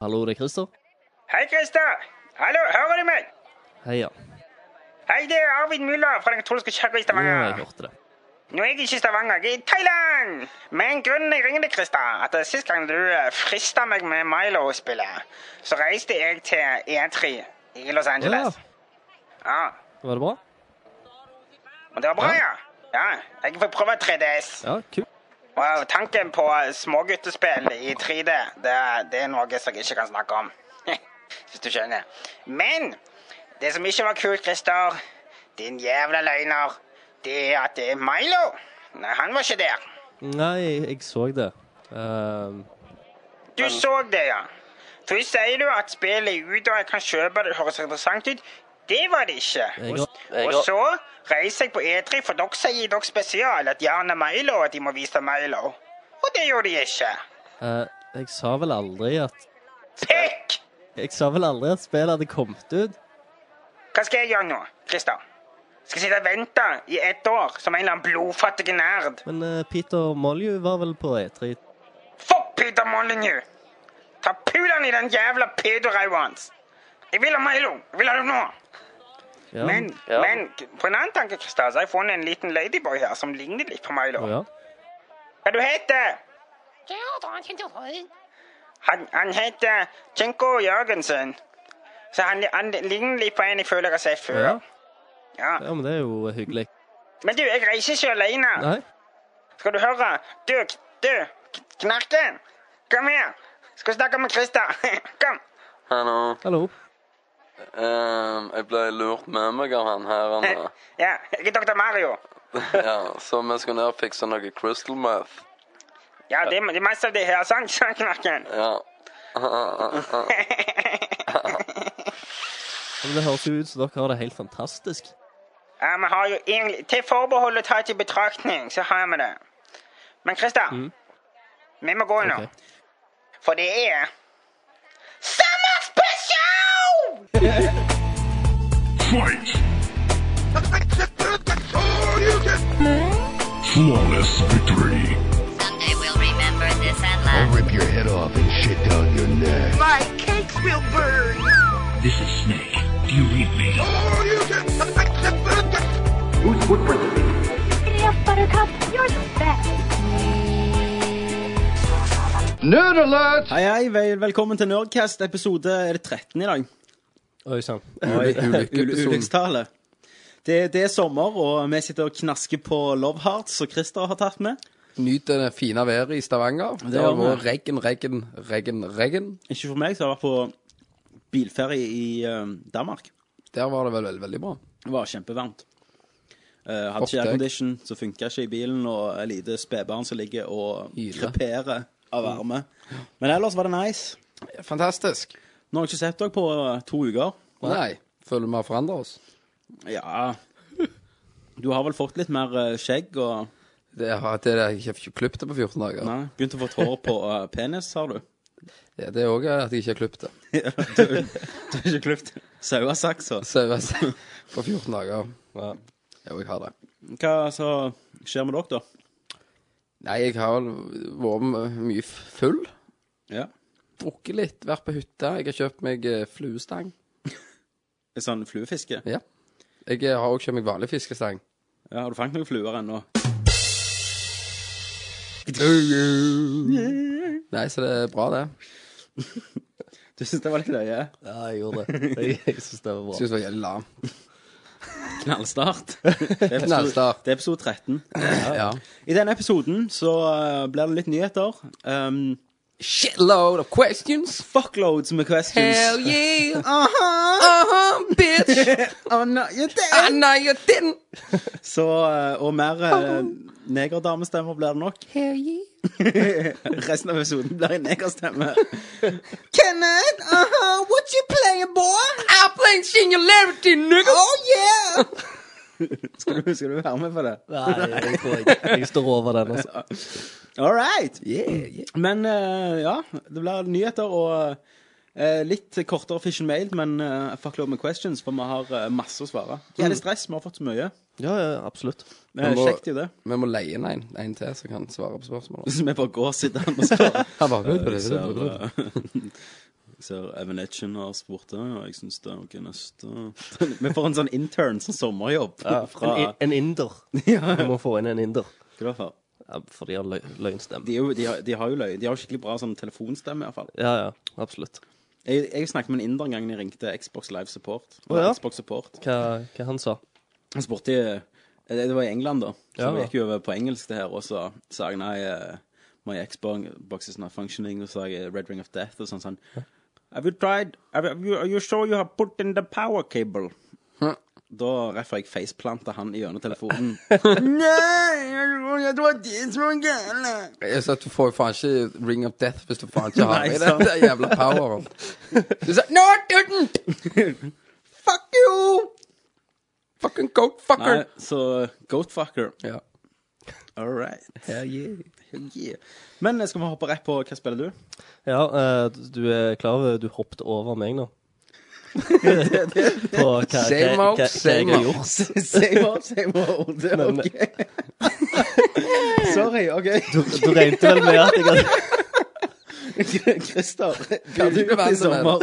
Hallo, det er Christer. Hei, Christer! Hallo, hører du meg? Hei, ja. Hei, det er Arvid Müller fra Den katolske Ja, kirka i jeg Stavanger. hørte det. Nå er jeg ikke i Stavanger, jeg er i Thailand! Men grunnen jeg ringer deg, Christer, at det er sist gang du eh, frista meg med Milo-spillet, så reiste jeg til E3 i Los Angeles. Ja, Var det bra? og det var bra, Ja. ja. Ja, jeg får prøve 3DS. Ja, kult. Og tanken på småguttespill i 3D, det, det er noe som jeg ikke kan snakke om. Hvis du skjønner. Men det som ikke var kult, Christer, din jævla løgner, det er at det er Milo. Nei, han var ikke der. Nei, jeg så det. Ehm, Du så det, ja. Så sier du at spillet er ute og jeg kan kjøpe det, det høres interessant ut. Det var det ikke. jeg har Jeg Og har, så reiser jeg på E3, for dere sier i dere spesial at gjerne Milo, at de må vise Milo. Og det gjorde de ikke. eh, Jeg sa vel aldri at Pikk! Jeg sa vel aldri at spillet hadde kommet ut? Hva skal jeg gjøre nå, Christer? Skal jeg sitte og vente i ett år som en eller annen blodfattig nerd? Men eh, Peter Molyu var vel på E3? Fuck Peter Molyneux! Ta pulen i den jævla pedoræva hans! Jeg vil ha Milo! Jeg vil ha det nå! Ja. Men, Ja. men på en annen tanke, Christer, så har jeg funnet en liten ladyboy her som ligner litt på Milo. Å, ja. Hva du heter han? Han heter Chenko Jørgensen. Så han, han ligner litt på en jeg føler jeg har sett før. Ja. Ja. ja, men det er jo hyggelig. Men du, jeg reiser ikke alene. Nei? Skal du høre? Du, k- du, k- knarken! Kom her! Skal snakke med Christer. Kom! hallo. Hallo. Ehm, jeg ble lurt med meg av han her. Han, Ja, jeg er Dr. Mario. ja, så vi skal ned og fikse noe crystal meth. Ja, det er, det er masse av det her, sant, sa knarken? Ja. ja, Men det høres jo ut som dere har det helt fantastisk. Ja, vi har jo egentlig Til forbeholdet tatt i betraktning, så har vi det. Men Christer, vi må gå nå. Ok. For det er Summer Special! Fight! Flawless victory. Someday we'll remember this and laugh. I'll rip your head off and shit down your neck. My cakes will burn. This is Snake. Do you read me? Yes, Buttercup, you're the best. Nerd alert! Hei, hei, vel, velkommen til Nerdcast episode er det 13 i dag. Oi sann. Ul- Ulykkestallet. Det, det er sommer, og vi sitter og knasker på Love Hearts, som Christer har tatt med. Nyt det fine været i Stavanger. Det har gjør vi. vært regn, regn, regn, regn. Ikke for meg, som har vært på bilferie i eh, Danmark. Der var det vel veldig, veldig bra. Det var kjempevarmt. Eh, hadde Ofte. ikke aircondition, så funka ikke i bilen, og et lite spedbarn som ligger og Hyler. kreperer av varme. Men ellers var det nice. Fantastisk. Nå har jeg ikke sett dere på eh, to uker. Nei, føler vi har forandra oss? Ja Du har vel fått litt mer eh, skjegg og Det har det er- jeg har ikke klippet det på 14 dager. Nei, begynt å få et hår på eh, penis, har du? Det, det er òg at jeg ikke har klippet det. Du har ikke klipt sauesaksa. Så jeg var- på 14 dager. Ja. Jo, jeg har det. Hva så skjer med dere, da? Nei, jeg har vel vært m- mye f- full. Ja. Drukket litt, vært på hytta. Jeg har kjøpt meg eh, fluestang. Sånn fluefiske? Ja. Jeg eh, har òg kjøpt meg vanlig fiskestang. Ja, har du fanget noen fluer ennå? Nei, så det er bra, det. Du syns det var litt løye? Ja, jeg gjorde det. Jeg, jeg syns det var bra. Syns det var jævlig lamt. Knallstart. Det er Knallstart. Det er episode 13. Ja. I denne episoden så eh, blir det litt nyheter. Um, Shitload of questions. fuckloads med questions. Hell yeah! Uh-huh! Uh-huh, bitch! Oh, no, you're dead. I know you didn't! Så, eh, og mer eh, negerdamestemmer blir det nok. Hell yeah! Resten av episoden blir i negerstemme. Kenneth, uh-huh, what you playing, boy? I'm playing singularity, nigga! Oh yeah! skal, du, skal du være med på det? Nei, jeg tror jeg, jeg står over den. Altså. All right! Yeah, yeah. Men eh, ja, det blir nyheter og eh, litt kortere fish and mail, men eh, fuck lov med questions, for vi har eh, masse å svare. Ja, det er stress, vi har fått så mye. Ja, ja, absolutt. Men må- Sjekk jo det. Vi må leie inn en, en til som kan svare på spørsmål. Så vi bare går og sitter her og svarer. Han bare, Jeg ser Evan Etchen har spurt det, og jeg syns det er noe neste Vi får en sånn intern som sommerjobb fra En, en inder. Ja. Vi må få inn en inder. Hva var det for? Ja, for de har lø løgnstemme. De, er jo, de, har, de har jo løy. De har jo skikkelig bra sånn telefonstemme, iallfall. Ja, ja. Absolutt. Jeg, jeg snakket med en inder en gang jeg ringte Xbox Live Support. Å, ja. Xbox Support. Hva, hva han sa? Han spurte eh, Det var i England, da. Så Ja, vi ja. gikk jo over på engelsk, det her. Og så sa jeg nei, eh, my Xbox is not functioning. Og så sa jeg eh, Red Ring of Death og sånn sånn. Have you tried have you, Are you sure you have put in the power cable? Da reffer jeg faceplanta han i gjennom telefonen. Nei! Jeg tror det er så gærent! Jeg sa at Du får jo faen ikke Ring of Death hvis du faen ikke har Nei, med sant. deg den jævla poweren. Du sa No, it didn't! Fuck you! Fucking Nei, goatfucker. så goatfucker. Ja. All right. Hell yeah. Men eh, skal vi hoppe rett på hva spiller du? Ja, eh, du er klar over Du hoppet over meg nå. På hva, hva, Same hva, old, hva jeg same har old. gjort. same old, same old. Men- OK. eh, Sorry, OK. Du, du regnet vel med at jeg hadde, Christer, hva har du Gud, gjort i vær så sommer?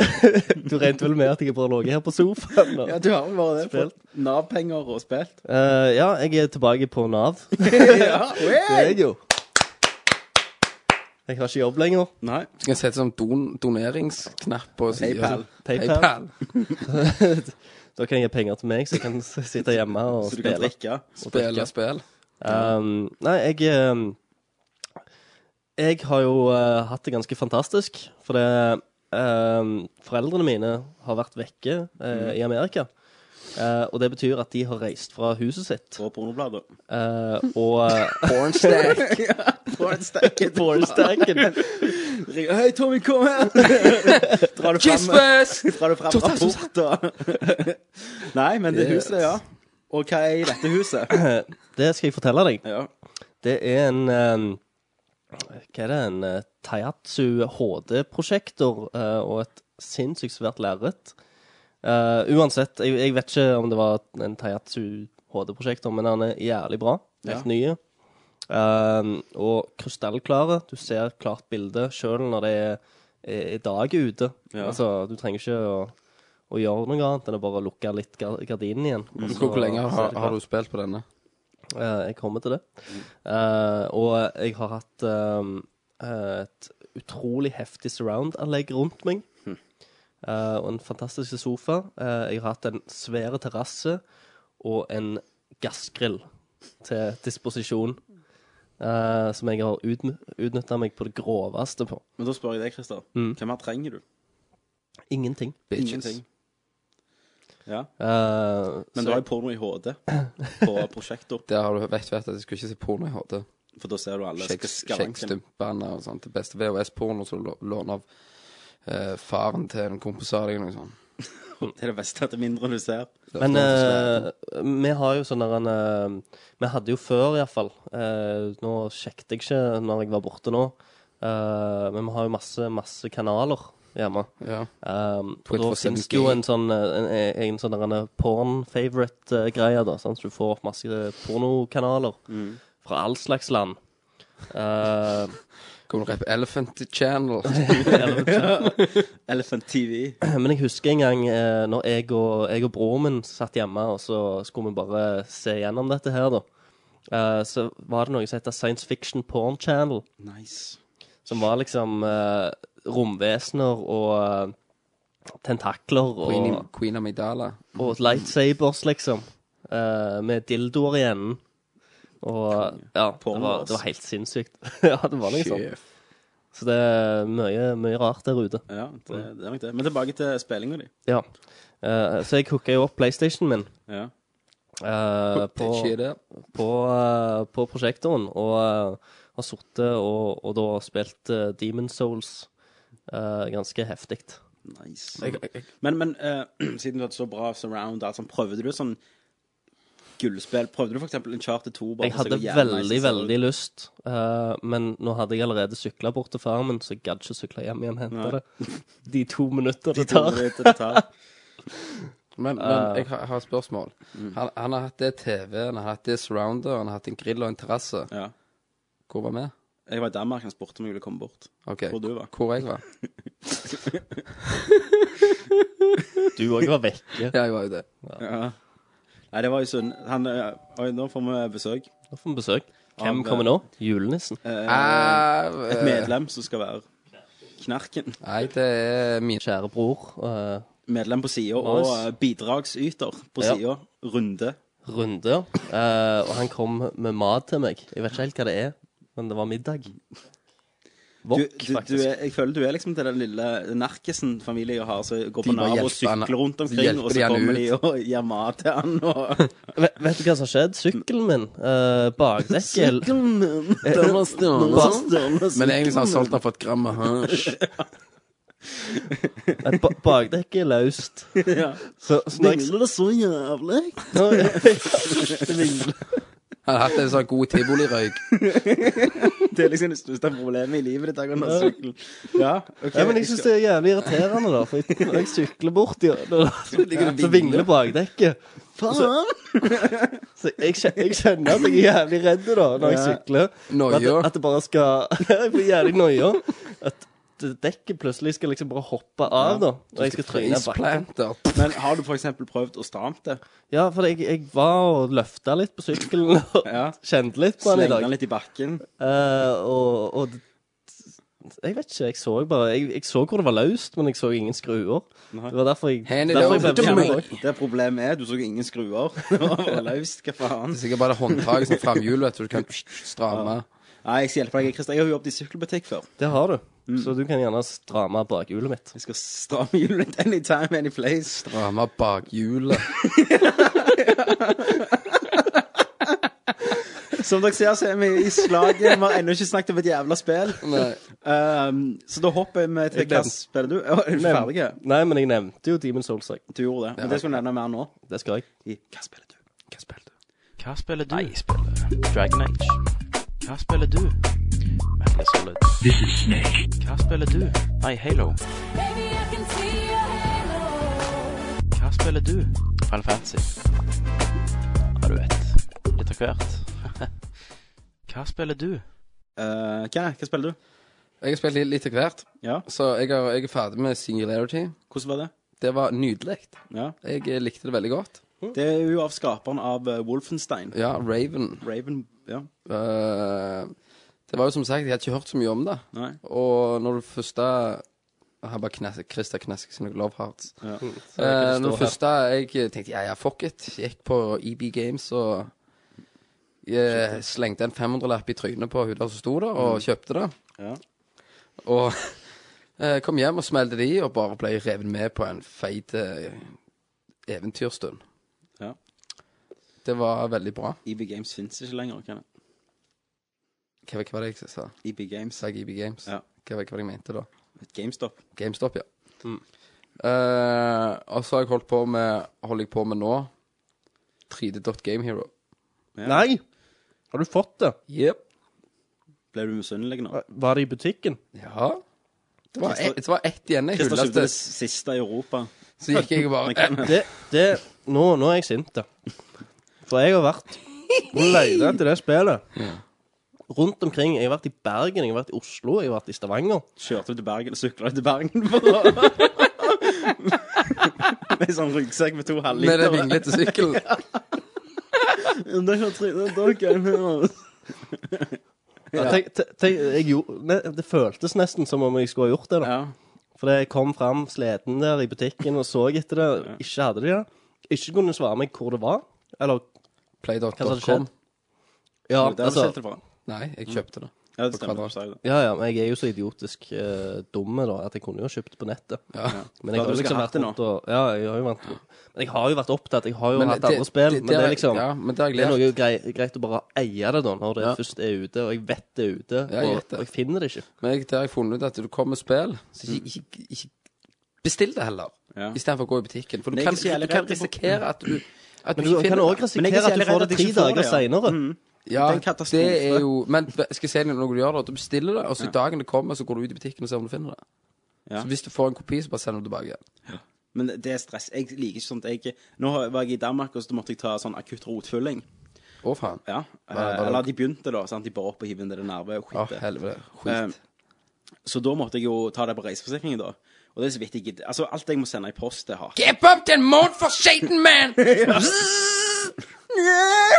du regnet vel med at jeg bare lå her på sofaen? nå? Ja, du har vel bare det. Spilt. Fått Nav-penger og spilt. Eh, ja, jeg er tilbake på Nav. ja. Det er jeg jo. Jeg har ikke jobb lenger. Nei. Skal jeg sette sånn don doneringsknapp på siden? PayPal. PayPal. PayPal. Da kan jeg gi penger til meg, så jeg kan s- sitte hjemme og Så du kan spille. drikke. Spille spill. Um, nei, jeg um, Jeg har jo uh, hatt det ganske fantastisk. For det um, Foreldrene mine har vært vekke uh, i Amerika. Uh, og det betyr at de har reist fra huset sitt. Og pornoblader. Uh, og uh, Pornstack. Bornstacken Hei, Tommy, kom her! Drar du Kiss fram, us! drar du fram rapporter? Nei, men det huset, ja. Og hva er i dette huset? Det skal jeg fortelle deg. Ja. Det er en um, Hva er det? En uh, Taiatsu HD-prosjektor uh, og et sinnssykt svært lerret. Uh, uansett, jeg, jeg vet ikke om det var en Taiatsu HD-prosjektor, men han er jævlig bra. Helt Ja. nye. Um, og krystallklare. Du ser klart bilde sjøl når det er, er dag ute. Ja. Altså, du trenger ikke å, å gjøre noe annet enn å bare lukke litt gar- gardinen igjen. Mm. og så- Hvor hvor lenge så er har, det klart. har du spilt på denne? Eh, Jeg kommer til det. Mm. Eh, og jeg har hatt eh, et utrolig heftig surround-anlegg rundt meg. Hm. Eh, og en fantastisk sofa. Eh, jeg har hatt en svær terrasse og en gassgrill til disposisjon. eh, som jeg har utnytta meg på det groveste på. Men da spør jeg deg, Christer. Mm. Hva mer trenger du? Ingenting. Bitches. Ingenting. Ja. Eh, Men så- du har jo porno i HD på prosjektor, Der har du vet, vet at jeg skulle ikke se porno i HD. for da ser du alle Sjekk- skalankene. Sjekkstumpene og sånt. Det beste VHS-porno som du lå- låner av eh, faren til en kompis av deg liksom. eller noe sånt. Det er det beste at det mindre du ser. sånn Men eh, vi har jo sånn der en eh, Vi hadde jo før, iallfall uh, Nå sjekket jeg ikke når jeg var borte nå. eh, men vi har jo masse, masse kanaler hjemme. eh, ja. Um, og da 24/7 fins det jo en sånn eh, en, en sånn der en porn-favorite-greie, eh, da. sant? Så du får opp masse pornokanaler fra all slags land. Eh, Kommer du rett på Elephant Channel? Elephant TV. Men jeg husker en gang eh, når jeg og, jeg og broren min satt hjemme, og så skulle vi bare se gjennom dette her, da. Eh, så var det noe som heter Science Fiction Porn Channel, Nice. som var liksom eh, romvesener og eh, tentakler Queen, og, Queen Amidala. og lightsabers, liksom. eh, med dildoer i enden. Og ja, det Porno, var, ass. det var helt sinnssykt. ja, det var liksom. Sjef. Så det er mye, mye rart der ute. Ja, det, det er nok det. Men tilbake til spillinga di. Ja. Eh, så jeg hooka jo opp PlayStationen min. Ja. eh, Det er på, ikke det. på, eh, på prosjektoren og eh, har sittet og, og da spilt eh, Demon Souls eh, ganske heftig. Nice. Men, men eh, siden du hadde så bra surround, altså, prøvde du sånn gullspill? Prøvde du for eksempel en charter 2? Jeg hadde veldig, veldig lyst, eh, men nå hadde jeg allerede sykla bort til farmen, så jeg gadd ikke sykle hjem igjen og Nei. hente det. De to minutter det tar. gitar. Men, men jeg har, jeg har et spørsmål. Han, han har hatt det TV, han har hatt det Surrounder, han har hatt en grill og en terrasse. Ja. Hvor var vi? Jeg var i Danmark, han spurte om jeg ville komme bort. Ok, Hvor du var. Hvor jeg var? Du òg var vekke. Ja, jeg var jo det. Ja. Nei, det var jo synd. Han, eh, oi, nå får vi besøk. Nå får vi besøk. Av, Hvem eh, kommer nå? Julenissen. Au, Et eh, medlem som skal være Knarken. Nei, det er min Kjære bror. eh, Medlem på sida og Nice. eh, bidragsyter på Ja. sida. Runde. Runde. eh, og han kom med mat til meg. Jeg vet ikke helt hva det er, men det var middag. Du, Wok, du, du faktisk. er, jeg føler du er liksom til den lille narkisen familien har som går De på bare Nav og hjelper han- sykler rundt de omkring, hjelper og de så han kommer ut. de og gir mat til han og Vet, vet du hva som skjedde? Sykkelen min, uh, bakdekket Sånn. Den var stjålet. Men egentlig så har han solgt den for et gram med hasj. Et ba bakdekk er løst. Så, så når jeg, det så jævlig? når jeg, Han har hatt en sånn god tivolirøyk. Det er liksom det største problemet i livet ditt. Agnes, sykkel. Ja, ok. ja, men jeg syns det er jævlig irriterende, da. For jeg, når jeg sykler bort, ja, da, så, så vingler bakdekket. Og Så, så jeg, kje- jeg kjenner at jeg er jævlig redd da, når jeg Ja. sykler. Noia. At, det- at det bare skal Jeg blir jævlig noia. At det- dekket plutselig skal liksom bare hoppe av, da. Og jeg skal tryne bakken. Isplanter. Men har du for eksempel prøvd å stramt det? Ja, for jeg, jeg var og løfta litt på sykkelen og Ja. kjente litt på den i Slenge dag. den litt i bakken? Eh, og, og d- jeg vet ikke, jeg så jo bare jeg, jeg så hvor det var løst, men jeg så ingen skruer. Det var derfor jeg, Hand it derfor jeg over ble to me. bekymra. Det problemet er, du så jo ingen skruer. Det var løst, hva faen? Det er sikkert bare håndtaket som framhjul, vet du. Du kan stramme. Nei, jeg skal hjelpe deg, Christer. Jeg har jo jobbet i sykkelbutikk før. Det har du. Så du kan gjerne stramme bakhjulet mitt. Jeg skal stramme hjulet ditt anytime, any place. Stramme bakhjulet. Som dere ser, så er vi i slaget. Vi har ennå ikke snakket om et jævla spill. Nei. Um, så da hopper vi til Jeg hva nevnte- spiller du? Å, Er du ferdig? Nei, men jeg nevnte jo Demon's Souls. jeg. Du gjorde det. Men det skal du nevne mer nå. Det skal jeg. I Hva spiller du? Hva spiller du? Hva spiller du? jeg spiller Dragon Age. Hva spiller du? Metal Solid. This is Snake. Hva spiller du? Nei, Halo. Hva spiller du? Final Fantasy. Ja, du vet. Litt av hvert. Hva spiller du? Eh, hva, hva spiller du? Jeg har spilt litt- litt av hvert, Ja, så jeg, har, jeg er ferdig med Singularity. hvordan var det? Det var nydelig. Ja. Jeg eh, likte det veldig godt. Det er jo av skaperen av eh, Wolfenstein. Ja, Raven. Raven Ja. Eh, det var jo som sagt, jeg hadde ikke hørt så mye om det. Nei. Og når du første Han bare knasker, Christer knasker sine love hearts. Ja. Eh, her. når det første jeg tenkte ja, ja, fuck it, gikk på EB Games og eh, slengte en 500-lapp i trynet på hun der som sto der, og kjøpte det. Ja. Og eh, kom hjem og smelte de, og bare ble revet med på en feit eh, eventyrstund. Ja. Det var veldig bra. EB Games fins ikke lenger. Kan jeg? Hva, hva var det jeg sa? EB Games. Sa jeg EB Games? Ja. Hva, hva var det jeg mente da? GameStop. GameStop, ja. Mm. Eh, og så har jeg holdt på med Holder jeg på med nå 3D.gamehero. Ja. Nei! Har du fått det? Yep. Ble du misunnelig nå? Var det i butikken? Ja. Det var, Christer- ett- det var ett igjen jeg Christer hullet kjøpte det til. siste i Europa. Så gikk jeg og bare eh, Det, det Nå, nå er jeg sint, da. For jeg har vært og leita etter det spillet. Rundt omkring. Jeg har vært i Bergen, jeg har vært i Oslo, jeg har vært i Stavanger. Kjørte du til Bergen, sykla du til Bergen for å Med sånn ryggsekk med to med den halvliter. vinglete sykkelen. Det er Trine Doggen her. Ja. Tenk, te- tenk, jeg gjorde, ne- det føltes nesten som om jeg skulle ha gjort det. da Ja. For jeg kom fram sliten der i butikken og så etter det. Ikke hadde de det. Ikke kunne svare meg hvor det var. Eller Hva hadde Play.com. skjedd? Ja, Det er altså det fra. Nei, jeg Mm. kjøpte det. Ja, det stemmer. På du sa jo det. ja, ja, men Jeg er jo så idiotisk eh, dumme da at jeg kunne jo ha kjøpt på nettet. Ja. Men jeg Ja, har jo du skal liksom ha vært det nå. rundt og Ja, jeg har jo vært Men jeg har jo vært opptatt. Jeg har jo hatt andre spill. Men det, er har jeg- liksom Ja, men det har jeg Det er lært. noe grei, greit å bare eie det da når det Ja. først er ute, og jeg vet det er ute, Ja, jeg og, vet det. og jeg finner det ikke. Men jeg, det har jeg funnet ut at du kommer med spill, så ikke, ikke, ikke bestill det heller. Ja. Istedenfor å gå i butikken. For du Men jeg er kan, ikke så jævlig du kan redd for- risikere at du at Men du ikke kan finner òg det. Men jeg er risikere at du får det tre ikke så redd at jeg ikke får dager det, ja. seinere. Ja, Det er en katastrofe. Det er jo Men skal jeg si deg når du gjør det, at du bestiller det, og så i dagen det kommer, så går du ut i butikken og ser om du finner det. Ja. Så hvis du får en kopi, så bare sender du tilbake. Men det er stress. Jeg liker ikke sånt. Jeg, nå har- var jeg i Danmark, og så måtte jeg ta sånn akutt rotfylling. Å, faen. Ja. Eh, Hva- hva- Eller de begynte, da. Sant? De bare opp og hiver inn det der nerve og Å, skit. helvete. Eh, Skit. så da måtte jeg jo ta det på reiseforsikringen, da. Og det er så vidt jeg gidder. Altså, alt jeg må sende i post, det har Get bumped and moaned for Satan, man!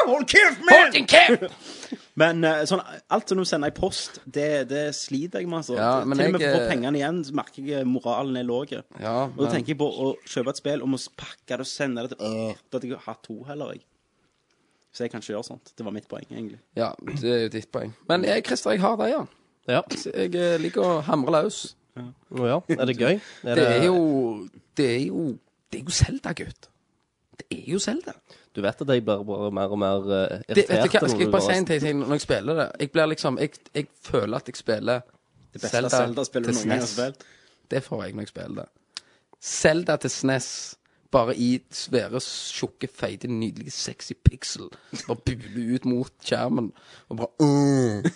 Hold kjeft, Hold din kjeft! Men eh, sånn, alt som du sender i post, det, det sliter jeg med. Altså. Ja, men Til og med jeg, for å eh, få pengene igjen så merker jeg eh, moralen er lav. Ja, Og da men- tenker jeg på å kjøpe et spill og må pakke det og sende det til øh, Da hadde jeg hatt to heller, jeg. Så jeg kan ikke gjøre sånt. Det var mitt poeng, egentlig. Ja, det er jo ditt poeng. Men jeg, Christer, jeg har det, ja. Ja. Så Jeg eh, liker å hamre løs. Å ja. Er det gøy? Er Det er jo Det er jo Det er jo Zelda, gutt. Det er jo Zelda. Du vet at jeg blir bare mer og mer eh, irritert. Det, vet du hva, når skal jeg du bare si bare- en ting til når jeg spiller det? Jeg blir liksom Jeg, jeg føler at jeg spiller Det beste Zelda-spillet til noen gang har SNES. spilt. Det får jeg når jeg spiller det. Zelda til SNES, bare i svære, tjukke, feite, nydelige, sexy pixel. Bare buler ut mot skjermen, og bare øh.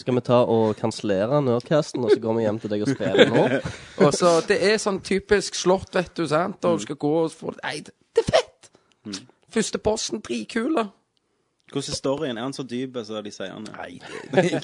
Skal vi ta og kansellere Nerdcasten, og så går vi hjem til deg og spiller nå? Og så, det er sånn typisk slott, vet du, sant? Og du skal gå og få Nei, det det er fett! Mm. Første posten, dritkule. Hvordan er storyen? Er han så dyp som de sier han er? Nei, det, det er jo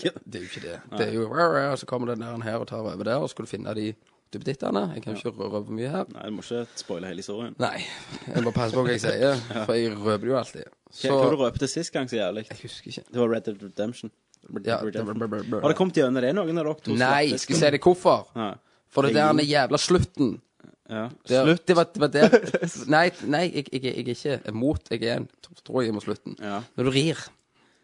ikke det. Det er jo og så kommer den der her og tar over der, og så skal du finne de duppedittene. Jeg kan ikke røre for mye her. Nei, du må ikke spoile hele historien. Nei, jeg må passe på hva jeg sier, for jeg røper jo alltid. Hva, hva du røpte sist gang så jævlig? Jeg husker ikke. Det var Red Dead Redemption. Red Dead Ja, Redemption. det- det- det- Har det kommet gjennom det, noen av dere to? Nei, skal jeg si deg hvorfor? Ja. For det er der den jævla slutten. Ja. Det, Slutt? Det var, det var der. Nei, nei jeg, jeg, jeg er ikke imot. Jeg er en tro- tror jeg er mot slutten. Ja. Når du rir,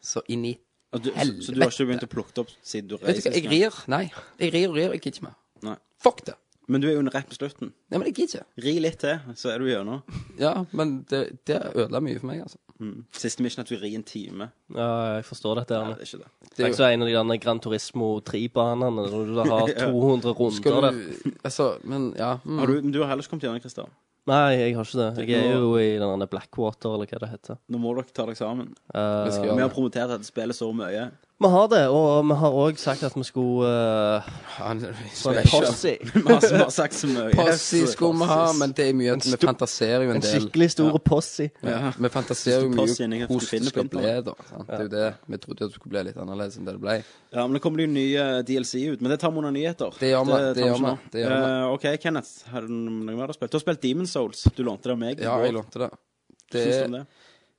så inn i Og du, så, så du har ikke begynt å plukke det opp siden du Vet du reiste? hva, jeg rir. Nei. Jeg rir og rir. Jeg gidder ikke mer. Nei. Fuck det. Men du er jo en rett på slutten. Nei, men jeg gidder ikke. Ri litt til, så er du gjennom. Ja, men det, det ødela mye for meg, altså. Mm. Siste mission er at du rir en time. Ja, jeg forstår dette. Nei, Arne. det er ikke det. Det er ikke så en av de der Gran Turismo 3-banene når du da har 200 runder Skal der. du Altså, men ja. Mm. Har du, men du har heller ikke kommet gjennom, Christer. Nei, jeg har ikke det. Jeg er jo i den der Blackwater, eller hva det heter. Nå må dere ta dere sammen. Eh, Jeg skal Vi gjøre har det. promotert dette spillet så mye. vi har det, og vi har òg sagt at vi skulle eh, Han- få en Special. posse. Vi har, vi har sagt så mye. Possi skulle vi ha, men det er mye at vi stor- fantaserer jo en En del. skikkelig stor posse. Ja. Vi fantaserer Så jo mye pass inn i hva du hvordan det finner på skal bli, internett. da. sant? Det er jo det. Vi trodde jo at det skulle bli litt annerledes enn det det ble. Ja, men det kommer jo ny eh, DLC ut, men det tar vi under nyheter. Det gjør vi, det tar gjør ikke vi, nå. det gjør vi. Eh, OK, Kenneth, har du noe mer du har spilt? Du har spilt Demon Souls. Du lånte det av meg. i Ja, går. jeg lånte det. Hva det, Syns du om det?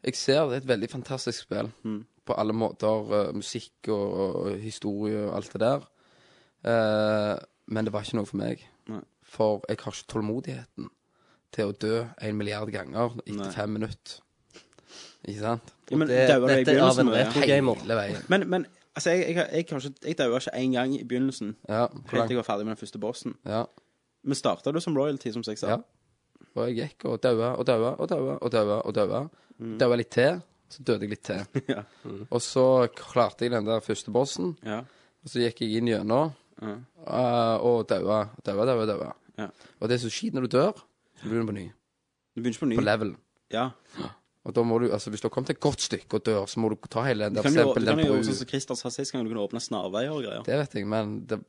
Jeg ser det er et veldig fantastisk spill. Mm. På alle måter. eh, musikk og, og historie og alt det der. Eh, men det var ikke noe for meg. Nei. For jeg har ikke tålmodigheten til å dø en milliard ganger etter Nei. fem minutter. Ikke sant? Ja, men det- dauer du i dette er av en begynnelsen, ja? retro- gamer. Hele veien. Men, men altså, jeg, jeg, har- jeg, har ikke- jeg daua ikke én gang i begynnelsen, Ja, hvor helt til langt? jeg var ferdig med den første bossen. Ja. Men starta du som royalty, som jeg sa? Ja. Og jeg gikk og daua og daua og daua og daua. og daua. Daua litt til, så døde jeg litt til. Mm. Ja. Og så klarte jeg den der første bossen, Ja. og så gikk jeg inn gjennom eh, og daua, daua, daua. daua. Ja. Og det er så skit når du dør, så blir du på ny. Du begynner ikke på ny. På level. Ja. Og da må du, altså Hvis du har kommet et godt stykke og dør, så må du ta hele den Du der, kan for jo, eksempel du kan den jo gjøre bru. sånn som Christer sa sist gang, du kunne åpne snarveier og greier. Det vet jeg, men det,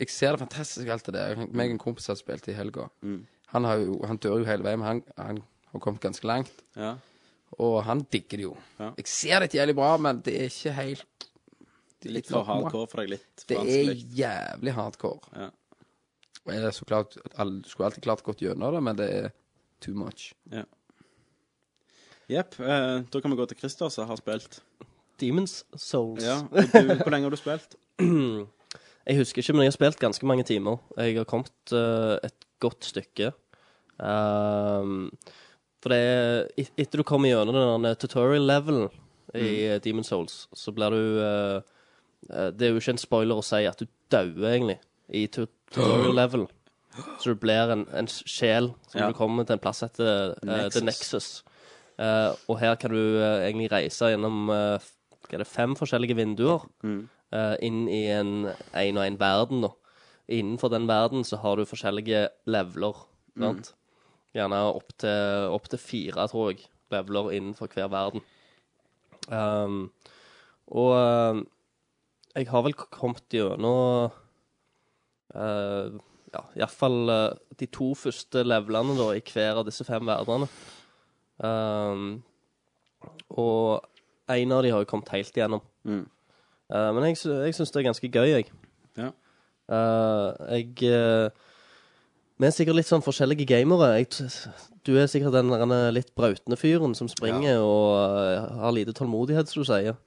jeg ser det fantastiske alt det der. Jeg- Meg og en kompis har spilt i helga. Mm. Han, har jo, han dør jo hele veien, men han, han har kommet ganske langt. Ja. Og han digger det jo. Ja. Jeg ser det er jævlig bra, men det er ikke helt Det er litt for hardcore for deg, litt for Det er vanskelig. jævlig hardcore. Ja. Og jeg er så klart, alle- skulle alltid klart gått gjennom det, men det er too much. Jepp. eh, da kan vi gå til Christer, som har spilt. Demons Souls. Ja. Og du, hvor lenge har du spilt? Jeg husker ikke, men jeg har spilt ganske mange timer. Jeg har kommet eh, et godt stykke. Ehm, for det er et- Etter du kommer gjennom den tutorial-levelen i Demon Souls, så blir du eh, eh, Det er jo ikke en spoiler å si at du dauer, egentlig, i tu- tutorial-level. Så du blir en, en sjel som Ja. du kommer til en plass etter eh, Nexus. The Nexus. Eh, og her kan du eh, egentlig reise gjennom eh, f- hva er det, fem forskjellige vinduer eh, inn i en en og en verden. Da. Innenfor den verden så har du forskjellige leveler. Sant? Gjerne opp til, opp til fire, tror jeg, leveler innenfor hver verden. Um, og eh, jeg har vel kommet gjennom uh, ja, iallfall uh, de to første levelene da, i hver av disse fem verdenene. Um, og en av de har jo kommet helt igjennom. Mm. Eh, men jeg, sy- jeg syns det er ganske gøy, jeg. Ja. Eh, jeg eh, Vi er sikkert litt sånn forskjellige gamere. Jeg, t- du er sikkert den der litt brautende fyren som springer og eh, har lite tålmodighet, som du sier.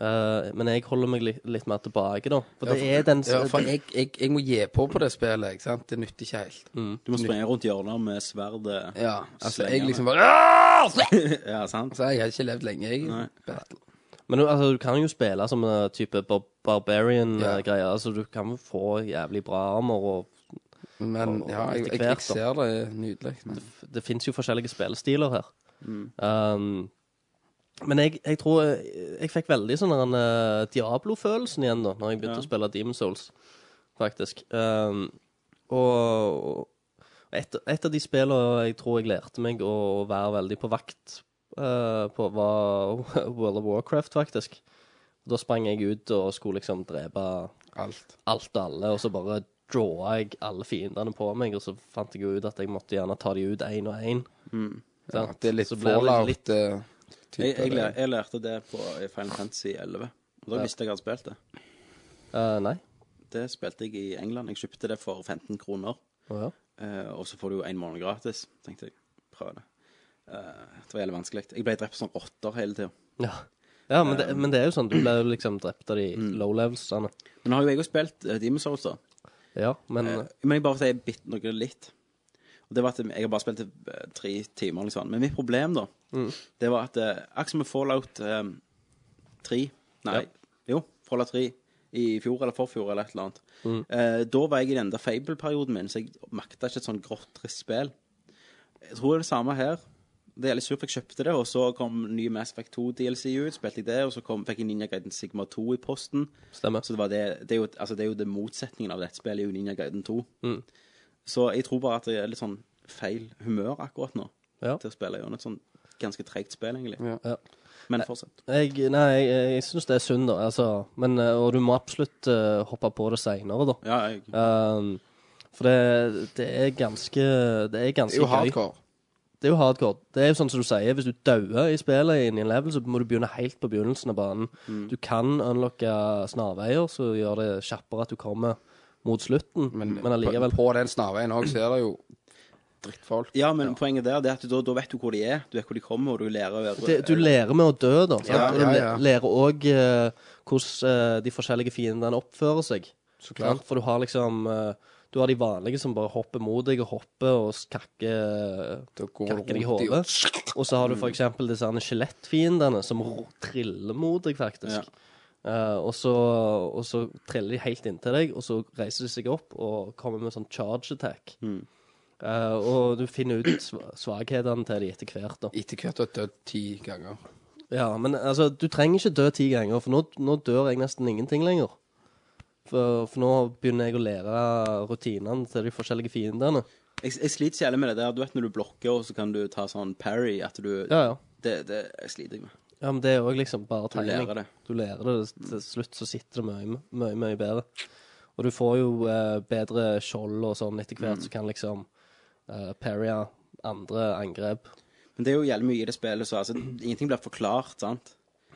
Eh, men jeg holder meg li litt mer tilbake, da. For det Ja, er den ja, for jeg, jeg, jeg må gi på på det spillet, ikke sant? Det nytter ikke helt. Du må springe rundt hjørner med sverdet Ja, altså slengende. jeg liksom bare «Aah!» Ja, sant? Altså, jeg har ikke levd lenge, jeg. Battle. Men du, altså, du kan jo spille som en type bar Ja. barbarian-greier. Altså, du kan jo få jævlig bra armer, og Men Og- ja, og jeg, etter jeg, hvert, jeg da. ser det er nydelig. Men f- det fins jo forskjellige spillestiler her. Um, men jeg, jeg tror jeg, jeg fikk veldig sånn der en, eh, Diablo-følelsen igjen da Når jeg begynte Ja. å spille Demon Souls, faktisk. Um, og og et, et av de spillene jeg tror jeg lærte meg å være veldig på vakt eh, på, var World of Warcraft, faktisk. Da sprang jeg ut og skulle liksom drepe alt. alt og alle, og så bare drawa jeg alle fiendene på meg, og så fant jeg jo ut at jeg måtte gjerne ta de ut én og én. Ja, det er litt Så blir det litt- fallout. eh, type Jeg, jeg, det. lær- jeg lærte det på i Final Fantasy 11. Og da visste jeg jeg hadde spilt det. Eh, nei. Det spilte jeg i England. Jeg kjøpte det for 15 kroner. Å ja. Eh, og så får du jo en måned gratis, tenkte jeg. Prøv det. Eh, det var jævlig vanskelig. Jeg ble drept som rotter hele tida. ja. Ja, men det, men det er jo sånn. Du ble jo liksom drept av de low levelsene. Men nå har jo jeg òg spilt uh, Demon's Souls, da. Ja, men Eh, men jeg bare sier bitte noe litt. Og det var at Jeg har bare spilt eh, tre timer, liksom. Men mitt problem, da, det var at eh, akkurat som med Fallout eh, 3 Nei, jo, Fallout 3 i fjor eller forfjor eller et eller annet. Eh, da var jeg i den der Fable-perioden min, så jeg makta ikke et sånn grått, trist spill. Jeg tror det er det samme her. Det er litt surt, for jeg kjøpte det, og så kom ny Mass Effect 2-DLC ut, spilte jeg det, og så kom, fikk jeg Ninja Gaiden Sigma 2 i posten. Stemmer. Så det, var det, det, er jo, altså det er jo det motsetningen av dette spillet, er jo Ninja Gaiden 2. Mm. Så jeg tror bare at det er litt sånn feil humør akkurat nå Ja. til å spille gjennom et sånn ganske tregt spill, egentlig. Ja. Men fortsett. jeg, nei, jeg, jeg syns det er synd, da. Altså, men, eh, og du må absolutt eh, hoppe på det seinere, da. Ja, jeg, Um, for det, det er ganske Det er Det ganske er jo gøy. hardcore. Det er jo hardcore. Det er jo sånn som du sier, hvis du dauer i spillet inn i en level, så må du begynne helt på begynnelsen av banen. Mm. Du kan unlocke snarveier, så gjør det kjappere at du kommer mot slutten, men, allikevel På, på den snarveien òg ser det jo drittfolk. ja men poenget der det er at da, da vet du hvor de er, du vet hvor de kommer, og du lærer å være det, Du lærer med å dø, da. Sant? Ja, Og du ja, læ- ja. lærer òg hvordan eh, de forskjellige fiendene oppfører seg. Så klart. Sant? For du har liksom eh, Du har de vanlige som bare hopper mot deg, og hopper og kakker eh, Da går det kakker deg i rundt i hodet. Og så har du for eksempel disse her skjelettfiendene som ro- triller mot deg, Ja. faktisk. Eh, og, så, og så triller de helt inntil deg, og så reiser de seg opp og kommer med sånn charge attack. Eh, og du finner ut sva- svakhetene til de etter hvert. da. Etter hvert har jeg dødd ti ganger. Ja, Men altså, du trenger ikke dø ti ganger, for nå, nå dør jeg nesten ingenting lenger. For, for nå begynner jeg å lære rutinene til de forskjellige fiendene. Jeg, jeg sliter så jævlig med det der. Du vet når du blokker, og så kan du ta sånn parry at du Ja, ja. Det, det jeg sliter jeg med. Ja, men det er òg liksom bare tegning. lærer det. Du lærer det. Til slutt så sitter det mye, mye, mye bedre. Og du får jo eh, bedre skjold og sånn etter Mm. hvert, så kan liksom eh, parrye andre angrep. Men det er jo jævlig mye i det spillet, så altså, ingenting blir forklart, sant?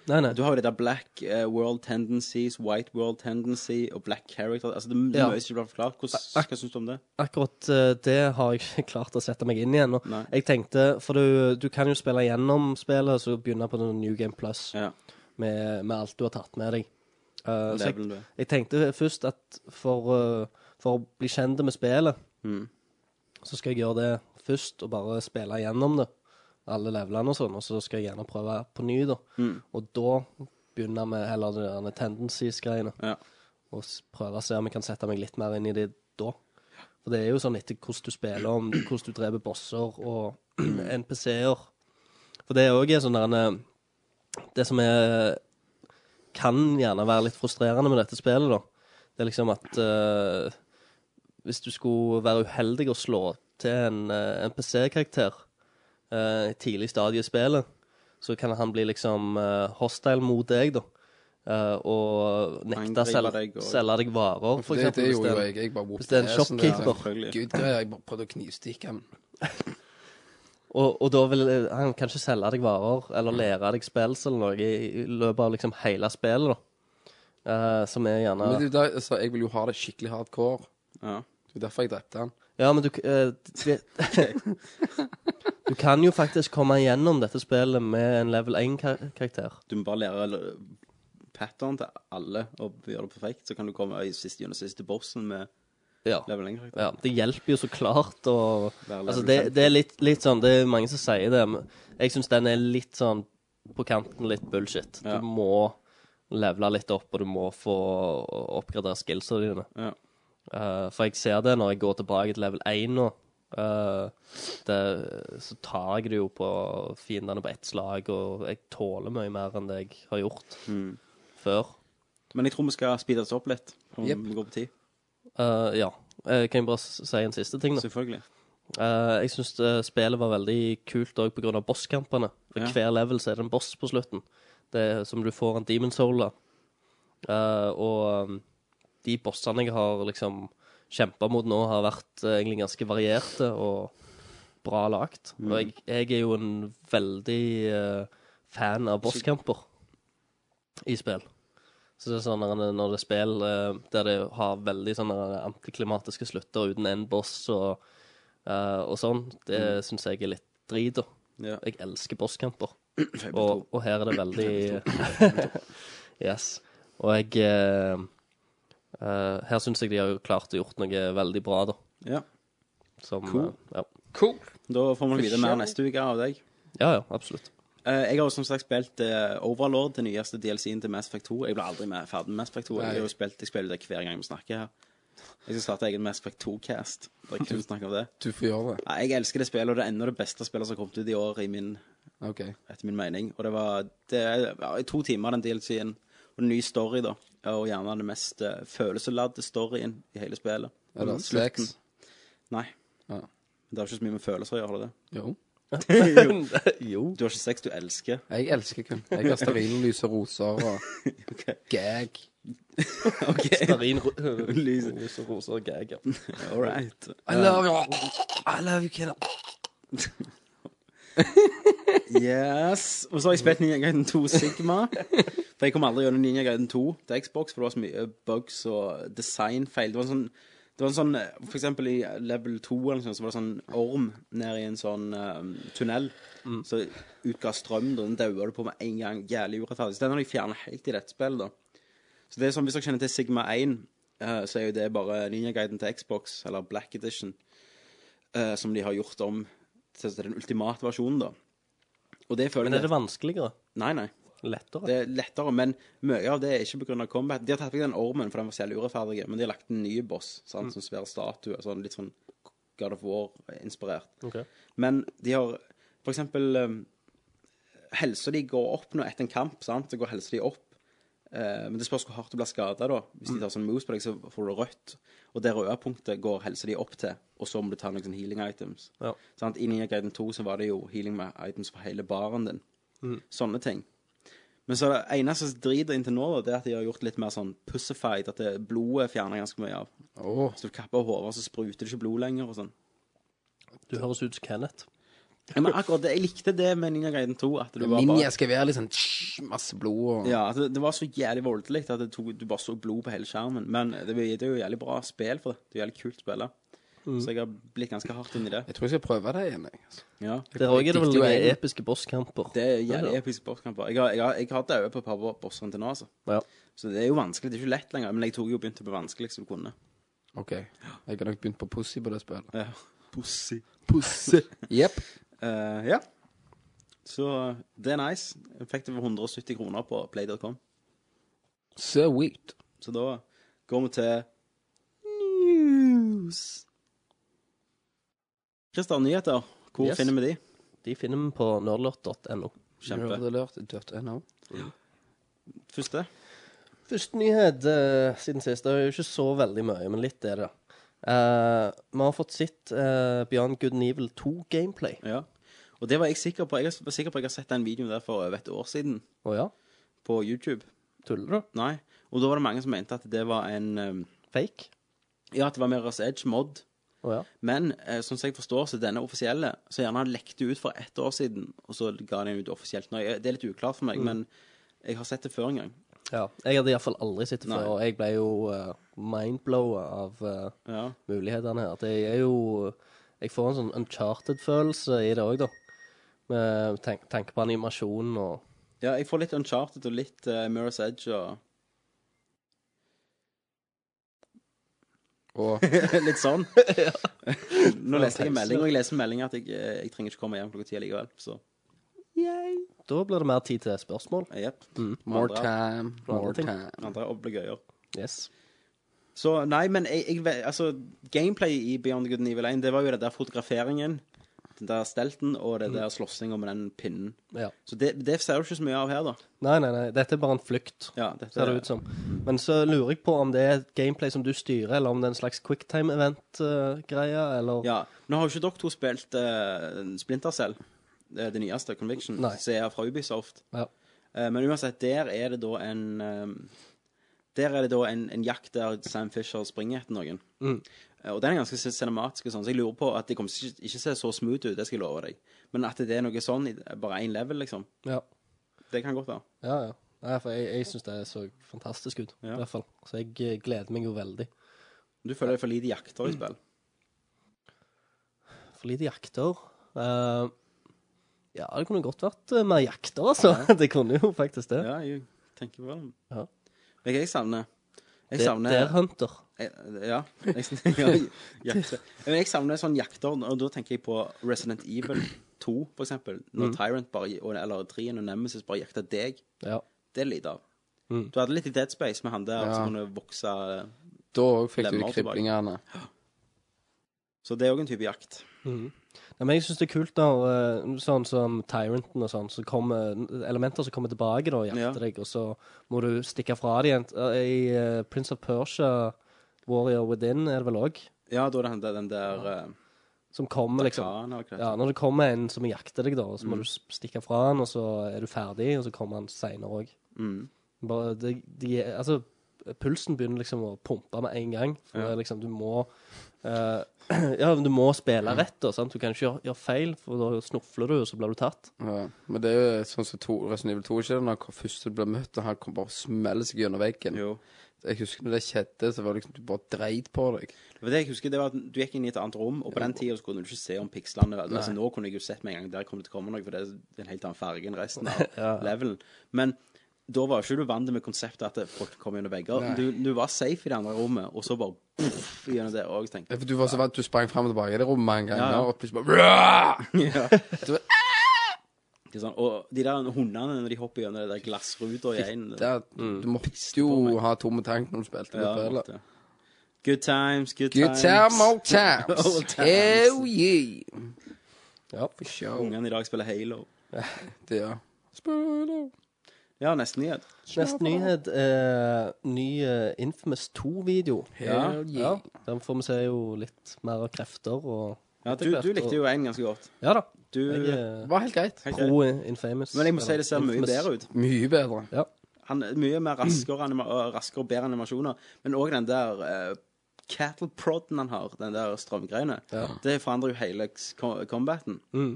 Nei, nei. Du har jo det der black eh, world tendencies, white world tendency og black character. Altså, det, det Ja. er mye som ikke blir forklart. Hvordan, hva syns du om det? Akkurat eh, det har jeg ikke klart å sette meg inn i ennå. Nei. Jeg tenkte, for du, du kan jo spille gjennom spillet, så begynne på noen New Game Plus Ja. med, med alt du har tatt med deg. Eh, så jeg, Levelen du er. Jeg tenkte først at for, uh, for å bli kjent med spillet, Mm. så skal jeg gjøre det først og bare spille gjennom det. Alle levelene og sånn, og så skal jeg gjerne prøve på ny, da. Mm. Og da begynner vi heller de derne tendencies-greiene, Ja. og s- prøve å se om jeg kan sette meg litt mer inn i det da. For det er jo sånn etter hvordan du spiller, om hvordan du dreper bosser og NPC-er. For det er òg sånn der Det som er kan gjerne være litt frustrerende med dette spillet, da. Det er liksom at eh, hvis du skulle være uheldig og slå til en eh, NPC-karakter eh, i tidlig stadie i spillet, så kan han bli liksom eh, hostile mot deg, da. Eh, og nekte å Angripe selge, deg og- selge deg varer, for det, eksempel. det hvis det gjorde jo er en- jeg. Jeg bare sånn hvis det er en shockkeeper. Selvfølgelig. Gud, greier, jeg bare prøvde å knivstikke ham. Og, og da vil eh, han kanskje selge deg varer, Mm. eller lære deg spills eller noe i, i løpet av liksom hele spillet, da. Eh, som er gjerne Men det, er jo der- altså, jeg vil jo ha det skikkelig hardcore. Ja. Det er derfor jeg drepte han. Ja, men du k- eh, det, Du kan jo faktisk komme gjennom dette spillet med en level 1-karakter. Du må bare lære eller, pattern til alle og gjøre det perfekt, så kan du komme i siste, gjennom siste bossen med Ja. level 1-karakter. Ja, det hjelper jo så klart å Være Altså, level det, 50. det er litt, litt sånn Det er mange som sier det, men jeg syns den er litt sånn på kanten litt bullshit. Ja. Du må levele litt opp, og du må få oppgradere skillsa dine. Ja. Eh, for jeg ser det når jeg går tilbake til level 1 nå. eh, det, så tar jeg det jo på fiendene på ett slag, og jeg tåler mye mer enn det jeg har gjort Mm. før. Men jeg tror vi skal speede oss opp litt, om Jep. vi går på tid. Eh, ja. Eh, kan jeg bare s- si en siste ting, da? Selvfølgelig. Eh, jeg syns spillet var veldig kult òg pga. bosskampene. For Ja. Hver level så er det en boss på slutten, det er, som du får en demon soul av. Eh, og um, de bossene jeg har liksom kjempa mot nå, har vært eh, egentlig ganske varierte og bra lagt. Og jeg, jeg er jo en veldig eh, fan av bosskamper i spill. Så det er sånn når det- når det er spill eh, der det har veldig sånne antiklimatiske slutter uten en boss og, eh, og sånn, det synes syns jeg er litt drit. da. Ja. Jeg elsker bosskamper. Og, og her er det veldig Yes. Og jeg eh, eh, Her syns jeg de har jo klart å gjort noe veldig bra, da. ja. Som, Cool. eh, ja. Cool. Da får vi vite mer neste uke av deg. ja, ja, absolutt. Eh, jeg har jo som sagt spilt eh, Overlord, den nyeste DLC-en til Mass Effect 2. Jeg blir aldri med, ferdig med Mass Effect 2. Jeg, Nei. har jo spilt, jeg spiller jo det hver gang vi snakker her. Jeg skal starte egen Mass Effect 2-cast. Der jeg kun snakker om det. Du får gjøre det. Nei, jeg elsker det spillet, og det er ennå det beste spillet som har kommet ut i år, i min, OK. etter min mening. Og det var det, er- ja, i to timer, den DLC-en. Og en ny story, da. Og gjerne den mest eh, følelsesladde storyen i hele spillet. Er det Mm, sex? slutten. Nei. Ja. Det har ikke så mye med følelser å gjøre, har det det. Jo. jo. Du har ikke sex, du elsker. Jeg elsker kun. Jeg har stearinlys og roser og gag. Stearin, ro Lys. roser, roser og gag. Ja. All right. I love you. I love you, kid. Yes. Og så har jeg spilt Ninja Gaiden 2 Sigma. For jeg kom aldri gjennom Ninja Gaiden 2 til Xbox, for det var så mye bugs og designfeil. Det var en sånn, det var en sånn eh, For eksempel i level 2 eller noe sånt, så var det sånn orm ned i en sånn eh, tunnel. Mm. Så utga strøm, da. Den daua du på med en gang. Jævlig urettferdig. Så den har de fjerna helt i dette spillet, da. Så det er sånn, hvis dere kjenner til Sigma 1, eh, så er jo det bare Ninja Gaiden til Xbox, eller Black Edition, eh, som de har gjort om til til den ultimate versjonen, da. Og det føler Men er jeg det vanskeligere? Nei, nei. Lettere? Det er lettere, men mye av det er ikke pga. combat. De har tatt vekk den ormen, for den var så jævlig urettferdig, men de har lagt en ny boss, sant, som svær statue, sånn litt sånn God of War-inspirert. Ok. Men de har for eksempel um, Helsa de går opp nå etter en kamp, sant, så går helsa de opp. Eh, men det spørs hvor hardt du blir skada, da. Hvis de tar sånn moves på deg, så får du rødt. Og det røde punktet går helsa di opp til, og så må du ta noen sånne healing items. Ja. Sant? I Ninja Gaiden 2 så var det jo healing med items for hele baren din. Mm. Sånne ting. Men så er det eneste som driter inntil nå, da, det er at de har gjort litt mer sånn pussified, at det blodet fjerner ganske mye av. Åh, Så du kapper hodet, så spruter det ikke blod lenger og sånn. Du høres ut som Kenneth. Ja, men akkurat det, jeg likte det med Ninja Gaiden 2, at du var Ninja bare skal være litt sånn tsh, masse blod og ja, at det, det var så jævlig voldelig at det tok, du bare så blod på hele skjermen. Men det, det er jo jævlig bra spill for det. Det er jo jævlig kult å spille. Mm. Så jeg har blitt ganske hardt inn i det. Jeg tror jeg skal prøve det igjen. jeg. altså. Ja. Der òg er det vel dikter jo noen jeg. episke bosskamper. Det er Ja, jævlig ja. episk sportskamper. Jeg har, jeg har, jeg har daua på et par bosser til nå, altså. Ja. Så det er jo vanskelig. Det er ikke lett lenger. Men jeg tok jo begynte på vanskeligst du kunne. OK. Jeg har nok begynt på pussy på det spillet. Ja. Pussy. Pussy. Jepp. Eh, ja. Så eh, det er nice. Jeg fikk det for 170 kroner på play.com. Sweet. Så da går vi til news. Christer, nyheter. Hvor Yes. finner vi de? De finner vi på nerdlort.no. Kjempe. Nerdelert.no. Første? Første nyhet eh, siden sist. Det er jo ikke så veldig mye, men litt er det. Eh, vi har fått sett eh, Beyond Good and Evil 2-gameplay. Ja. Og det var jeg sikker på. Jeg var sikker på at jeg har sett den videoen der for over et år siden Å ja? på YouTube. Tuller du? Nei. Og da var det mange som mente at det var en eh, Fake? Ja, at det var Mirror's Edge mod. Å ja. Men eh, sånn som jeg forstår, så denne offisielle Så gjerne han lekte ut for ett år siden, og så ga han den ut offisielt nå. Jeg- Det er litt uklart for meg, men jeg har sett det før en gang. Ja, jeg hadde iallfall aldri sett det Nei. før, og jeg ble jo uh, mindblowa av eh, Ja. mulighetene her. Det er jo Jeg får en sånn uncharted-følelse i det òg, da. Med tank tanke på animasjonen og ja, jeg får litt Uncharted og litt uh, Mirror's Edge og Og Litt sånn. Nå leste jeg en melding, og jeg leser en melding at jeg, eh, jeg trenger ikke komme hjem klokka ti likevel. Så Da blir det mer tid til spørsmål. eh, jepp. more Andre- time, more andre ting. time. Andre obligøyer. Yes. Så nei, men jeg, jeg vet- altså, gameplay i Beyond Good and Evil 1, det var jo det der fotograferingen, den der stelten, Mm. og det der slåssinga med den pinnen. Ja. Så det, det ser du ikke så mye av her, da. Nei, nei, nei. Dette er bare en flukt, Ja, dette ser det ut som. Men så lurer jeg på om det er et gameplay som du styrer, eller om det er en slags quicktime event-greie, eller Ja. Nå har jo ikke dere to spilt eh, Splinter Cell, eh, det, det nyeste, Conviction, Nei. som er fra Ubisoft. Ja. Eh, men uansett, der er det da en eh, Der er det da en, en jakt der Sam Fisher springer etter noen. Mm. Eh, og den er ganske cinematisk, og sånn, så jeg lurer på at det kommer ikke, ikke se så smooth ut, det skal jeg love deg. Men at det er noe sånn, i- bare én level, liksom, Ja, det kan godt være. ja. ja. Nei, for jeg, jeg syns det så fantastisk ut, Ja. i hvert fall. Så jeg eh, gleder meg jo veldig. Du føler det er for lite jakter i spill. For lite jakter. Eh, ja, det kunne godt vært eh, mer jakter, altså. Det kunne jo faktisk det. Ja, jeg tenker på det. Ja. Men jeg savner det Jeg det savner er Hunter. jeg, Eh, Ja. Jeg, jeg, jakter. Men jeg savner sånn jakter, og da tenker jeg på Resident Evil 2, for eksempel. Når Mm. Tyrant bare, og- eller 3 og Nemesis bare jakter deg. Ja. Det er lite av. Mm. Du hadde litt i Dead Space med han der Ja. som kunne vokse eh, Da òg fikk du Lemmer de tilbake. kriblingene. Så det er òg en type jakt. Mhm. Nei, men jeg syns det er kult når eh, sånn som Tyranten og sånn, så kommer elementer som kommer tilbake da, og jakter Ja. deg, og så må du stikke fra det igjen. Eh, I eh, Prince of Persia, Warrior Within, er det vel òg, Ja, da er det han der, den der eh, som kommer, liksom. Khan, eller hva det heter. Ja, når det kommer en som jakter deg, da, og så Mm. må du s- stikke fra han, og så er du ferdig, og så kommer han seinere òg. Mm. Bare de, de, altså, pulsen begynner liksom å pumpe med en gang. For Ja. det er liksom, du må eh, Ja, men du må spille rett, da. Sant? Du kan ikke gjøre, gjøre feil, for da snufler du, og så blir du tatt. Ja. Men det er jo sånn som to, Resident Evil 2 ikke det, når han først blir møtt, og han kom bare og smeller seg gjennom veggen. Jo. Jeg husker når det skjedde, så var det liksom du bare dreit på deg. For det jeg husker, det var at du gikk inn i et annet rom, og på den tida kunne du ikke se om pikslene var- altså, Nå kunne jeg jo sett med en gang der kom det til å komme noe, for det er en helt annen farge enn resten av levelen. Men da var jo ikke du vant med konseptet at det- folk kom gjennom vegger. Du, du var safe i det andre rommet, og så bare puff, gjennom det òg, tenkte Ja, For du var så vant, du sprang fram og tilbake i det rommet mange ganger, Ja, ja. og plutselig bare jeg. Ja. Du- Det er Sånn, og de der hundene når de hopper gjennom det der glassruta i en Der, Mm. Du måtte jo ha tomme tank når du spilte det Ja, spillet. måtte. Good times, good, Good times. time, old times. Old times. Hell yeah. Ja, for sure. Ungene i dag spiller Halo. Det, ja. Spoiler. Ja, nesten nyhet. Neste nyhet er ny eh, Infamous 2-video. Hell yeah. Den får vi se jo litt mer av krefter og Ja, du, du likte jo en ganske godt. Ja da. Du, Jeg eh, Det er var helt greit. Helt greit. pro Infamous. Men jeg må si det ser mye bedre ut. Mye bedre. Han er mye mer raskere, anima og raskere og bedre animasjoner. Men òg den der eh, cattle prodden han har, den der strømgreiene, det forandrer jo hele s- co- combaten. Mm.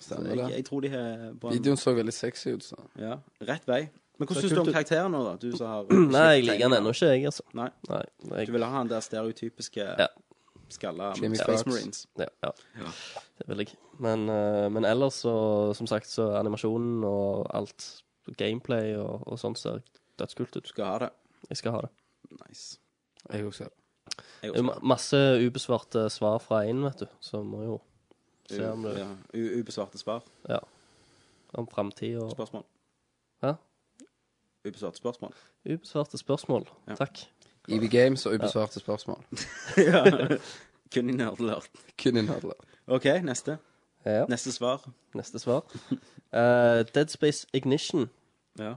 Så Stemmer jeg, det. jeg tror de har på en Videoen så veldig sexy ut. Så. ja, rett vei. Men Så hvordan syns du om kult ut. karakteren nå, da? Du som har Mm. Nei, jeg liker den ennå ikke, jeg, altså. Nei. Nei, Du jeg, vil ha han der stereotypiske Ja. skalla Jimmy Space Fox. Marines. Ja, ja. Det vil jeg. Men, eh, men ellers så, som sagt, så animasjonen og alt, gameplay og, og sånt ser dødskult ut. Du skal ha det. Jeg skal ha det. Nice. Jeg også. Jeg Det er jo også. ma- masse ubesvarte svar fra én, vet du, så må jo se om U- det Ja, u- ubesvarte svar. om framtid og Spørsmål. Hæ? Ubesvarte spørsmål. Ubesvarte spørsmål. Ja. Takk. EB E Games og ubesvarte spørsmål. ja. Kun i nerdelert. Kun innholdet. OK, neste. Ja, Neste svar. neste svar. Eh, Dead Space Ignition, Ja.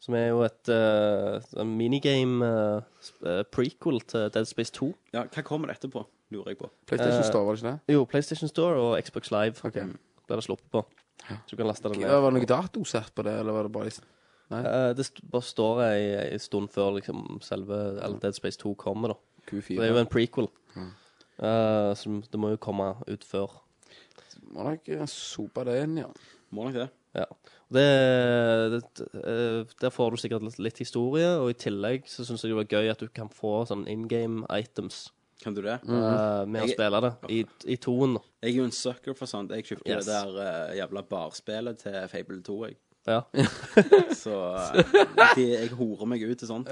som er jo et eh, en minigame eh, sp- eh, prequel til Dead Space 2. ja. Hva kommer det etterpå, lurer jeg på. PlayStation Eh, Store, var det ikke det? Jo, PlayStation Store og Xbox Live Ok. ble det sluppet på. Så du kan laste den ned. Ja, var det noe dato satt på det, eller var det bare liksom Eh, det st bare står ei, ei stund før liksom, selve eller Dead Space 2 kommer, da. Q4? For det er jo en prequel. Eh, så det må jo komme ut før. Må nok eh, sope det inn, ja. Må nok det. Ja. Og Det, det, eh, der får du sikkert litt, litt historie, og i tillegg så syns jeg det var gøy at du kan få sånn in game items Kan du det? eh, med å Jeg- spille det, i, i toen. da. Jeg er jo en sucker for sånt. Jeg kjøpte Yes. det der eh, jævla barspillet til Fable 2, jeg. Ja. Så eh, de, jeg horer meg ut til sånt.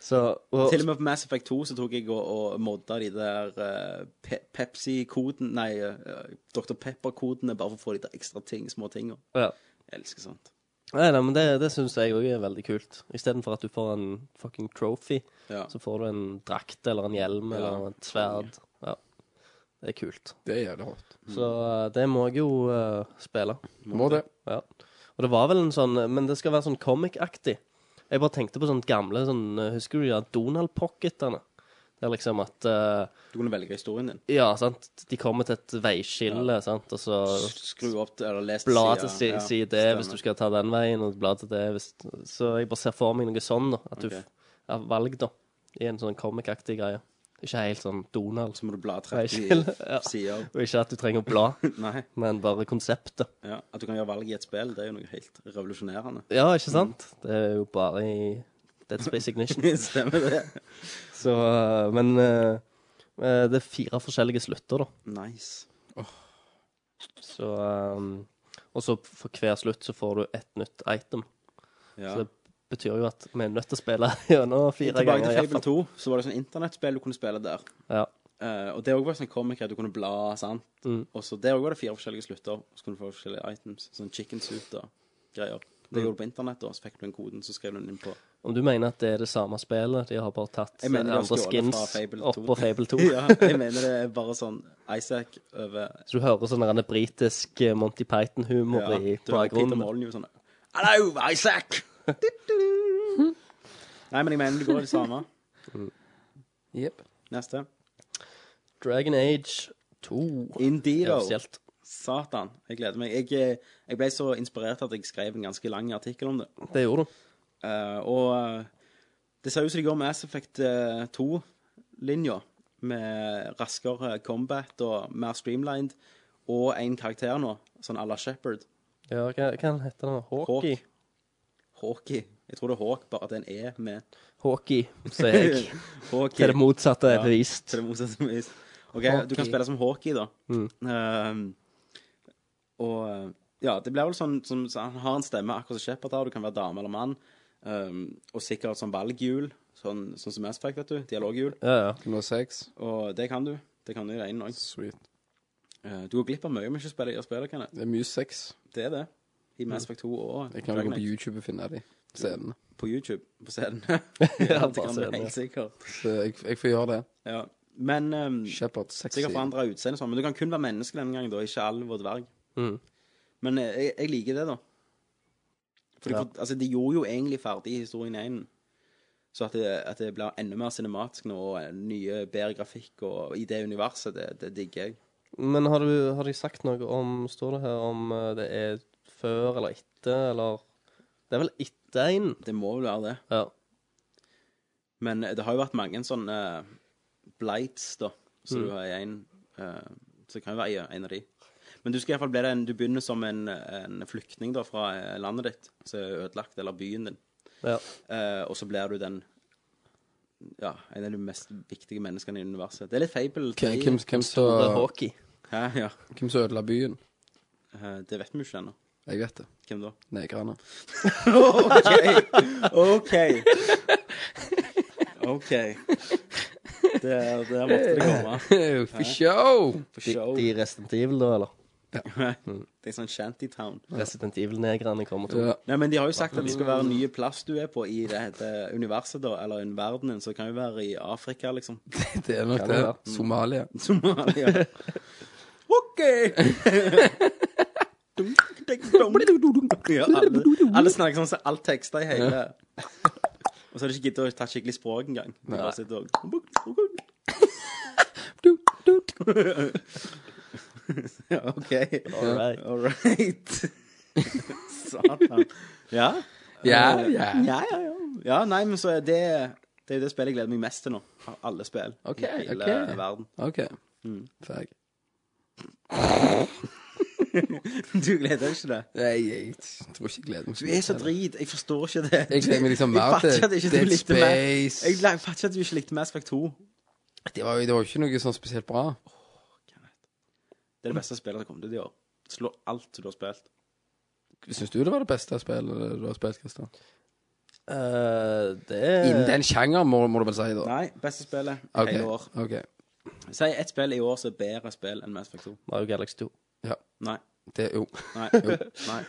Så, og, Til og med på Mass Effect 2 så tok jeg og, og modda de der eh, pe Pepsi-koden Nei, eh, Dr. Pepper-kodene bare for å få de der ekstra ting, små tinga. ja. Jeg elsker sånt. Nei, nei, men det, det syns jeg òg er veldig kult. Istedenfor at du får en fucking trophy, Ja. så får du en drakt eller en hjelm eller et sverd. Ja. Det er kult. Det er jævlig hot. Så eh, det må jeg jo eh, spille. Må det. Ja. Og det var vel en sånn Men det skal være sånn comic-aktig. Jeg bare tenkte på sånne gamle sånn, eh, Husker du de der Donald-pocketene? Det er liksom at eh, Du kunne velge historien din. Ja, sant. De kommer til et veiskille, sant, og så Skru opp til- eller les bla til si, Ja, si det hvis du skal ta den veien, og bla til det hvis Så jeg bare ser for meg noe sånn, da. At du Ok. har valg, da. I en sånn comic-aktig greie. Ikke helt sånn Donald. Så må du bla 30 Veiskille, ja. sider. Og ikke at du trenger å bla, Nei. men bare konseptet. Ja. At du kan gjøre valg i et spill, det er jo noe helt revolusjonerende. Ja, ikke sant? Mm. Det er jo bare i Dead Space Ignition. Stemmer det? Så, øh, men øh, øh, det er fire forskjellige slutter, da. Nice. Så, øh, og så for hver slutt så får du et nytt item. Ja. Så det betyr jo at vi er nødt til å spille gjennom fire Tilbake ganger. til i hvert Fable fall. 2, så var det sånn internettspill du kunne spille der. Ja. Eh, og det også var sånn comic at du kunne bla, sant. Mm. Og så der også var det fire forskjellige slutter, og så kunne du få forskjellige items. Sånn chicken suit og greier. Mm. Det gjorde du på internett, da, så fikk du den koden, så skrev du den inn på Om du mener at det er det samme spillet, de har bare tatt Jeg mener de har andre stjålet skins fra Fable 2. oppå Fable 2. Ja, jeg mener det er bare sånn Isaac over Så du hører sånn der britisk eh, Monty Python-humor i ja, du har Peter bakgrunnen. Mollen jo sånn Hello, Isaac! Nei, men jeg mener det går i det samme. Jepp. Neste. Dragon Age 2 er Indeedo. offisielt. Satan. Jeg gleder meg. Jeg, eh, jeg ble så inspirert at jeg skrev en ganske lang artikkel om det. Det gjorde du. Eh, og eh, det ser ut som de går med Mass Effect 2-linja, med raskere combat og mer streamlined, og en karakter nå, sånn à la Shepherd. Ja, hva, hva heter den? Hawkey? Hawkey. Jeg tror det er Hawk, bare at det er en E med Hawkey, sier jeg. Hawkey. Til det motsatte er bevist. Til det motsatte bevis. OK, du kan spille som Hawkey, da. Eh, og ja, det blir vel sånn som så Han har en stemme akkurat som Shepherd har, du kan være dame eller mann. eh, og sikkert sånn valghjul, sånn, sånn som Mass Effect, vet du. Dialoghjul. Ja, ja. Nummer seks. Og det kan du. Det kan du i det ene òg. Sweet. Du går glipp av mye om ikke spiller gjør spillet, Kenneth. Det er mye sex. Det er det. I Mass Effect 2 og Jeg kan jo Dragon gå på Age. YouTube og finne de scenene. på YouTube. På scenen. ja, bare det kan scenen, du ja. helt sikkert. Så jeg, jeg får gjøre det. Ja. Men um, Shepard, sexy. sikkert forandra utseende og sånn. Men du kan kun være menneske denne gangen, da. Ikke alv og dverg. Mhm. Men eh, jeg, jeg liker det, da. For de, Ja. for- altså, de gjorde jo egentlig ferdig historien i én. Så at det, at det blir enda mer cinematisk nå, og eh, nye, bedre grafikk og i det universet, det, det digger jeg. Men har, du, har de sagt noe om Står det her om eh, det er før eller etter, eller Det er vel etter en? Det må vel være det. Ja. Men eh, det har jo vært mange sånne eh, blights, da. Så du har en eh, Så det kan jo være en av de. Men du skal i hvert fall bli den Du begynner som en, en flyktning da fra eh, landet ditt som er ødelagt, eller byen din. ja. Eh, og så blir du den Ja, en av de mest viktige menneskene i universet. Det er litt fable. Hvem- Hvem hvem Det er som hockey. Hæ, ja. hvem som ødela byen? Eh, det vet vi jo ikke ennå. Jeg vet det. Hvem da? Negrene. OK! OK. OK. Der, der måtte det komme. For show! For De, show. de Resident Evil, da, eller? Det er sånn shantytown. Resident Evil-negrene kommer til. Ja. Nei, men de har jo sagt at det skal være nye plass du er på i det heter universet, da, eller i verdenen. Så det kan jo være i Afrika, liksom. Det er nok Kan det være? det. Somalia. Somalia. OK! ja, alle, alle snakker sånn som alt tekster i hele Og så har de ikke giddet å ta skikkelig språk engang. De bare sitter og Ja, OK. All right. All right. Satan. Ja. Ja, Eh, ja. ja, ja, ja. Ja, nei, men så er det Det er jo det spillet jeg gleder meg mest til nå. Av alle spill Ok, i hele ok. Mm. verden. OK. Ferdig. Du gleder deg ikke til det? Nei, jeg tror ikke jeg gleder meg Du er så drit. Jeg forstår ikke det. Jeg gleder meg liksom Jeg mer fatter til at ikke du Dead likte mer- Space. Jeg la- fatter ikke at du ikke likte Mass Effect 2. Det var jo det var jo ikke noe sånn spesielt bra. Det er det beste spillet som kom ut i år. Slå alt du har spilt. Syns du det var det beste spillet du har spilt, Kristian? Eh, det Innen den sjangeren, må, må du vel si, da. Nei, beste spillet Ok, hele år. ok. Si ett spill i år som er bedre spill enn Mass Effect 2. Mario Galaxy 2. Nei. Det, jo. Nei. Nei.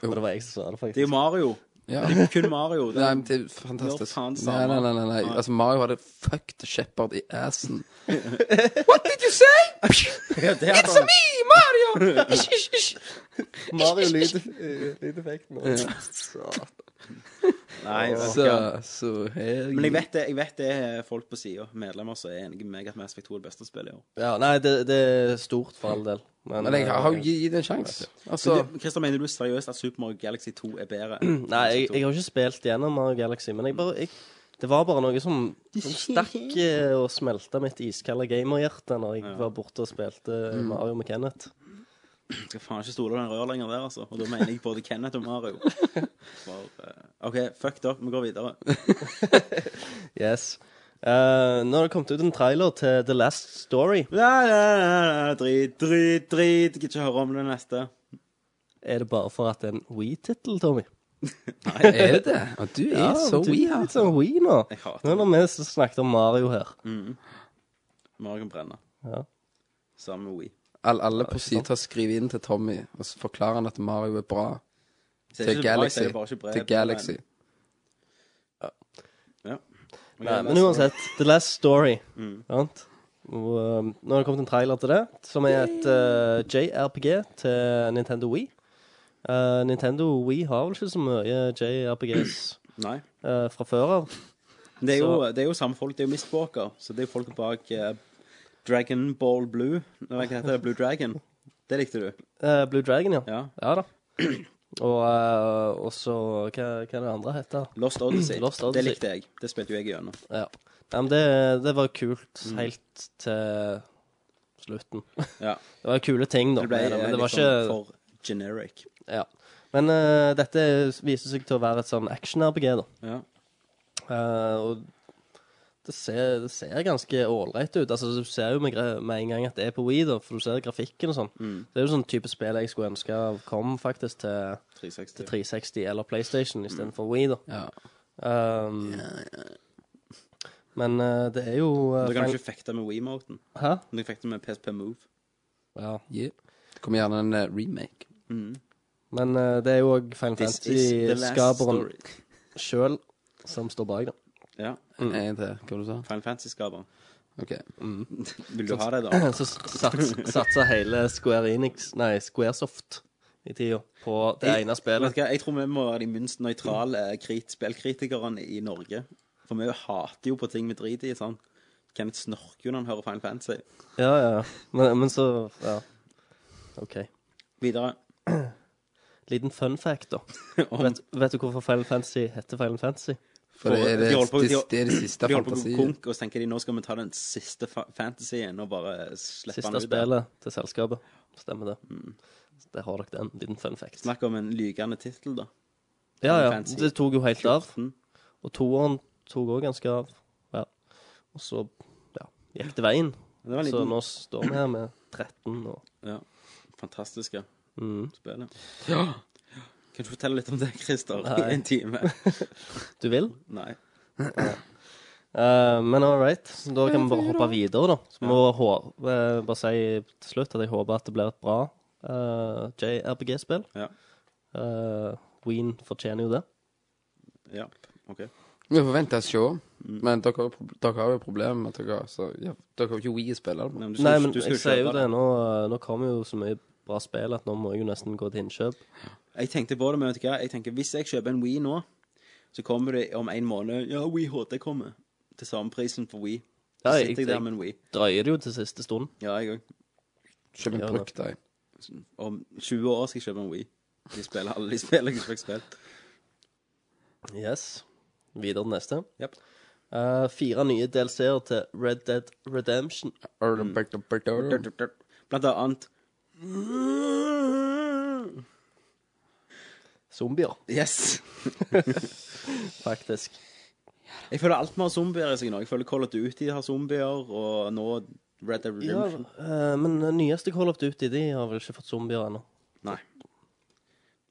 Og det var jeg som sa det, Det er jo faktisk. Mario. Ja. Det er kun Mario. Det Nei, er, men det er fantastisk. Gjør faen Nei, samme. nei, nei, nei, nei. Nei. Altså, Mario hadde fucked Shepherd i assen. ja, det er bare- eh, Mario-lydeffekten. Nei, vet du Så, hva. så hell. Men jeg Mm. vet, det, jeg vet det er folk på sida, medlemmer, som er enige med meg at Mass Effect 2 er det beste spillet i år. Ja, nei, det, det er stort for all del. eh, Men jeg har jo gitt det en sjanse. Altså, Så, du, Christian, mener du seriøst at Super Mario Galaxy 2 er bedre? enn Nei, Mass jeg, Effect 2? jeg har ikke spilt gjennom Mario Galaxy, men jeg bare jeg, Det var bare noe som, som stakk eh, og smelta mitt iskalde gamerhjerte når jeg var borte og spilte eh, Mm. Mario med Kenneth. skal faen ikke stole på den rørleggeren der, altså. Og da mener jeg både Kenneth og Mario. For, eh, OK, fuck dere, vi går videre. Yes. Eh, nå har det kommet ut en trailer til The Last Story. La, la, la, la, drit, drit, drit. Jeg kan ikke høre om det neste. Er det bare for at det er en We-tittel, Tommy? er det det? Og du er så du weird. er litt sånn We nå. Jeg hater Nå er det vi som snakket om Mario her. Mm. Mario kan brenne. Ja. Sammen med We. Alle, alle på Sita skriver inn til Tommy og så forklarer han at Mario er bra. Så det er ikke Til så bra, jeg Galaxy. sier bare ikke brev, Til Galaxy. men- Nei, men uansett, The Last Story. Mm. Sant? Og, um, nå har det kommet en trailer til det, som er et uh, JRPG til Nintendo Wii. Uh, Nintendo Wii har vel ikke så mye JRPGs Nei. uh, fra før av. Men Det er, jo, det er jo samme folk. Det er jo Mistwalker. Så det er jo folk bak eh, Dragon Ball Blue. Nei, hva heter det? Blue Dragon. Det likte du. Uh, Blue Dragon, ja. Ja. Ja da. Og uh, og så hva, hva er det andre heter? Lost Odyssey. Lost Odyssey. Det likte jeg. Det spilte jo jeg gjennom. Ja. Nei, men det, det var kult Mm. helt til slutten. Ja. Det var kule ting, da. Det ble med det, eh, men det litt var sånn ikke for generic. Ja. Men eh, dette viser seg til å være et sånn action-RPG, da. Ja. Eh, og det ser, det ser ganske ålreit ut. Altså, du ser jo med, gre- med en gang at det er på Wii, da, for du ser grafikken og sånn. Mm. Det er jo sånn type spill jeg skulle ønske kom faktisk til, til 360. 360 eller PlayStation Mm. istedenfor Wii, da. Ja. Um, Men eh, det er jo eh, Da kan du Final- ikke fekte med Wiimoten. Hæ? Du kan fekte med PSP Move. Ja. Yeah. Det kommer gjerne en eh, remake. Men eh, det er jo òg Final This is the last Fantasy-skaperen story. sjøl som står bak, da. Ja. Mm. En til, hva du sa Final Fantasy-skaperen. Ok. Vil du ha det, da? Så sats- satsa hele Square Enix, nei, Squaresoft i tida på det ene Vet spillet. du hva, jeg tror vi må være de minst nøytrale eh, krit spillkritikerne i Norge. For vi hater jo på ting vi driter i. sant? Kenneth snorker jo når han hører Final Fantasy. Ja, ja. ja. Men, men så Ja. OK. Videre. Liten fun fact, da. Om- Vet, vet du hvorfor Final Fantasy heter Final Fantasy? For det er det, De holder på- det, de- det, er det siste De holder på å gå fantasien. konk, og så tenker de nå skal vi ta den siste fa- fantasyen og bare slippe Siste den ut. der. spillet til selskapet. Stemmer det. Så Der har dere den. Liten fun fact. Snakk om en lykende tittel, da. Ja, ja. Fantasy. Det tok jo helt av. 14. Og toeren tok òg ganske av. Ja. Og så ja, gikk det veien. Det var en Så liten nå står vi her med 13 og ja, fantastiske Mm. spillet. Kan du fortelle litt om det, Christer? Nei. I en time? Du vil? Nei. Eh, men all right, så da kan vi bare hoppe videre, da. Så må jeg hå- eh, bare si til slutt at jeg håper at det blir et bra eh, JRPG-spill. Ja. Eh, Ween fortjener jo det. Ja, OK. Vi får vente og se. Mm. Men dere, har jo prob- dere har jo problemer med at dere, har- så, ja, dere har jo ikke Wii å spille det Nei, med. men du skal, Nei, men du skal jeg sier jo kjøpe det. Nå, eh, nå kommer jo så mye bra spill at nå må jeg jo nesten gå til innkjøp. Jeg tenkte på det, men vet du hva? Jeg tenker, hvis jeg kjøper en Wii nå, så kommer det om en måned Ja, Wii HD kommer. Til samme prisen for Wii. Ja, Så jeg- sitter jeg der med en Wii. Drøyer det jo til siste stund. Ja, jeg òg. Kjøp en Ja, brukt ei. Om 20 år skal jeg kjøpe en Wii. De spiller alle de spillene jeg fikk spilt. Yes. Videre til neste. Japp. Eh, fire nye DLC-er til Red Dead Redemption. Mm. Blant Blant annet zombier, Yes. faktisk. Jeg føler alt mer zombier i seg nå. Jeg føler Call of Duty har zombier, og nå Red Dead Ja, Redemption. eh, men den nyeste Call of Duty de har vel ikke fått zombier ennå. Nei.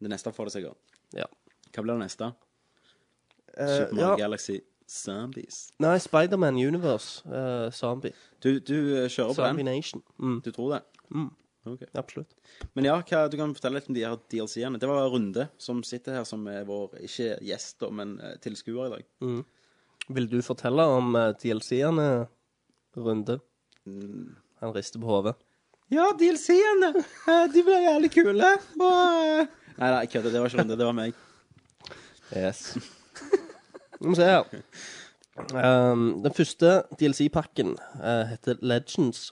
Det neste får det sikkert. Ja. Hva blir det neste? Uh, Super Mario ja. Galaxy Zombies. Nei, Spiderman Universe. eh, zombie. Du, du eh, kjører på Zombie den? Nation. Mm, Du tror det? Mm. Ok. absolutt. Men ja, hva, du kan fortelle litt om de her DLC-ene. Det var Runde som sitter her som er vår, ikke gjest, da, men eh, tilskuer i dag. Vil du fortelle om eh, DLC-ene, Runde? Han rister på hodet. Ja, DLC-ene! De ble jævlig kule. eh. Nei da, jeg kødder. Det var ikke Runde, det var meg. Yes. Vi må se her. Ehm, den første DLC-pakken eh, heter Legends.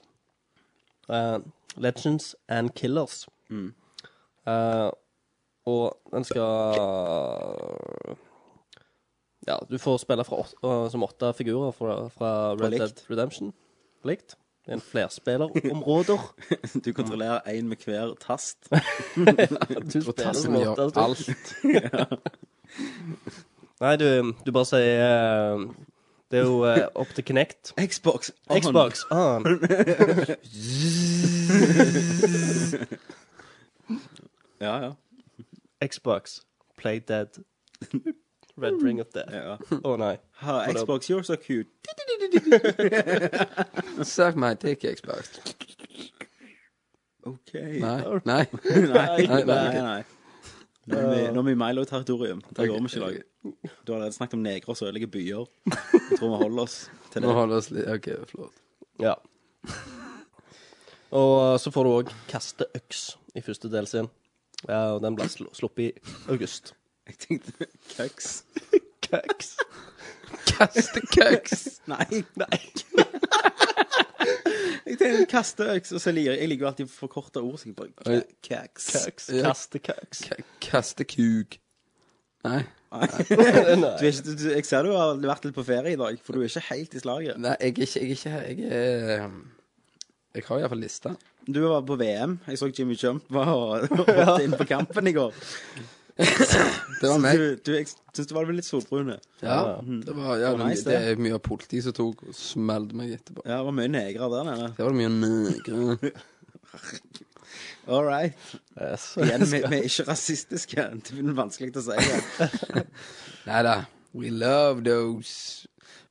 Eh, Legends and Killers. Eh, og den skal Ja, du får spille fra åt, eh, som åtte figurer fra, fra Red likt. Dead Redemption. På likt. Det er en flerspillerområder. Du kontrollerer én med hver tast. du spiller som Tassen åtte. gjør altså. alt. Nei, du, du bare sier eh, Det er jo eh, opp til Kinect. Xbox. on. Xbox Ah, on. Ja, ja. Xbox. Play dead. Red ring of death. Å ja. nei. Ha, Xbox, you're so cute. Suck my dick, Xbox. OK. Nei. Nei. Nei, nei, Nei, nei, nei. Nå er vi- nå er vi i Milo-territorium. Det går vi ikke i dag. Ok. Du har allerede snakket om negre som ødelegger byer. Jeg tror vi holder oss til Nå det. holder oss litt OK, flott. Ja. Og eh, så får du òg kaste øks i første del sin. Ja, og den ble sl sluppet i august. Jeg tenkte køks. Kæks. Kaste køks! Nei. nei. jeg tenkte kasteøks, og så liker jeg- jeg liker jo alltid forkorta ord. Så jeg bare Oi. kø- køks. Kæks. Ja. Kaste kæks. K- Kaste kuk. Nei. Du er ikke, du, du, jeg ser du har vært litt på ferie i dag, for du er ikke helt i slaget. Nei, jeg er ikke Jeg er ikke her. Jeg er um, Jeg har iallfall lista. Du var på VM. Jeg så Jimmy Jump var hoppet inn på kampen i går. Det var meg. Du, du, jeg syns du var litt solbrune. Ja, det var ja, Det var nice, det. det. er mye av politiet som tok og smelt meg etterpå. Ja, det var mye negre der nede. Det var mye negre. All right. Yes. Igjen, vi, vi er ikke rasistiske. Det blir vanskelig å si. det. Nei da. We love those.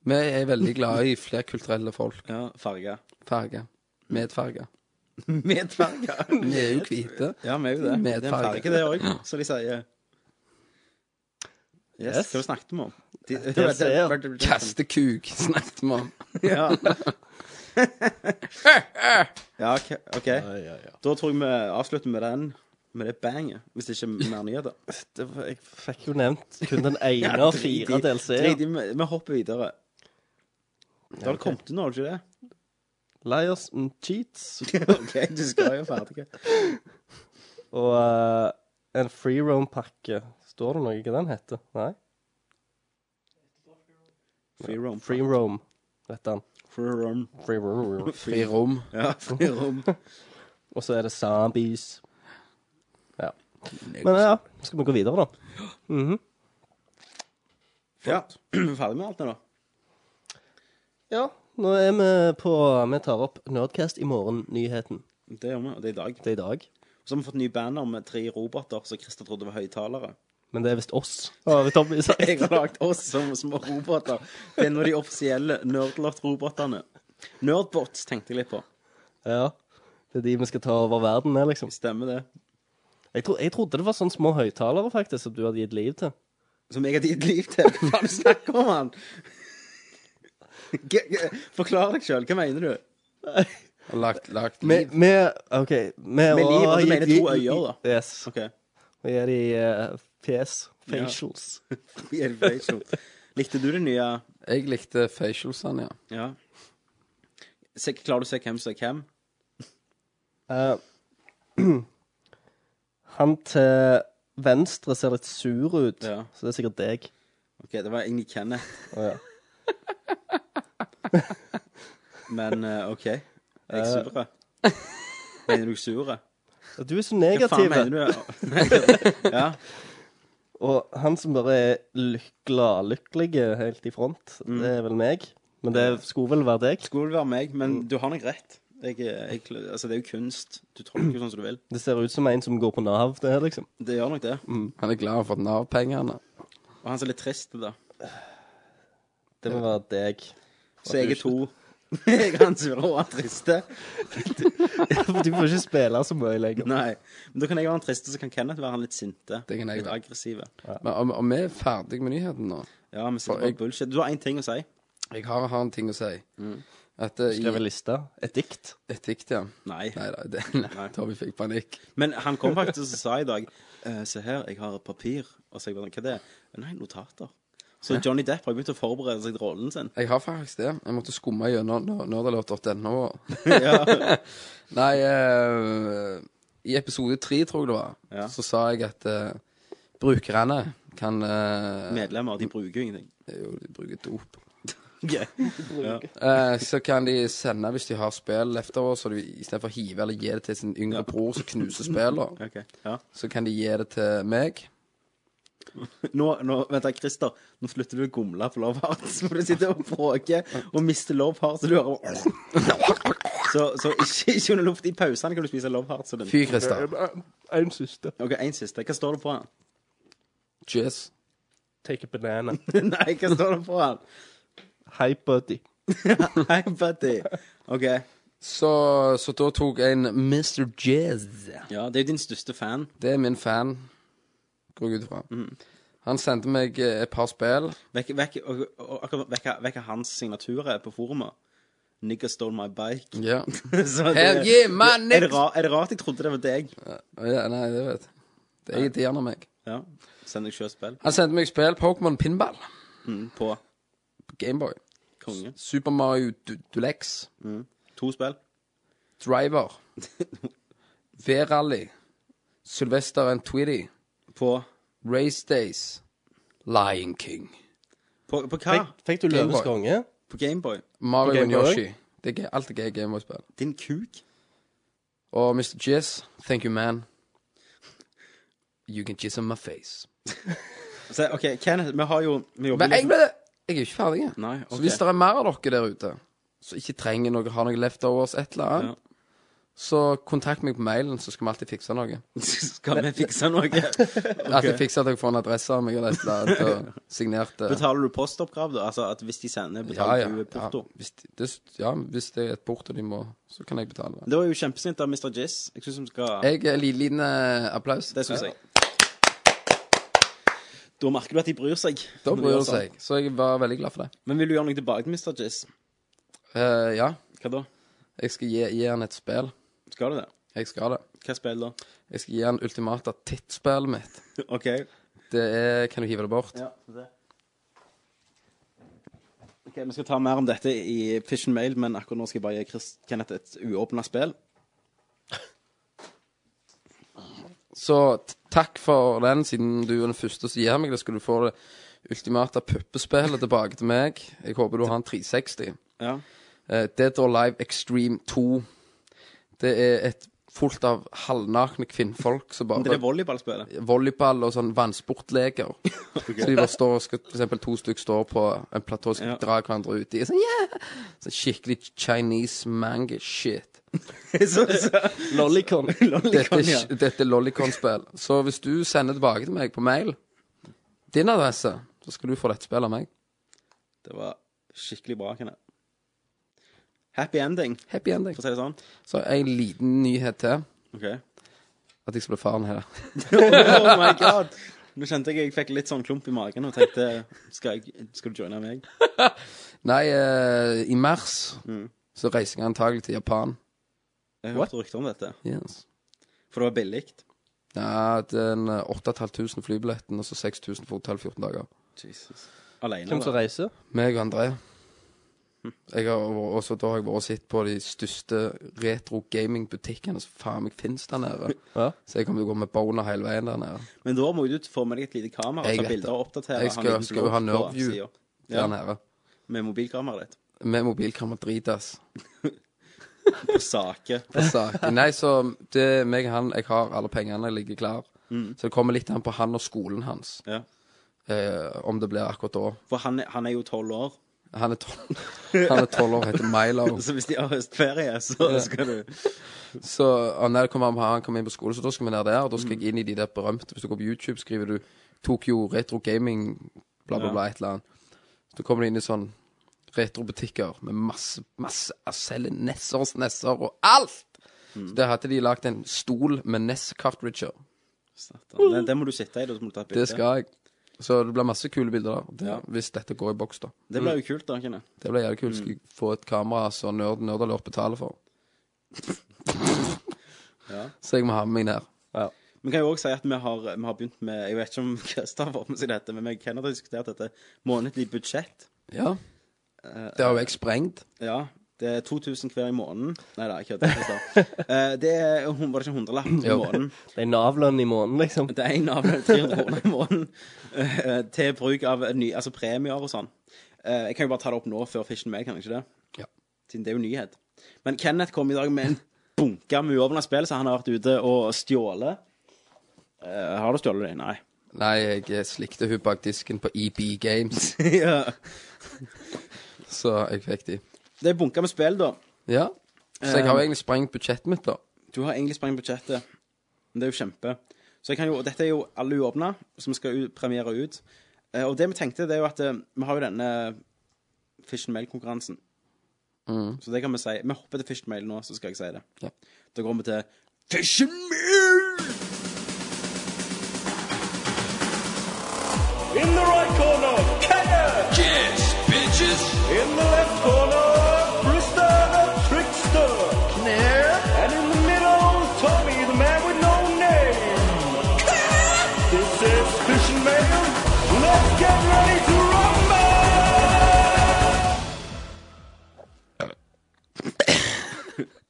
Vi er veldig glade i flerkulturelle folk. Ja, farger. Farger. Medfarger. Medfarger. Vi er jo hvite. Ja, vi er jo det. Med det er en farge. farge, det òg, som de sier. Yes, Yes. Hva snakket vi om? De, jeg ser. Red Dead Redemption. Kaste kuk, snakket vi om. Ja. ja, ok. ok. Da tror jeg vi avslutter med den. Med det banget, hvis det ikke er mer nyheter. Det, var- jeg fikk jo nevnt kun den ene av Drit i- fire drit DLC-er. i, Vi vi hopper videre. Det har kommet til nå, har det ikke det? Liars and cheats. OK, du skal jo ferdig. Og eh, en free roam-pakke. Står det noe hva den heter? Nei? Free roam. Free roam heter den. Free roam. Free roam. Fri rom. Ja, free roam. Og så er det zombies. Ja. Men ja, skal vi gå videre, da? Ja. Ferdig med alt nå, da? Ja. Nå er vi på Vi tar opp Nerdcast i morgen-nyheten. Det gjør vi, og det er i dag. Det er i dag. Så har vi fått ny banner med tre roboter som Christer trodde var høyttalere. Men det er visst oss, har Tommy sagt. Jeg har lagd oss som små roboter. Det er nå de offisielle nerdlort-robotene. Nerdbots tenkte jeg litt på. Ja. Det er de vi skal ta over verden med, liksom. Stemmer det? Jeg, tro, jeg trodde det var sånne små høyttalere, faktisk, som du hadde gitt liv til. Som jeg har gitt liv til. Hva faen snakker du om, han? G- g- Forklar deg sjøl. Hva mener du? Og lagt, lagt Med, liv. med OK. Med, med liv, altså, mener to øyer, da. Yes. OK. Og gir de eh, fjes. Facials. Likte du det nye Jeg likte facialsene, ja. Ja. Se, klarer du å se hvem som er hvem? Eh, han til venstre ser litt sur ut, Ja. så det er sikkert deg. OK, det var egentlig Kenneth, Å, ja. men eh, OK. Jeg er sur. Eh. Mener du sur? Du er så Hva faen negativ. mener du? Ja. Og han som bare er lyk- gladlykkelig helt i front, Mm. det er vel meg. Men det skulle vel være deg. Skulle vel være meg, men Mm. du har nok rett. Jeg, jeg, altså, det er jo kunst. Du tolker jo sånn som du vil. Det ser ut som en som går på Nav, det her, liksom. Det gjør nok det. Han er glad for Nav-pengene. Og han som er litt trist, da. Det må være deg. Så jeg er to. jeg er han som vil være triste. Du får ikke spille så mye lenger. Nei. Men da kan jeg være han triste, så kan Kenneth være han litt sinte. Det kan jeg litt være. aggressive. Men om, om vi er ferdig med nyheten nå Ja, vi sitter For bare jeg- og bullshit. Du har én ting å si. Jeg har, har en ting å si. Mm. At eh, Skrev en i liste. Et dikt. et dikt, ja. Nei. Nei da, det- nei, Tommy fikk panikk. Men han kom faktisk og sa i dag «Eh, Se her, jeg har et papir. Og så jeg bare, hva er det? Nei, notater. Så Johnny Depp har begynt å forberede seg til rollen sin. Jeg har faktisk det. Jeg måtte skumme gjennom nå- nerdalert.no. Ja. Nei, eh, i episode tre, tror jeg det var, Ja. så sa jeg at eh, brukerne kan eh, Medlemmer, de bruker jo ingenting. Jo, de bruker dop. Ja. Eh, så kan de sende, hvis de har spill leftover, så de istedenfor å hive eller gi det til sin yngre bror som knuser spillene, Ok, ja. så kan de gi det til meg. Nå, nå, vent da, Christer, nå slutter du å gomle på Love Hearts, for du sitter og bråker og mister Love Hearts, og du hører Så, så ikke, ikke under luft. I pausene kan du spise Love Hearts. og den- Fy, Christer. En siste. OK, én siste. Hva står det på den? Cheers. Take a banana. Nei, hva står det på den? Hei, buddy. Hei, buddy. OK. Så, så da tok jeg en Mr. Jazz. Ja, det er jo din største fan. Det er min fan, går jeg ut ifra. Han sendte meg eh, et par spill. Vekk, vekk, og, og, akkurat vekk, vekk hans signaturer på forumet. Nigger stole my bike. Ja. Så det- Hell yeah, my er, det niggas! ra, er det rart jeg trodde det var deg? ja nei, det vet jeg. Det er irriterende meg. Ja. Send deg sjøspill Han sendte meg spill Pokémon Pinball på på Gameboy. konge. Super Mario Du- Dulex. To spill. Driver. V-rally. Sylvester and Tweety. På Race Days. Lion King. På, på hva? Fikk, fikk du løvens Gameboy. konge? På Gameboy. Mario På and Gameboy? Yoshi. Det er, gøy- alt er gøy Gameboy-spill. Din kuk. Og Mr. Jizz, Oh, thank you, man. You can jizz on my face. Så, OK, Kenneth, vi har jo Vi jobber liksom- litt Men jeg, ble, jeg er jo ikke ferdig. jeg. Nei, Så ok. hvis det er mer av dere der ute som ikke trenger noe, har noe leftovers, et eller annet, så kontakt meg på mailen, så skal vi alltid fikse noe. Skal vi fikse noe? Alltid fikse at dere får en adresse av meg eller et eller annet, og signert eh, Betaler du postoppkrav, da? Altså at hvis de sender, betaler du porto? Ja, hvis, de- det, ja, hvis det er et porto de må, så kan jeg betale. det. Det var jo kjempesint av Mr. Jizz. Jeg syns vi skal Jeg er liten, liten eh, applaus. Det syns jeg. Da merker du at de bryr seg. Da når de bryr gjør hun seg. Så jeg var veldig glad for det. sånn. Men vil du gjøre noe tilbake til Mr. Jizz? Eh, ja, Hva da? jeg skal gi, gi han et spill. Skal du det? Jeg skal det. Hva spill da? Jeg skal gi han ultimata tittspillet mitt. OK. Det er Kan du hive det bort? Ja, få se. Ok, Vi skal ta mer om dette i Fish and Mail, men akkurat nå skal jeg bare gi Chris Kenneth et uåpna spill. Så t- takk for den, siden du er den første som gir meg det. Skal du få det ultimate puppespillet tilbake til meg. Jeg håper du har en 360. Ja. Eh, Dead or Alive Extreme 2. Det er et fullt av halvnakne kvinnfolk som Det er bare volleyballspillet. Volleyball og sånn vannsportleker. Så de bare står og skal, for eksempel to stykker står på en platå og skal Ja. dra hverandre uti. Sånn, yeah! sånn skikkelig Chinese manga-shit. så, så. Lollicon. Dette, Lollicon, ja. er- dette er Lollicon-spill. Så hvis du sender tilbake til meg på mail din adresse, så skal du få dette spillet av meg. Det var skikkelig bra, Kenneth. Happy ending, Happy ending. for å si det sånn. Så har jeg en liten nyhet til. OK. At jeg skal bli faren her. Oh my god. Nå kjente jeg jeg fikk litt sånn klump i magen og tenkte Skal, jeg, skal du joine meg? Nei, eh, i mars så reiser jeg antagelig til Japan. Jeg hørte rykter om dette. Yes. For det var billig. Ja, den eh, 8500 flybilletten og så 6000 for hotell 14 dager. Jesus. Alene, Hvem som da. reiser? Meg og André. Jeg har, vært- også da har jeg vært og sett på de største retro gaming-butikkene som faen meg finnes der nede. Ja. Så jeg kommer til å gå med bona hele veien der nede. Men da må jo du få med deg et lite kamera Jeg og ta vet det. bilder og oppdatere. Jeg skal- en liten skal jo blogg ha på Nerdview. siden. Der Ja. nede. Med mobilkameraet ditt. Med mobilkamera drit, ass. På sake. På sak. Nei, så det er meg og han. Jeg har alle pengene, jeg ligger klar. Så det kommer litt an på han og skolen hans, Mm. Ja. eh, om det blir akkurat da. For han, er- han er jo tolv år. Han er tolv, han er 12 år, heter Milo. Så hvis de har høstferie, så skal du Så ah, nei, det kommer han, han kommer inn på skole, så da skal vi ned der. Og da skal jeg inn i de der berømte Hvis du går på YouTube, skriver du Tokyo Retro Gaming, bla, bla, Ja. bla, et eller annet. Så kommer du inn i sånn retrobutikker med masse, masse Jeg selger Nessers Nesser og alt! Mm. Så der hadde de lagd en stol med Ness cartridger. det, det må du sitte i, da. Så må du ta et bilde. Det skal jeg. Så det blir masse kule bilder der. Det, Ja. Mm. Hvis dette går i boks, da. Det blir jo kult, da. ikke det? Det blir jævlig kult. Skal jeg få et kamera som nerd, Nerdalert betaler for. Ja. Så jeg må ha med meg ned. Vi kan jo også si at vi har, vi har begynt med Jeg vet ikke om Christer har fått med seg dette, men vi kan ha diskutert dette månedlig budsjett. Ja. Det har jo jeg sprengt. Ja, det er 2000 hver i måneden. Nei da, ikke det. Christer. Eh, Det er hun- var det ikke en hundrelapp i Jo. måneden. Det er Nav-lønn i måneden, liksom. Det er en av 300 kroner i måneden eh, til bruk av ny, altså premier og sånn. Eh, Jeg kan jo bare ta det opp nå før Fishen med, kan jeg ikke det? Ja. Siden det er jo nyhet. Men Kenneth kom i dag med en bunke med uåpna spill, så han har vært ute og stjålet. Eh, Har du stjålet det? Nei. Nei, jeg slikte hun bak disken på EB Games, Ja. så jeg fikk de. Det er bunka med spill, da. Ja. Så jeg har jo egentlig sprengt budsjettet mitt, da. Du har egentlig sprengt budsjettet. Men det er jo kjempe. Så jeg kan jo, dette er jo alle uåpna, som skal ut, premiere ut. Eh, og det vi tenkte, det er jo at eh, vi har jo denne Fish and Mail-konkurransen. Så det kan vi si. Vi hopper til Fish and Mail nå, så skal jeg si det. Ja. Da går vi til Fish and Mail!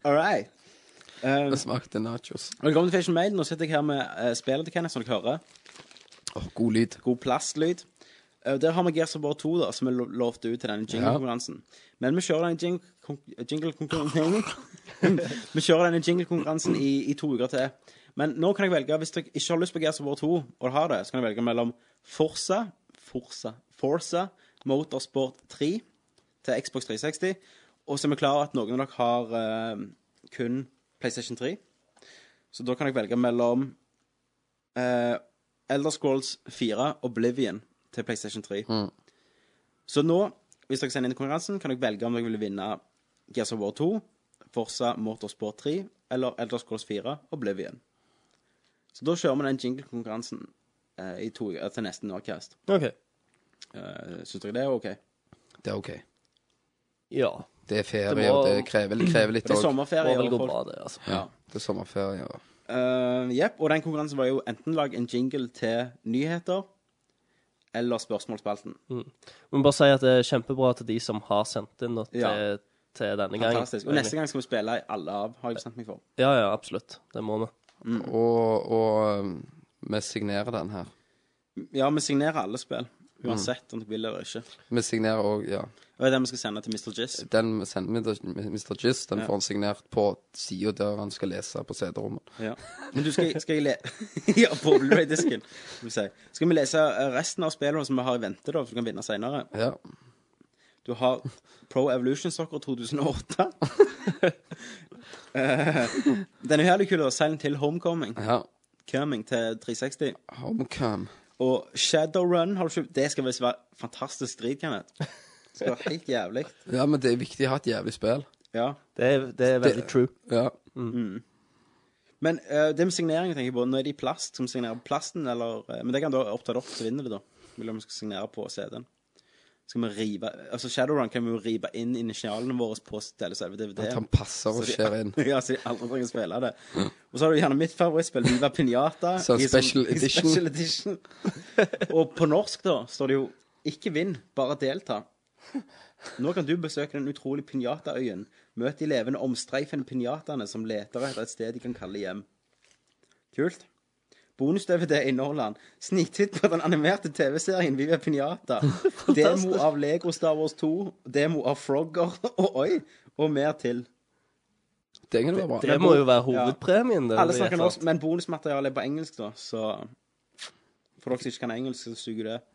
All right. Det smakte nachos. Velkommen til Fish and Mail. Nå sitter jeg her med eh, spillet til Kenneth, som dere hører. Åh, god lyd. god plastlyd. Eh, Der har vi Gears of War 2, da, som er lo- lovt ut til denne jingle-konkurransen. Men vi kjører denne jing kon- jingle-konkurransen Vi kjører denne jingle-konkurransen i, i to uker til. Men nå kan jeg velge, hvis dere ikke har lyst på Gears of War 2, og dere har det, så kan jeg velge mellom Forza, Forza, Forza, Motorsport 3 til Xbox 360, og så er vi klar over at noen av dere har eh, kun PlayStation 3. Så da kan jeg velge mellom eh, Elder Scrolls 4 Oblivion til PlayStation 3. Mm. Så nå, hvis dere sender inn konkurransen, kan dere velge om dere vil vinne Gears of War 2, Forza Motorsport 3 eller Elder Scrolls 4 Oblivion. Så da kjører vi den jingle-konkurransen eh, i to, eh, til neste Nordcast. OK. Eh, Syns dere det er OK? Det er OK. Ja. Det er ferie, Det må- og det krever, det krever litt Det er òg. Det må sommerferie. vel og gå folk- bra, det, altså. Ja. Det er sommerferie. Og... Eh, Jepp. og den konkurransen var jo enten lag en jingle til nyheter eller spørsmålsspalten. Men bare si at det er kjempebra til de som har sendt inn nå til, Ja. til denne gangen. Fantastisk. Og neste gang skal vi spille i alle av, har jeg bestemt meg for. Ja, ja, absolutt. Det må vi. Og, og um, vi signerer den her. Ja, vi signerer alle spill. Uansett om dere vil eller ikke. Vi signerer òg, ja. Og det er det vi skal sende til Mr. Jizz. Den vi sender med Mr. Jizz, den får han signert på sida der han skal lese på CD-rommet. Ja. Men du, skal, skal jeg le... ja, på Blu-ray-disken. Skal, vi si. skal vi lese eh, resten av spillene som vi har i vente, da, så du kan vinne senere? Ja. Du har Pro Evolution Soccer 2008. Eh, Den er jo herlig kul. da. Silent Hill Homecoming. ja. Coming til 360. Homecome. Og Shadowrun har du ikke Det skal visst være fantastisk drit, Kenneth. Det skal være helt jævlig. Ja, men det er viktig å ha et jævlig spill. Ja. Det er, det er veldig true. Ja. Men eh, det med signering jeg tenker på, nå er det i plast. Skal vi signere på plasten, eller eh, Men det kan da oppta det opp, så vinner vi, da. Vil om vi skal signere på CD-en. Skal vi rive Altså, Shadowrun kan vi jo rive inn initialene våre på selve- selve At han DVD-en. passer og skjer inn. Ja, så de aldri trenger å spille det. Og så har du gjerne mitt favorittspill, Viva Pinata. Så i sånn- special i edition. special edition. Og på norsk, da, står det jo 'Ikke vinn, bare delta'. Nå kan du besøke den utrolige pinjataøyen. Møt de levende omstreifende pinjataene som leter etter et sted de kan kalle hjem. Kult. Bonus-DVD inneholder han sniktitt på den animerte TV-serien Viva Pinata. Demo av Lego Star Wars 2, demo av Frogger og Oi, og mer til. Det kan jo være bra. Det må jo være hovedpremien. det, Alle i snakker et eller norsk, men bonusmaterialet er på engelsk, da, så For dere som ikke kan engelsk, så suger det. annet.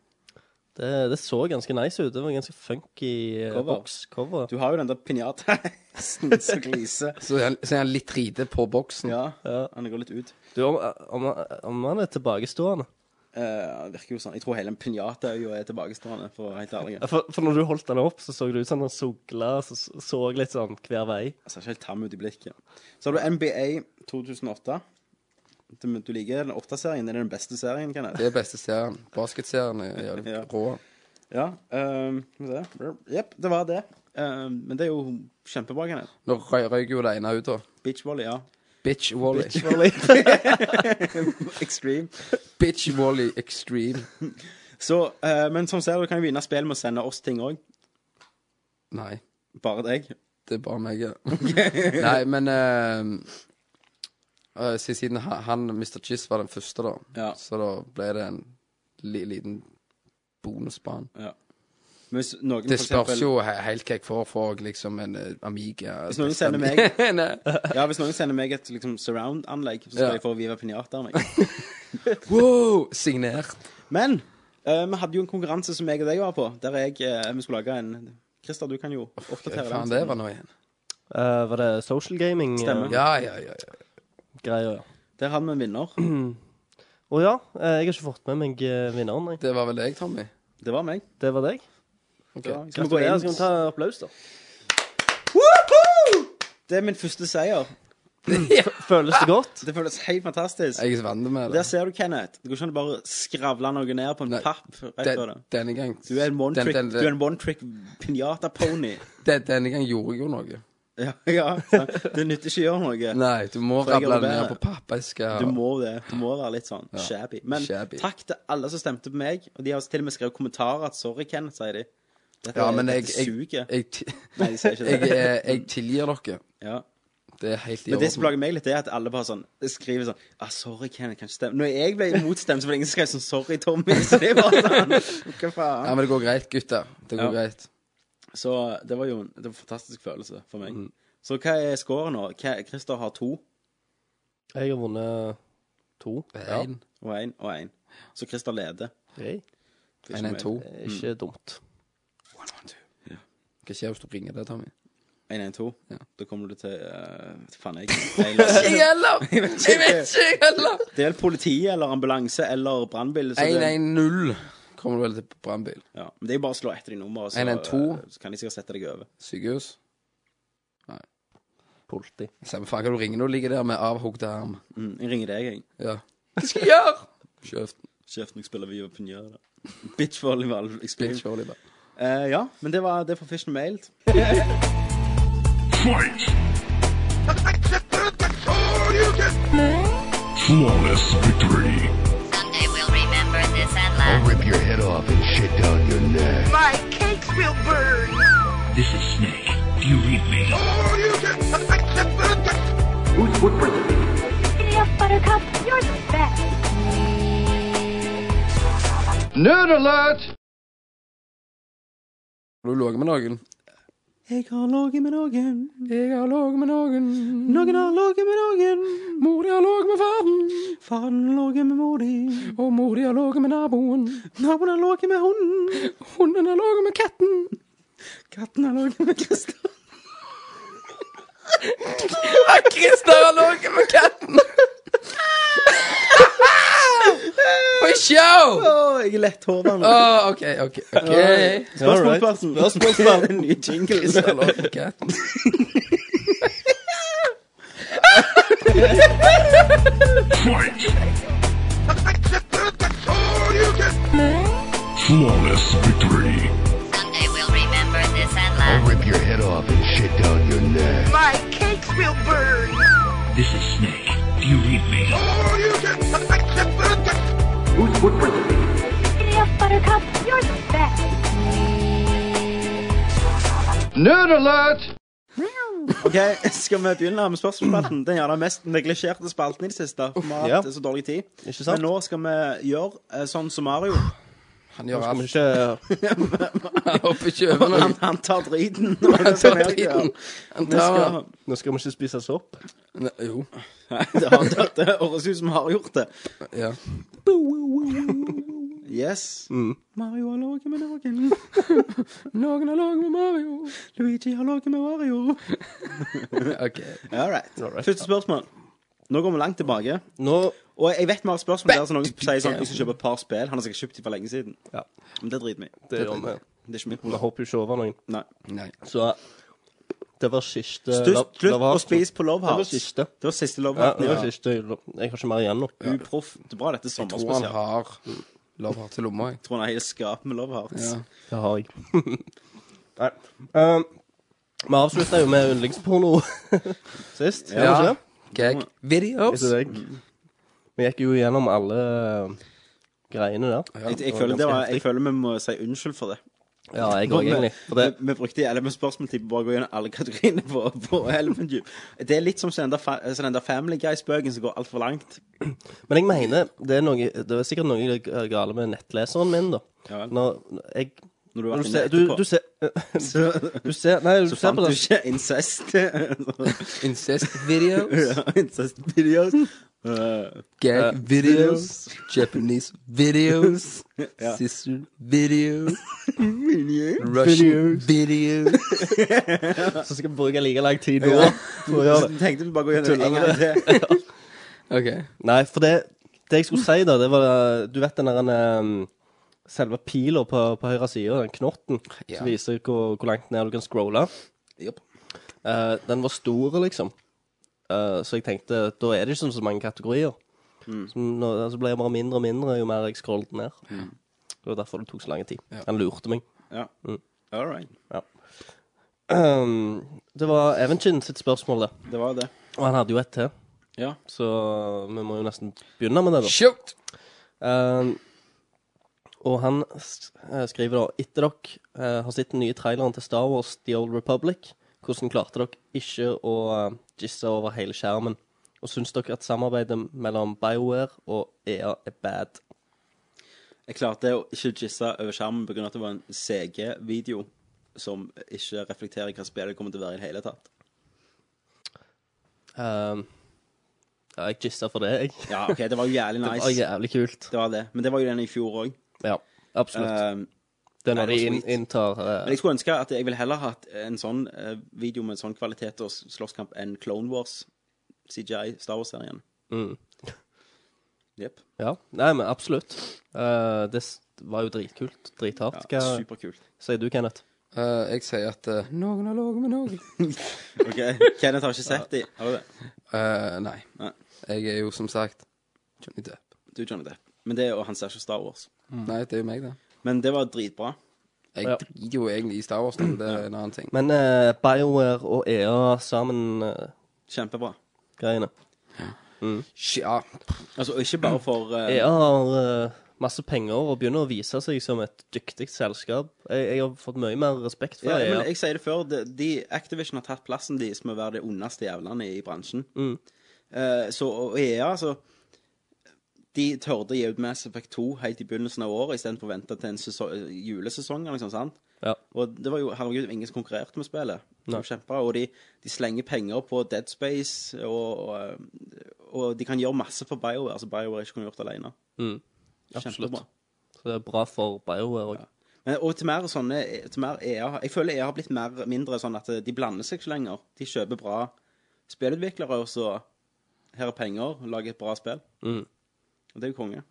Det, det så ganske nice ut. Det var ganske funky eh, Cover. bokscover. Du har jo den der pinjata-hesten som gliser. Så er han- så er han litt rite på boksen. Ja, han går litt ut. Du, om, om, om han er tilbakestående Eh, han virker jo sånn. Jeg tror hele en pinjata er jo er tilbakestående, for å være helt ærlig. Ja, For, for når du holdt den opp, så så det ut som han sogla så, så litt sånn hver vei. Jeg ser ikke helt tam ut i blikket. Så har du NBA 2008. Du, du liker den åtte serien. Det er den beste serien, kan jeg. Det er beste serien. Basketserien er jævlig Ja. rå. Ja. ehm, Skal vi se. Jepp, det var det. Ehm, men det er jo kjempebra, kan jeg. Nå røy- røyk jo det ene ut, da. Beachvolley, ja. Bitch Wally. Extreme. Bitch Wally Extreme. Så, eh, men som ser du kan jo vinne spill med å sende oss ting òg. Nei, Bare deg. det er bare meg. ja. Nei, men eh, eh, si- Siden ha- han, Mr. Chiss, var den første, da, Ja. så da ble det en li liten bonusbane. Men hvis noen Det for spørs eksempel- jo he- helt hva jeg får for liksom en eh, Amiga. Hvis noen sender meg Ja, hvis noen sender meg et liksom, surround-anlegg, så skal Ja. jeg få Viva Pinata av meg. Wow! Signert. Men eh, vi hadde jo en konkurranse som jeg og deg var på, der jeg, eh, vi skulle lage en Christer, du kan jo Hva oppdatere faen det var nå igjen? Eh, var det social gaming-greier? Stemmer. Ja, ja, ja. ja. ja. Der hadde vi en vinner. Å ja, eh, jeg har ikke fått med meg eh, vinneren. Jeg. Det var vel deg, Tommy? Det var meg. Det var deg. Ok. Ja, Skal vi gå inn? Skal vi ta en applaus, da? Woohoo! Det er min første seier. Føles det godt? Det føles helt fantastisk. Jeg er vant med det. Der ser du, Kenneth. Det går ikke an å bare skravle noe ned på en Nei, papp. rett Den, over det. denne gang Du er en den- den- one-trick one trick pinata pony. den- Denne gang gjorde jeg jo noe. ja, ja, sant? det nytter ikke å gjøre noe. Nei, du må For jeg rable er det ned bedre. på pappeska. Du må det. Du må være litt sånn shabby. Men shabby. takk til alle som stemte på meg. Og de har til og med skrevet kommentarer at 'sorry, Ken', sier de. Dette, Ja, men jeg dette jeg, suger. jeg, ti- Nei, de sier ikke jeg, det. eh, jeg tilgir dere. ja. Det er helt i Men det som orden. plager meg litt, er at alle bare sånn skriver sånn ah, 'Sorry, Ken, jeg kan ikke stemme'. Når jeg ble motstemt, så var det ingen som skrev sånn 'Sorry, Tommy'. Så det er bare sånn Hva Ja, faen? men det går greit, gutter. Det går Ja. greit. Så det var jo en, det var en fantastisk følelse for meg. Mm. Så hva er scoren nå? Hva- Christer har to Jeg har vunnet to. Ja. En, og én og én. Så Christer leder. Hey. Det er ikke en, en, meg. to. Det er ikke dumt. Hva skjer hvis du ringer det, Tommy? 1-1-2. Ja. Da kommer du til eh, Faen, jeg jeg- heller! Jeg vet ikke, jeg heller! Det er vel politi eller ambulanse eller brannbil. så det- 110 kommer du vel til brannbil. Ja, men det er jo bare å slå etter de numrene, så, 112. eh, så kan de sikkert sette deg over. Sykehus. Politi. Samme faen hva du ringer når du ligger der med avhogd arm. Mm, jeg ringer deg, jeg. Ja. Hva skal jeg gjøre? Kjøft. Kjeft når jeg spiller Viva Pinjøra. Bitch volleyball. Bitch, Bitch. Oliver. Eh, ja, men det var det fra Fish and Mailed. Fight! Flawless victory. Someday we'll remember this and laugh. I'll rip your head off and shit down your neck. My cakes will burn. This is Snake. Do you read me? Giddy up, Buttercup, you're the best. Nerd alert! Har du ligget med noen? Jeg har ligget med noen, Jeg har ligget med noen. noen har ligget med noen. Mor, jeg har ligget med faren. Faren har ligget med mor di, Og mor, jeg har ligget med naboen. naboen har ligget med hunden, Hunden har ligget med katten. katten har ligget med Christer. Christer har ligget med katten. For show! Å, jeg er letthåra nå. Åh, OK, OK. ok Spørsmålsspalten. Spørsmålsspalten. Ny jingle. Christer har ligget med katten. Fight! Flawless victory. Someday we'll remember this and laugh. I'll rip your head off and shit down your neck. My cakes will burn. This is Snake. Do you read me? Giddy up, Buttercup, you're the best. Nerd alert! Ok, Skal vi begynne med spørsmålsspalten? Den gjerne mest neglisjerte spalten i det siste. for Vi har hatt Ja. så dårlig tid. Ikke sant? Men nå skal vi gjøre eh, sånn som Mario. Han Nå gjør alt. skal vi Han hopper ikke over noe. Han, han tar driten. Han tar driten. Han Nå skal tar han- Nå skal vi ikke spise sopp. Nei, Jo. Nei, det har det- det høres ut som vi har gjort det. Ja. Yes. Mm. Mario har ligget med noen. Noen har laget med Mario. Luigi har ligget med Mario. OK. All right. All right. Første spørsmål. Nå går vi langt tilbake. Nå Og jeg vet vi har spørsmål der som noen to sier sånn the Jeg skal kjøpe et par spill. Han har sikkert kjøpt dem for lenge siden. Ja, Men det driter vi i. det gjør vi. Det er ikke mitt Vi problem. hopper jo ikke over noen. Nei. Nei. Så det var siste Slutt, Love- slutt Love å Heart. spise på Love Det var Hearts. siste. Det var siste Love Ja, Heart. det var Ja. siste. Jeg har ikke mer igjen nå. Uproff. Det er bra dette er sånn Tror han sommerspesial. Jeg har lov her til lomma, jeg. tror han har hele skapet med Love Hearts. Ja. Det har jeg. Nei. Um, vi avslutta jo med yndlingsporno sist. gjorde Ja. vi ikke det? Gag videos. Etter deg. Vi gikk jo gjennom alle eh, greiene der. Jeg, oh, jeg, føler ganske det var, jeg heftig. føler vi må si unnskyld for det. Ja, jeg òg, egentlig. For det Vi, vi brukte eller med spørsmåltid på å bare gå gjennom alle kategoriene på, på Elephant Tube. Det er litt som sånn der fa- sånn der Family Guy-spøken som går altfor langt. Men jeg mener, det er, noe, det er sikkert noe gale med nettleseren min, da. Ja vel. Når jeg Når du har når du vært inne ser, du, etterpå, du, ser, så, du ser Nei, du så ser fant på du det. ikke incest. Incest videos. Ja, Incest-videos. Uh, Gag videos. Japanese videos. Ja. Sister videos. Russian videos. Så skal vi bruke like lang tid nå for å gjøre så det. tenkte vi bare å gå gjennom en gang til. OK. Nei, for det, det jeg skulle si, da, det var eh, Du vet den der eh, Selve pila på, på høyre side, den knotten, Ja. som viser hvor, hvor langt ned du kan scrolle. Jopp. Eh, den var stor, liksom. Eh, så jeg tenkte da er det ikke sånn så mange kategorier. Så nå, så ble jeg bare mindre og mindre jo mer jeg scrollet ned. Det var derfor det tok så lang tid. Han lurte meg. Ja. All right. Ehm, det var Evenkin sitt spørsmål, det. Det var det. Og han hadde jo ett til, Ja. så eh, vi må jo nesten begynne med det, da. Shoot! Ehm, og han s- eh, skriver da Etter dere eh, har sett den nye traileren til Star Wars The Old Republic, hvordan klarte dere ikke å eh, gisse over hele skjermen? Og syns dere at samarbeidet mellom BioWare og EA er bad? Jeg klarte å ikke gisse over skjermen pga. at det var en CG-video som ikke reflekterer hva spillet kommer til å være i det hele tatt. Ehm, ja, jeg gissa for det, jeg. Ja, OK, det var jo jævlig Det var nice. jævlig kult. Det var det. Men det var jo den i fjor òg. Ja, absolutt. det er nei, når Eh, det var de inn, sweet. inntar men eh, jeg skulle ønske at jeg ville heller hatt en sånn eh, video med en sånn kvalitet og slåsskamp enn Clone Wars, CGI, Star Wars-serien. mm, Jepp. Ja, nei, men absolutt. Eh, det s- var jo dritkult. Ja, Drithardt. Hva Superkult. sier du, Kenneth? Eh, jeg sier at eh, noen har ligget med noen. OK. Kenneth har ikke sett de. Har du det? Eh, nei. Nei. Jeg er jo som sagt Johnny Depp. Du, Johnny Depp. Men det, og han ser ikke Star Wars. Nei, det er jo meg, det. Men det var dritbra. Jeg Mm. Ja. driter jo egentlig i Star Wars, men det er en annen ting. Men eh, BioWare og EA sammen eh, Kjempebra. greiene. Ja, Altså, og ikke bare for eh, EA har eh, masse penger og begynner å vise seg som et dyktig selskap. Jeg, jeg har fått mye mer respekt for E Ja, men EA. jeg sier det før. De, de Activision har tatt plassen deres med å være de ondeste jævlene i bransjen. Mm. Eh, så og EA, altså De tørde å gi ut Mass Effect 2 helt i begynnelsen av året istedenfor å vente til en sesong, julesesong eller noe sånt. sant? Ja. Og det var jo herregud ingen som konkurrerte med spillet. Det var Nei. kjempebra, Og de, de slenger penger på Dead Space, og, og, og de kan gjøre masse for BioWare, så BioWare ikke kunne gjort det alene. Mm. Absolutt. Kjempebra. Så det er bra for BioWare òg. Men, Eh, og til mer sånne til mer EA, Jeg føler EA har blitt mer, mindre sånn at de blander seg ikke lenger. De kjøper bra spillutviklere, og så her er penger, lag et bra spill. Mm. Og det er jo konge.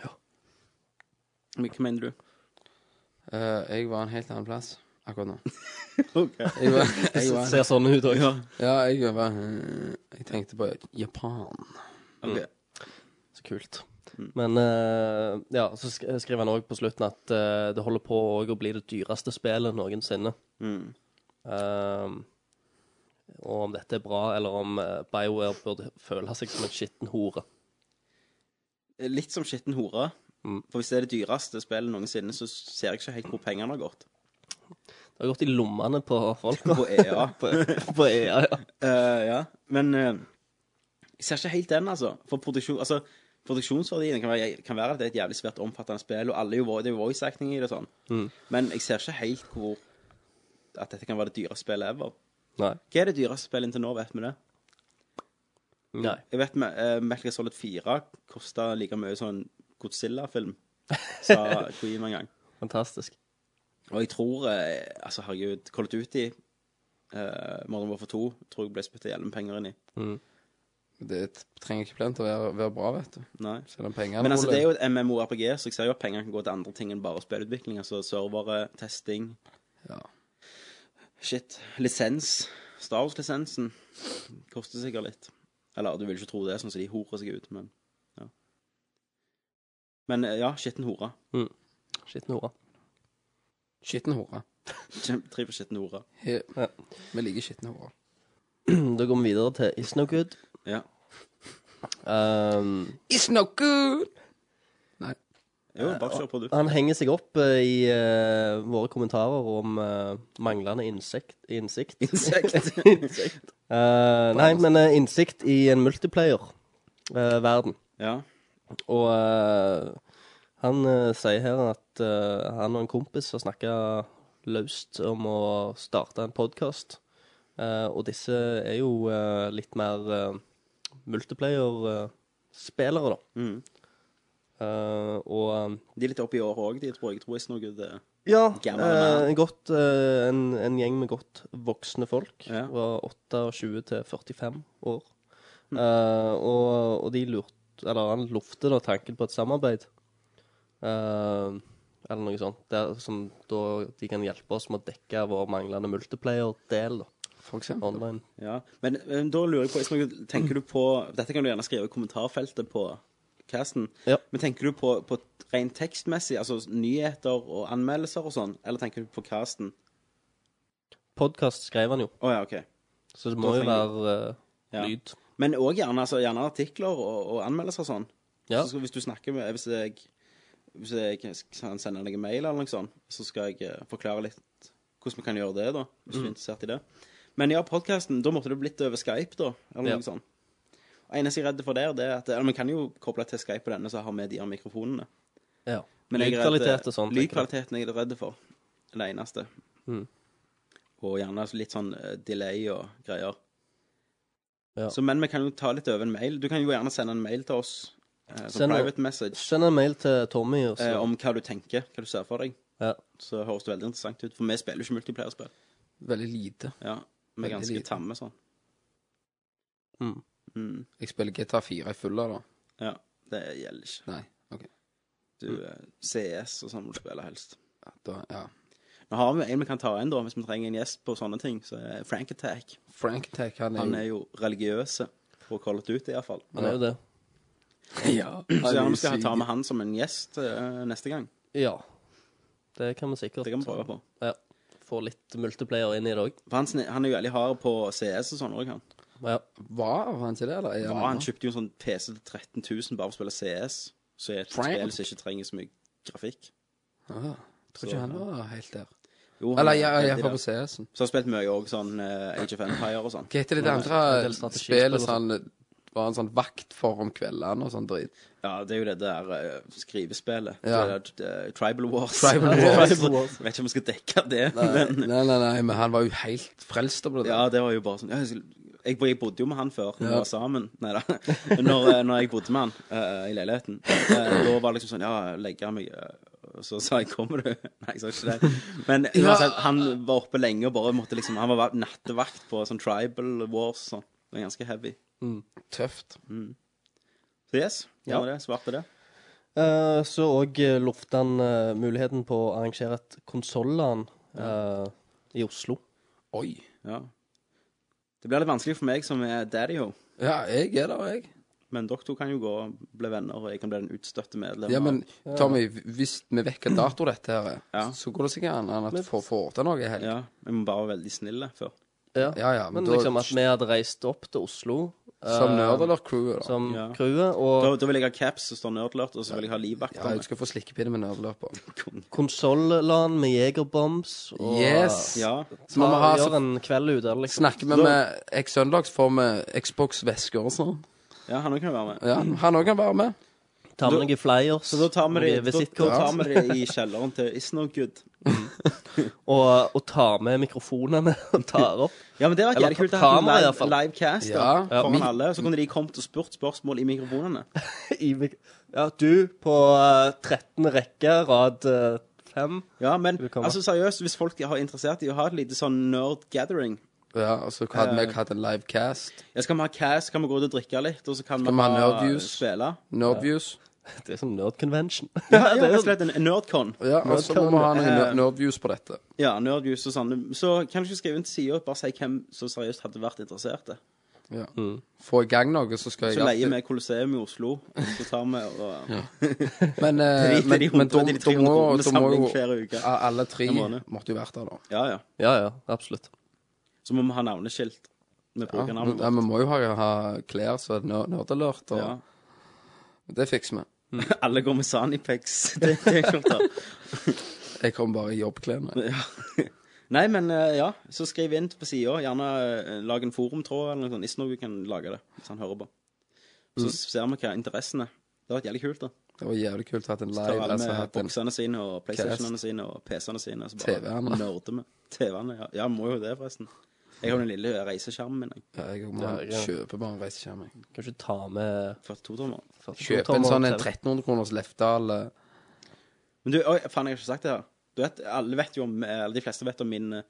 Ja. Men hva mener du? eh, jeg var en helt annen plass akkurat nå. OK. Jeg var, jeg Det var, ser sånn ut òg. Ja. ja, jeg var eh, Jeg tenkte på Japan. ok. Så kult. Mm. Men eh, ja, så sk skriver han òg på slutten at eh, det holder på også å bli det dyreste spillet noensinne. Mm. Ehm, og om dette er bra, eller om eh, BioWare burde føle seg som en skitten hore. Eh, Litt som skitten hore. Mm. For hvis det er det dyreste spillet noensinne, så ser jeg ikke helt hvor pengene har gått. Det har gått i lommene på folk. da. På E EA. på, på E EA, ja. Eh, ja, men eh, jeg ser ikke helt den, altså. For produksjon Altså, Produksjonsverdien kan være, kan være at det er et jævlig svært omfattende spill, og alle er jo, vo- det er jo voice acting i det og sånn. Mm. Men jeg ser ikke helt hvor At dette kan være det dyreste spillet ever. Nei. Hva er det dyreste spillet inntil nå, vet vi det? Nei. Jeg vet med, uh, Metal Gear Solid 4 kosta like mye som en Godzilla-film, sa Kojima en gang. Fantastisk. Og jeg tror eh, Altså, herregud, Call of Duty uh, Modern Warfare 2 tror jeg ble spytta jævlig med penger inn i. Det trenger ikke plent å være, være bra, vet du. Nei. Selv om pengene Men altså, holder. det er jo et MMORPG, så jeg ser jo at pengene kan gå til andre ting enn bare spillutvikling. Altså servere, testing Ja. Shit. Lisens. Star Wars-lisensen koster sikkert litt. Eller du vil ikke tro det, sånn som de horer seg ut, men ja. Men eh, ja, skitten hore. Skitten hore. Skitten hore. Kjempetriv på skitten hore. He- Ja. Vi liker skitne horer. Da går vi videre til Is No Good. Ja. Um, It's no good! Jo, bare kjør på, du. han henger seg opp eh, i eh, våre kommentarer om eh, manglende insekt, innsikt. Insekt. Insekt. Eh, nei, men eh, innsikt i en eh, multiplayer-verden. Ja. Og eh, han eh, sier her at eh, han og en kompis har snakka løst om å starte en podkast. og disse er jo eh, litt mer multiplayer-spillere, da. Mm. Eh, og eh, De er litt oppe i året òg, de, tror jeg. Jeg tror ikke noe det Ja, Gamle eh, mann. godt, eh, en, en gjeng med godt voksne folk Ja. fra 28 til 45 år. Mm. Eh, og, og de lurte Eller han lufte da tanken på et samarbeid. Eh, eller noe sånt. Der, som da de kan hjelpe oss med å dekke vår manglende multiplayer-del. da, For eksempel. Online. Ja, men, men da lurer jeg på Ismael, Tenker du på Dette kan du gjerne skrive i kommentarfeltet på casten. Ja. Men tenker du på, på rent tekstmessig, altså nyheter og anmeldelser og sånn, eller tenker du på casten? Podkast skrev han jo, Å ja, OK. så det må jo trenger være eh, Ja. lyd. Men òg gjerne, altså, gjerne artikler og, og anmeldelser og sånn. Ja. Så skal, hvis du snakker med Hvis jeg, hvis jeg kan sende deg en mail eller noe sånt, så skal jeg eh, forklare litt hvordan vi kan gjøre det, da. Hvis Mm. du er interessert i det. Men ja, podkasten, da måtte det blitt over Skype, da. Eller Ja. noe sånt. Og eneste jeg er redd for der, det er at Eller vi kan jo koble til Skype på denne, så har vi de her mikrofonene. Ja. Men jeg er redd- Lydkvalitet og sånt. tenker jeg. Lydkvaliteten er jeg redd for. Det er det eneste. Mm. Og gjerne altså litt sånn eh, delay og greier. Ja. Så, men vi kan jo ta litt over en mail. Du kan jo gjerne sende en mail til oss. Eh, som Send- private message. Send en mail til Tommy. Og så, Eh, om hva du tenker, hva du ser for deg. ja. Så høres det veldig interessant ut. For vi spiller jo ikke multiplayerspill. Veldig lite. Ja, vi Veldig er ganske lite. tamme sånn. Mm. Mm. Jeg spiller GTA 4 i fulla, da. Ja, det gjelder ikke. Nei. OK. Du, eh, CS og sånn må du spille helst. Ja, Da, ja. Nå har vi en vi kan ta inn, da, hvis vi trenger en gjest på sånne ting. Så er Frank Attack. Frank Tech, han er Han er jo religiøse, for å kalle det ut, iallfall. Han er jo det. ja, Så han er gjerne jo vi skal ta syk. med han som en gjest eh, neste gang. Ja. Det kan vi sikkert. Det kan vi prøve på. Ja. Få litt multiplayer inn i det òg. For han, sne- han er jo veldig hard på CS og sånn òg, han. Ja. Var han ikke det, eller? Er Ja, han ennå? kjøpte jo en sånn PC til 13 000 bare for å spille CS, så er det et Frank. spill som ikke trenger så mye grafikk. Ah, tror Så- ikke han var helt der. Jo, han Eller er ja, veldig jeg får der. på CS-en. Så har han spilt mye òg sånn eh, Age of Empire og sånn. Hva heter det, det Men, en del andre strategispill og spillet som han var en sånn vakt for om kveldene og sånn drit? Ja, det er jo det der eh, skrivespillet. Ja. Det der, eh, Tribal Wars. Tribal Wars. Wars. Vet ikke om vi skal dekke det, Nei, men nei, nei, nei, men han var jo helt frelst på det. Ja, der. det var jo bare sånn Jeg, husker- jeg, jeg bodde jo med han før, når vi Ja. var sammen. Nei da. Når, eh, når jeg bodde med han eh, i leiligheten, eh, da var det liksom sånn Ja, legger jeg meg eh, og Så sa jeg 'kommer du?' Nei, jeg sa ikke det. Men uansett, han var oppe lenge og bare måtte liksom Han var nattevakt på sånn Tribal Wars og sånn. Det var ganske heavy. Mm. Tøft. Så yes, Ja. gjerne det. Svarte det. Eh, så òg lufta han eh, muligheten på å arrangere et konsolland eh, i Oslo. Oi. Ja. Det blir litt vanskelig for meg som er daddy ho, Ja, jeg er der, jeg. men dere to kan jo gå og bli venner, og jeg kan bli den utstøtte medlemmen. Ja, av- men Tommy, hvis vi vekker dato dette her, Ja. så går det sikkert an at vi får får til noe i helg. ja, Vi må bare være veldig snille før. Ja, ja, men men da- liksom at vi hadde reist opp til Oslo eh, Som Nerdeler-crewet, da. som Ja. crewet, Da, og da vil jeg ha caps som står nerdlert, og så vil jeg ha livvakter. Ja, du skal få slikkepinne med nerdeler på. konsolland med jegerbombs og Yes! ja. Så må vi ha Gjør en kveld ut av det, liksom. Snakker vi med X Søndags, får vi Xbox-vesker og sånn. ja, han òg kan være med. Ja, han òg kan være med. Tar vi noen flyers? Så da tar vi noen det, da, da visittkort? tar vi det i kjelleren til Isnogood. og, og tar med mikrofonene og tar opp. Ja, men det var Eller jævlig kult. å ta- ha en kamera, i live, hvert fall. livecast da, Ja. Ja. foran Mi- alle. Så kunne de kommet og spurt spørsmål i mikrofonene. I mik ja, du på eh, 13. rekke, rad eh, 5. Ja, men kan altså seriøst, hvis folk har interessert i å ha et lite sånn nerd gathering Ja, og så hadde Eh. vi hatt en live cast. ja, Så kan vi ha cast, kan vi gå ut og drikke litt, og så kan vi Kan vi ha ha nerdviews? spille. Nerdviews. Det er som eh, sånn nerd convention. sånn- Ja, ja, rett og slett en nerdcon. Ja, og så må vi ha noen ner- nerdviews på dette. Ja, nerdviews og sånn. Så kan du ikke skrive inn til sida og bare si hvem som seriøst hadde vært interessert. Ja. Få i gang noe, så skal jeg Mm. Så leier vi alltid Colosseum i Oslo, så tar vi og Men, eh, Drit i men, de men da 100, de da må 300 da må samling hver jo uke. ja, alle tre En måned. måtte jo vært der, da. Ja, ja. Ja, ja, absolutt. Så må vi ha navneskilt med Ja, men, brukernavnet ja, vi må jo ha, ha klær som er ner- nerdalert, og Ja. det fikser vi. vårt. Alle går med Sanipex-T-skjorter. Jeg kommer bare i jobbklærne. Nei, men eh, ja, så skriv inn på sida. Gjerne eh, lag en forumtråd eller noe sånt. Isnogu kan lage det, hvis han hører på. Mm. Så ser vi hva interessen er. Det har vært jævlig kult, da. Det var jævlig kult å ha hatt en Så tar live. alle Altså, med hatt en, boksene sine og PlayStationene cast. sine og PC-ene sine. Så bare TV-ene. nerder vi. TV-ene, ja. ja. Må jo det, forresten. Jeg har den lille reiseskjermen min. jeg. ja, jeg må Ja, ja. kjøpe bare en reiseskjerm. jeg. Kanskje ta med 42 tommer. Kjøpe en sånn en 1300 kroners Lefdal eh, Men du, oi, faen, jeg har ikke sagt det her. Du vet, alle vet jo om, eller De fleste vet om min, eh,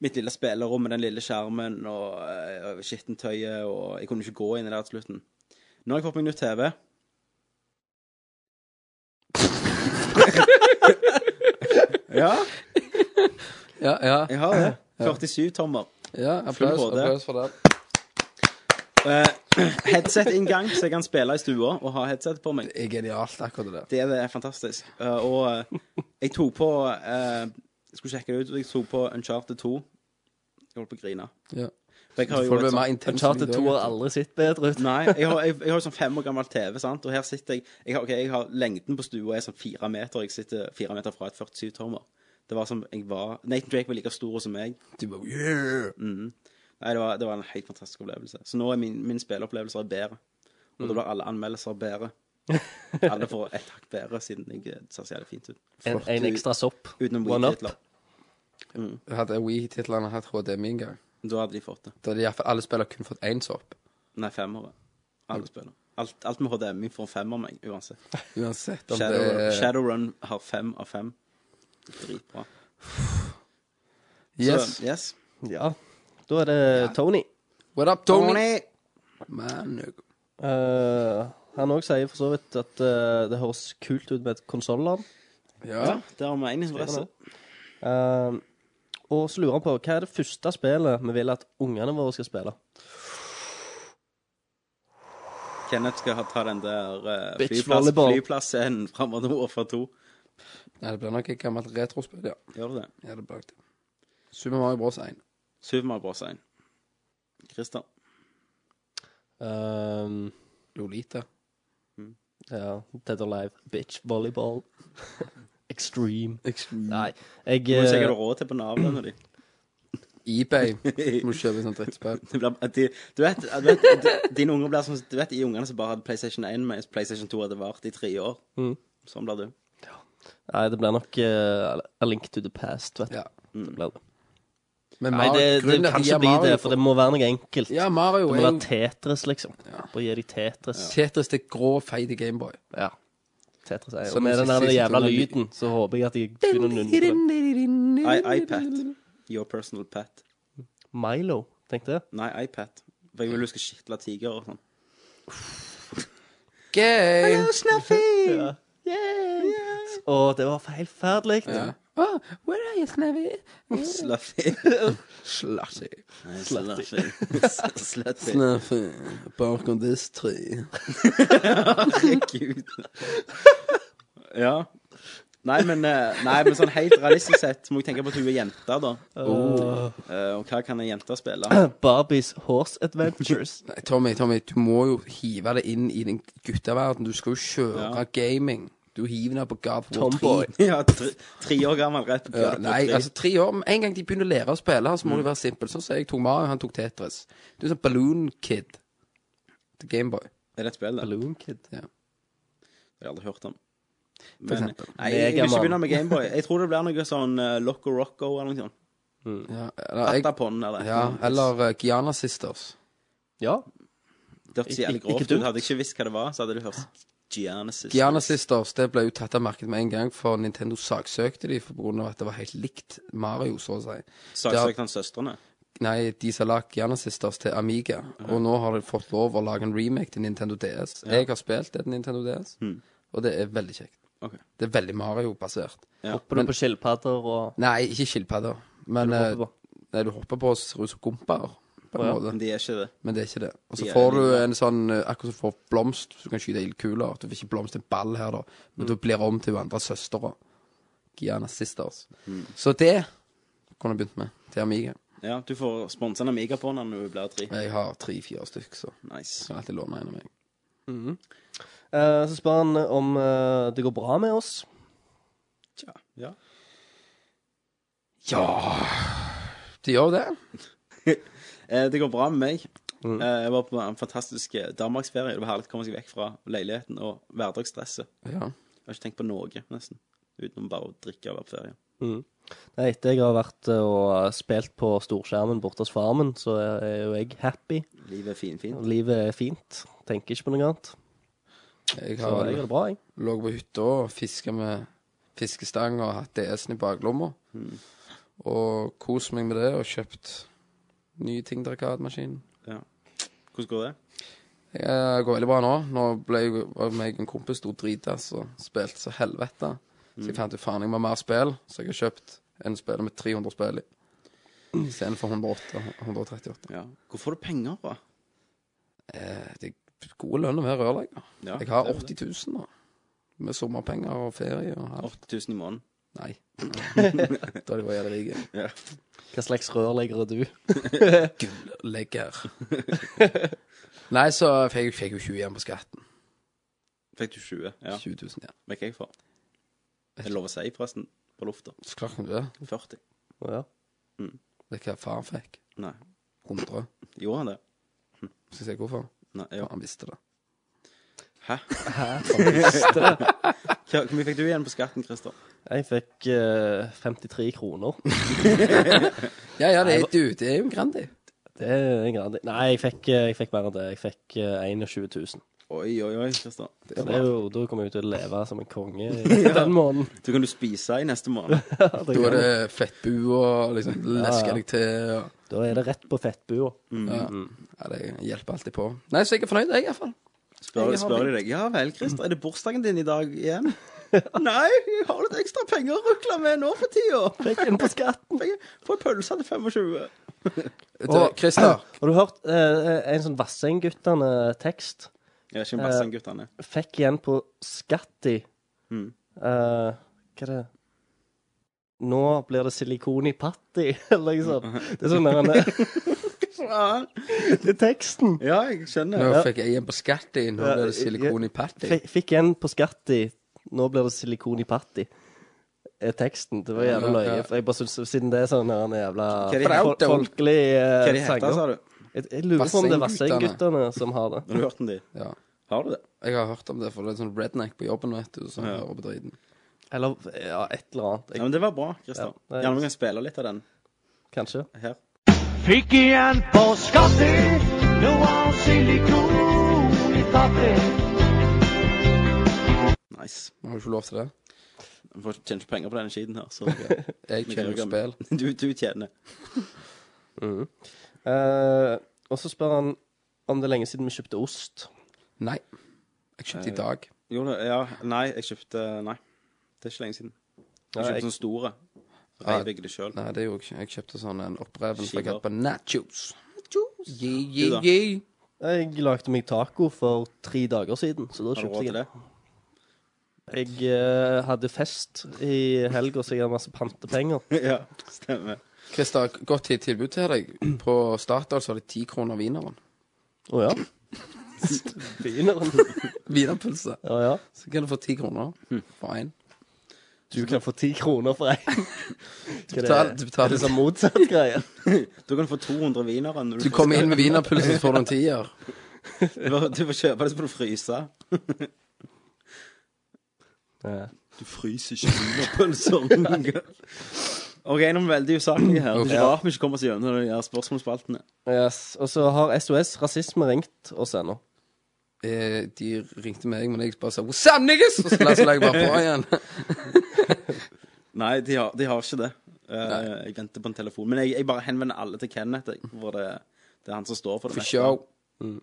mitt lille spillerom med den lille skjermen og eh, skittentøyet, og jeg kunne ikke gå inn i det til slutten. Nå har jeg fått meg nytt TV. ja, Ja, ja. jeg har det. 47 tommer. ja applaus, HD. applaus for det. Eh, Headset-inngang, så jeg kan spille i stua og ha headset på meg. Det er genialt, akkurat det der. Det er det er fantastisk. Eh, og eh, jeg tok på eh, Jeg skulle sjekke det ut, og jeg tok på Uncharted 2. Jeg holdt på å grine. Ja. For jeg Så har jo sånn. får et du mer sånt, intens Charter lyd 2 også. har aldri sett bedre ut. Nei, jeg har, jeg, jeg har jo sånn fem år gammel TV, sant? og her sitter jeg jeg har, ok, jeg har Lengden på stua er sånn fire meter, og jeg sitter fire meter fra et 47-tommer. Det var som jeg var Nathan Drake var like stor som meg. Mhm. Du bare yeah! Nei, det var, det var en helt fantastisk opplevelse. Så nå er min, min spilleopplevelse er bedre. Og Mm. da blir alle anmeldelser bedre. Alle får ett hakk bedre, siden jeg eh, ser så jævlig fint ut. En, en ekstra sopp. Utenom One up. Wii-titler. Hadde Wii-titlene hatt HDMI-inngang, Da hadde de fått det. da hadde i hvert fall alle spillere kun fått én sopp. Nei, femmere. Alle spiller. Alt, alt med HDMI får en fem av meg, uansett. Uansett om Shadowrun, det er Shadowrun har fem av fem. Dritbra. Så, Yes. yes. Ja. Da er det Tony. What up, Tony? Man, jeg- Eh, han òg sier for så vidt at eh, det høres kult ut med et konsollarm. ja. Der har vi én interesse. Eh, og så lurer han på hva er det første spillet vi vil at ungene våre skal spille. Kenneth skal ha- ta den der eh, Bitch flyplass, volleyball. flyplassen fram og nord for to. Nei, det blir nok et gammelt retrospill, ja. Gjør du det? ja det blir nok det. Super Mario Bros. 1. Supermark Bros. 1. Christer. Eh, Lolita. ja, Dead or Alive, Bitch, Volleyball, Extreme. Nei, jeg Du må sikkert eh, ha råd til på navlene dine. eBay. Må du kjøpe sånn drittspill. Det blir- at de- Du vet, at- du vet de- dine unger blir sånn Du vet de ungene som bare hadde PlayStation 1, mens PlayStation 2 hadde vart i tre år. Mm. Sånn blir du. Nei, det blir nok eh, A Link to the Past, vet du. Ja. Det blir det. Men Nei, det, det grunnen til at kan de gir ikke bli Mario det, for det må være noe enkelt. Ja, Mario Det må er være jo Tetris, liksom. Bare gi deg Tetris. Tetris det grå, feite Gameboy. Ja. Tetris er Så Og med nå den skal der jeg si jævla sånn at- lyden, så håper jeg at de begynner å nynne på den. I iPad. Your personal pet. Milo, tenkte jeg. Nei, iPad. For jeg vil huske skitla tiger og sånn. Gay. Ja. Og det var helt fælt. Ja. Oh, where are you, Snappy? Sluffy. Slushy. Sluffy. Sluffy. Snappy, bakom this tree. Herregud. Ja. Nei, men, eh, nei, men sånn helt realistisk sett må jeg tenke på at hun er jente, da. Oh. Eh, og hva kan ei jente spille? Barbies Horse Adventures. Nei, Tommy, Tommy, du må jo hive det inn i den gutteverden. Du skal jo kjøre Ja. gaming. Du hiver det på God of War 3. Tomboy. Ja, tre, tre år gammel rett på Ja, Gullet på nei, tre. Mm. altså tre år. Med en gang de begynner å lære å spille, så må det være simpelt. Sånn som jeg tok Mario, han tok Tetris. Du er sånn Balloon Kid til Gameboy. Er det et spill, da? Balloon Kid. Ja. Jeg har aldri hørt om. For Men, eksempel. nei, jeg, vil ikke Megaman. begynne med Gameboy. Jeg tror det blir noe sånn uh, Loco Rocco eller noe sånt. øh, Ja, eller, jeg, Patapon eller ja, eller eh, Gianna Sisters. Ja. Det hørtes jævlig Ikke- ikke grovt ut. dumt. Hadde jeg ikke visst hva det var, så hadde det hørt Gianna Sisters. Gianna Sisters det ble jo tatt av markedet med en gang, for Nintendo saksøkte de for grunn av at det var helt likt Mario, så å si. Det- Saksøkte han søstrene? Nei, de som har lagd Gianna Sisters til Amiga. Og nå har de fått lov å lage en remake til Nintendo DS. Ja. Jeg har spilt det til Nintendo DS, og det er veldig kjekt. Ok. Det er veldig Mario-basert. Hopper du på skilpadder og Nei, ikke skilpadder. Men Hva er det du hopper eh, Nei, du hopper på og ser ut som gomper, på en Ja, måte. Men de er ikke det. Men det er ikke det. Og så De er får du lignende. en sånn eh, Akkurat som du får blomst, så du kan skyte ildkuler. Du får ikke blomst til en ball her, da, men du blir om til hun andre søstera. Gianna Sisters. Så det kunne jeg begynt med til Amiga. Ja, du får sponsa en Amiga på den når du blir tre. Jeg har tre-fire stykker, så Nice. kan jeg alltid låne en av meg. Eh, Så spør han om eh, det går bra med oss. Tja. Ja. Ja De gjør det. Eh, det går bra med meg. Eh, jeg var på en fantastisk eh, danmarksferie. Det var herlig å komme seg vekk fra leiligheten og hverdagsstresset. Ja. Jeg har ikke tenkt på Norge, nesten. Utenom bare å drikke og være på ferie. Nei, Etter jeg har vært eh, og spilt på storskjermen borte hos farmen, så er er jo jeg happy. Livet er finfint. Livet er fint. Tenker ikke på noe annet. Så Jeg jeg har har det bra, jeg. lå på hytta og fiska med fiskestang og hatt DS-en i baklomma. Og kost meg med det og kjøpt nye ting til arkademaskinen. Ja. Hvordan går det? Eh, Det går veldig bra nå. Nå ble jeg var meg og en kompis stor dritass og spilte så helvete. Så jeg Mm. fant ut faen, jeg må ha mer spill, så jeg har kjøpt en spiller med 300 spill i. Istedenfor 108 138. Ja. Hvor får du penger fra? Eh, Det er gode lønner med rørlegger. Ja, Jeg har det er 80 det. 000 nå. Med sommerpenger og ferie og alt. 80 000 i måneden. Nei. da de var jævlig rike. Hva slags rørlegger er du? Legger. Nei, så fikk jeg fikk jo 20 igjen på skatten. Fikk du 20? Ja. 20 000 igjen. Hva gikk jeg for? Er det lov å si, forresten? På lufta. Så klart kan du det. 40. Å, Ja. Det er hva faren fikk. Nei. 100. Gjorde han det? Skal jeg si hvorfor? Nei, ja. Han visste det. Hæ? Hva, hvor mye fikk du igjen på skatten, Christer? Jeg fikk eh, 53 kroner. Ja, ja, det er, du, det er jo en Grandi. Det er en grandi. Nei, jeg fikk, eh, jeg fikk mer enn det. Jeg fikk eh, 21 000. Oi, oi, oi, Christer. Så det er jo, da kommer jeg jo til å leve som en konge i den måneden. Så kan du spise i neste måned. Ja, det Da er kan jeg. det fettbua og liksom leske deg til. Og, Da er det rett på fettbua. Mm. ja. ja, det hjelper alltid på. Nei, så jeg er fornøyd, jeg, iallfall. Spør, Jeg har spør de deg Ja vel, Christer, er det bursdagen din i dag igjen? Nei, jeg har litt ekstra penger å rukle med nå for tida. Fikk inn på skatten. Jeg får pølse til 25. Og- Christer. Har du hørt eh, en sånn Vassengutane-tekst? Jeg er ikke en Bassang-guttene. Fikk igjen på skatti. Mm. Eh, hva er det? Nå blir det silikon i patti, eller noe sånt. Det er sånn der han- Det er teksten. Ja, jeg skjønner. Nå fikk jeg igjen på skatt i. Nå Ja, blir det silikon i patty. Fikk, fikk igjen på skatti. Nå blir det silikon i patti. Er teksten. Det var jævla Ja, ja. løye. for Jeg bare synes, Siden det er sånn der han er jævla Hva de heter? fol- folkelig eh, Hva de heter, sa sanger. du? Jeg, jeg lurer på om det er Vassengutane. Vassengutane som har det. Har du hørt om de? Ja. Har du det? Jeg har hørt om det, for det er en sånn redneck på jobben, vet du, som Ja. hører på driten. Eller ja, et eller annet. Ja, Jeg, men Det var bra, Christer. Ja, det er- Gjerne vi kan spille litt av den kanskje. her. Fikk igjen på skatten, det var silikon i pappen. Nice. Man har jo ikke lov til det. Vi får tjene ikke penger på denne skiten her, så Jeg kjenner jo spill. Du, du tjener. Eh, og så spør han om det er lenge siden vi kjøpte ost. Nei. Jeg kjøpte i dag. Jo, det- ja. Nei, jeg kjøpte Nei. Det er ikke lenge siden. Jeg Ja, kjøpte jeg- sånne store. Ja. Reiv jeg det sjøl. Nei, det gjorde jeg ikke. Jeg kjøpte sånn en oppreven Skiver. frikett på nachos. Yeah, Du da? yeah, yeah. Jeg lagde meg taco for tre dager siden, så da Har du kjøpte råd jeg til det. det? Jeg eh, hadde fest i helga, så jeg har masse pantepenger. ja, stemmer. Christer, godt til- tilbud til deg. På Statoil så har de ti kroner wieneren. Å ja. Begyneren. Wienerpølse. Ja, ja. Så kan du få ti kroner Hm. for én. Du kan få ti kroner for én. Du betaler- du betaler- Er det sånn motsatt greie? Da kan du få 200 wienere. når Du kommer inn med wienerpølse, så får du en tier. Du får kjøpe det, så får du fryse. Du fryser ikke wienerpølser noen gang. OK, nå er vi veldig usaklige her. Det er ikke rart vi ikke kommer oss gjennom de her spørsmålsspaltene. Yes. Og så har SOS Rasisme ringt oss ennå. Eh, de ringte meg, men jeg bare sa 'What's up, niggas?' Og så la så la jeg bare på igjen. Nei, de har, de har ikke det. Eh, jeg venter på en telefon. Men jeg, jeg bare henvender alle til Kenneth. jeg, Hvor det, det er han som står for det. For meste. show. Mm.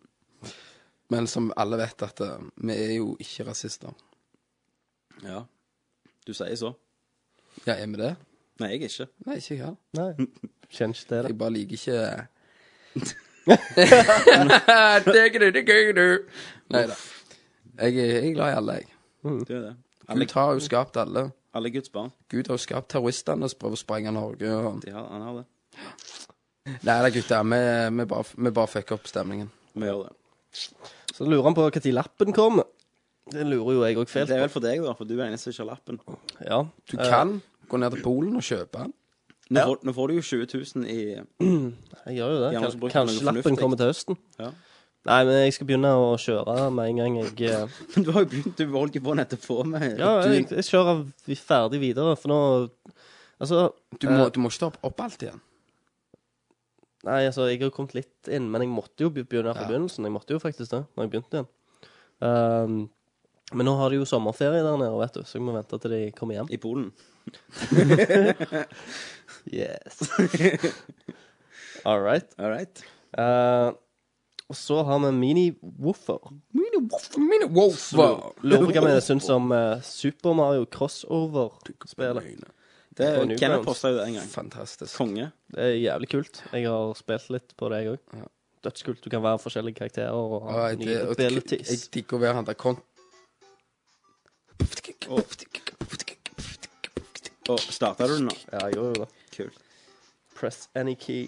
Men som alle vet, at eh, vi er jo ikke rasister. Ja. Du sier så. Ja, er vi det? Nei, jeg er ikke. Nei, ikke jeg heller. Nei. Kjenner ikke til det. Jeg bare liker ikke Digger du, digger du. Nei da. Jeg er jeg er glad i alle, jeg. Du er det. Alle, Gud har jo skapt alle. alle Guds barn. Gud har jo skapt terroristene som prøver å sprenge Norge. Og... De har, han har det. Nei da, gutter. Vi, vi, bare, vi bare fucker opp stemningen. Vi gjør det. Så lurer han på når lappen kommer. Det lurer jo jeg òg fælt Det er på. vel for deg, da, for du er eneste som ikke har lappen. Ja. Du kan gå ned til Polen og kjøpe den. Nå, får, nå får du jo 20 000 i Jeg gjør jo det. Ja, men Kanskje, så bruker man noe kanskje lappen fornuftig. kommer til høsten. Ja. Nei, men jeg skal begynne å kjøre med en gang jeg eh, Men du har jo begynt, du holder ikke på nettopp å få meg Ja, jeg, jeg kjører vi- ferdig videre, for nå Altså Du må, du må ikke ta opp, opp alt igjen. Nei, altså, jeg har jo kommet litt inn, men jeg måtte jo be- begynne her på begynnelsen. Jeg måtte jo faktisk det, når jeg begynte igjen. Ehm, men nå har de jo sommerferie der nede, vet du, så jeg må vente til de kommer hjem. i Polen. Yes. All right. All right. Eh, og så har vi mini-woofer. Mine woofer. Lurer på hva vi syns om eh, Super Mario crossover-spillet. Det, For newgrounds. Kenneth posta jo det en gang. Fantastisk. Konge. Det er jævlig kult. Jeg har spilt litt på det, jeg òg. Dødskult. Du kan være forskjellige karakterer og ha Ja, jeg- nye jeg- Jeg abilities. digger å være han der kon... Og starta du den nå? Ja, jeg gjorde jo det. Kult. Press any key.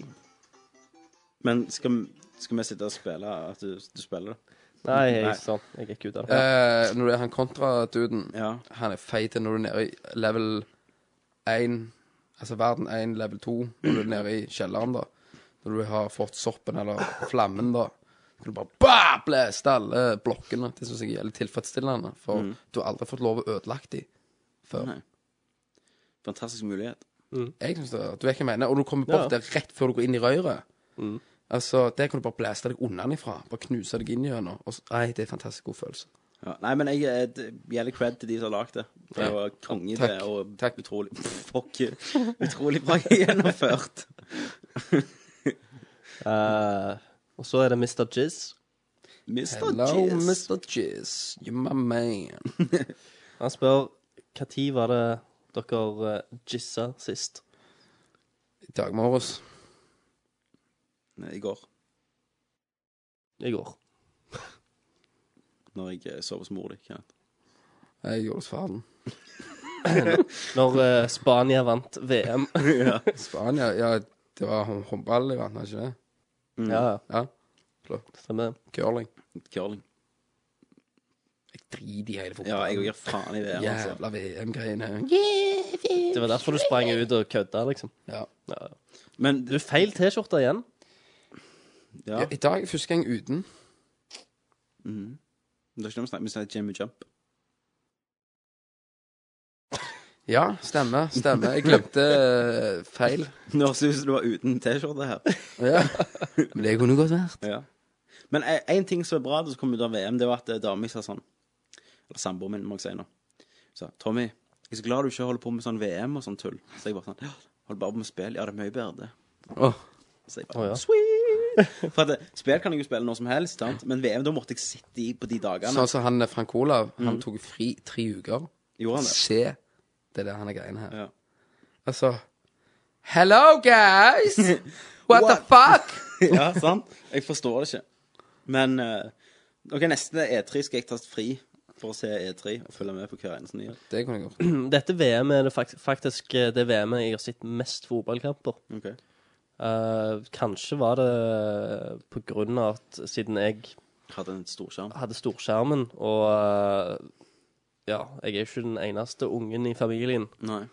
Men skal, skal vi sitte og spille at du, du spiller det? Nei, Nei. jeg, sånn, jeg gikk ut av det. Eh, når du er han kontra-duden Ja. Han er feit når du er nede i level 1 Altså verden 1, level 2 Når du er nede i kjelleren da Når du har fått soppen eller flammen da Kan du bare bah, blæste alle blokkene Det synes jeg er jævlig tilfredsstillende For du har aldri fått lov å ødelagt de Før Mm. Nei. Fantastisk mulighet. Jeg synes det, du vet hva jeg mener Og du kommer bort der rett før du går inn i røyret Mm. Altså, det kan du bare blæste deg unnanifra Bare knuse deg inn i henne Nei, det er en fantastisk god følelse Ja. Nei, men jeg eh, det gjelder cred til de som har lagd det. Det var konge i det, Takk. og Takk. utrolig Fuck. Utrolig bra gjennomført. Eh, og så er det Mr. Jizz. Mr. Hello, Jizz. Mr. Jizz You're my man Han spør når var det dere eh, jizza sist? I dag morges Nei, I går, I går. når jeg eh, sov hos mor di. Kenneth. Jeg gjorde det faren. Når eh, Spania vant VM. Ja. Spania, ja, det var hå- håndball i vannet, ikke det? Mm. ja, Ja, stemmer. curling. Curling. Jeg driter i hele fotballen. Ja, jeg gir faen i VM, altså. Jævla VM-greiene. Det var derfor du sprang ut og kødda, liksom. Ja. Ja. Men Du, feil T-skjorte igjen. ja, mhm. Ja, I dag er første gang uten. det er ikke noe å snakke med sånn Jimmy Jump. Ja, stemmer. Stemmer. Jeg glemte eh, feil. Nå synes du var uten T-skjorte her. Ja. Men det kunne godt vært. Ja. Men eh, en ting som er bra, det som kom ut av VM, det var at eh, dama mi sa sånn Eller samboeren min, må jeg si nå. Hun sa Tommy, jeg er så glad du ikke holder på med sånn VM og sånn tull. Så jeg bare sånn «Ja, Hold bare på med spill. Ja, det er mye bedre, det. Åh, Så jeg Å, ja. bare, Sweet! For at eh, spill kan jeg jo spille når som helst, sant? men VM, da måtte jeg sitte i på de dagene. Sånn som han eh, Frank Olav, han tok fri tre uker. Gjorde han det? Se, det er det han er greiene her. Ja. Altså Hello, guys! What, the fuck? Ja, sant? Jeg forstår det ikke. Men eh, OK, neste E3 skal jeg ta fri for å se E3 og følge med på hver eneste nyhet. Det kunne jeg gjort. Dette VM er det fakt faktisk eh, det VM-et jeg har sett mest fotballkamper. Ok. Eh, kanskje var det på grunn av at siden jeg Hadde en stor skjerm. hadde storskjermen, og eh, ja, jeg er jo ikke den eneste ungen i familien. Nei.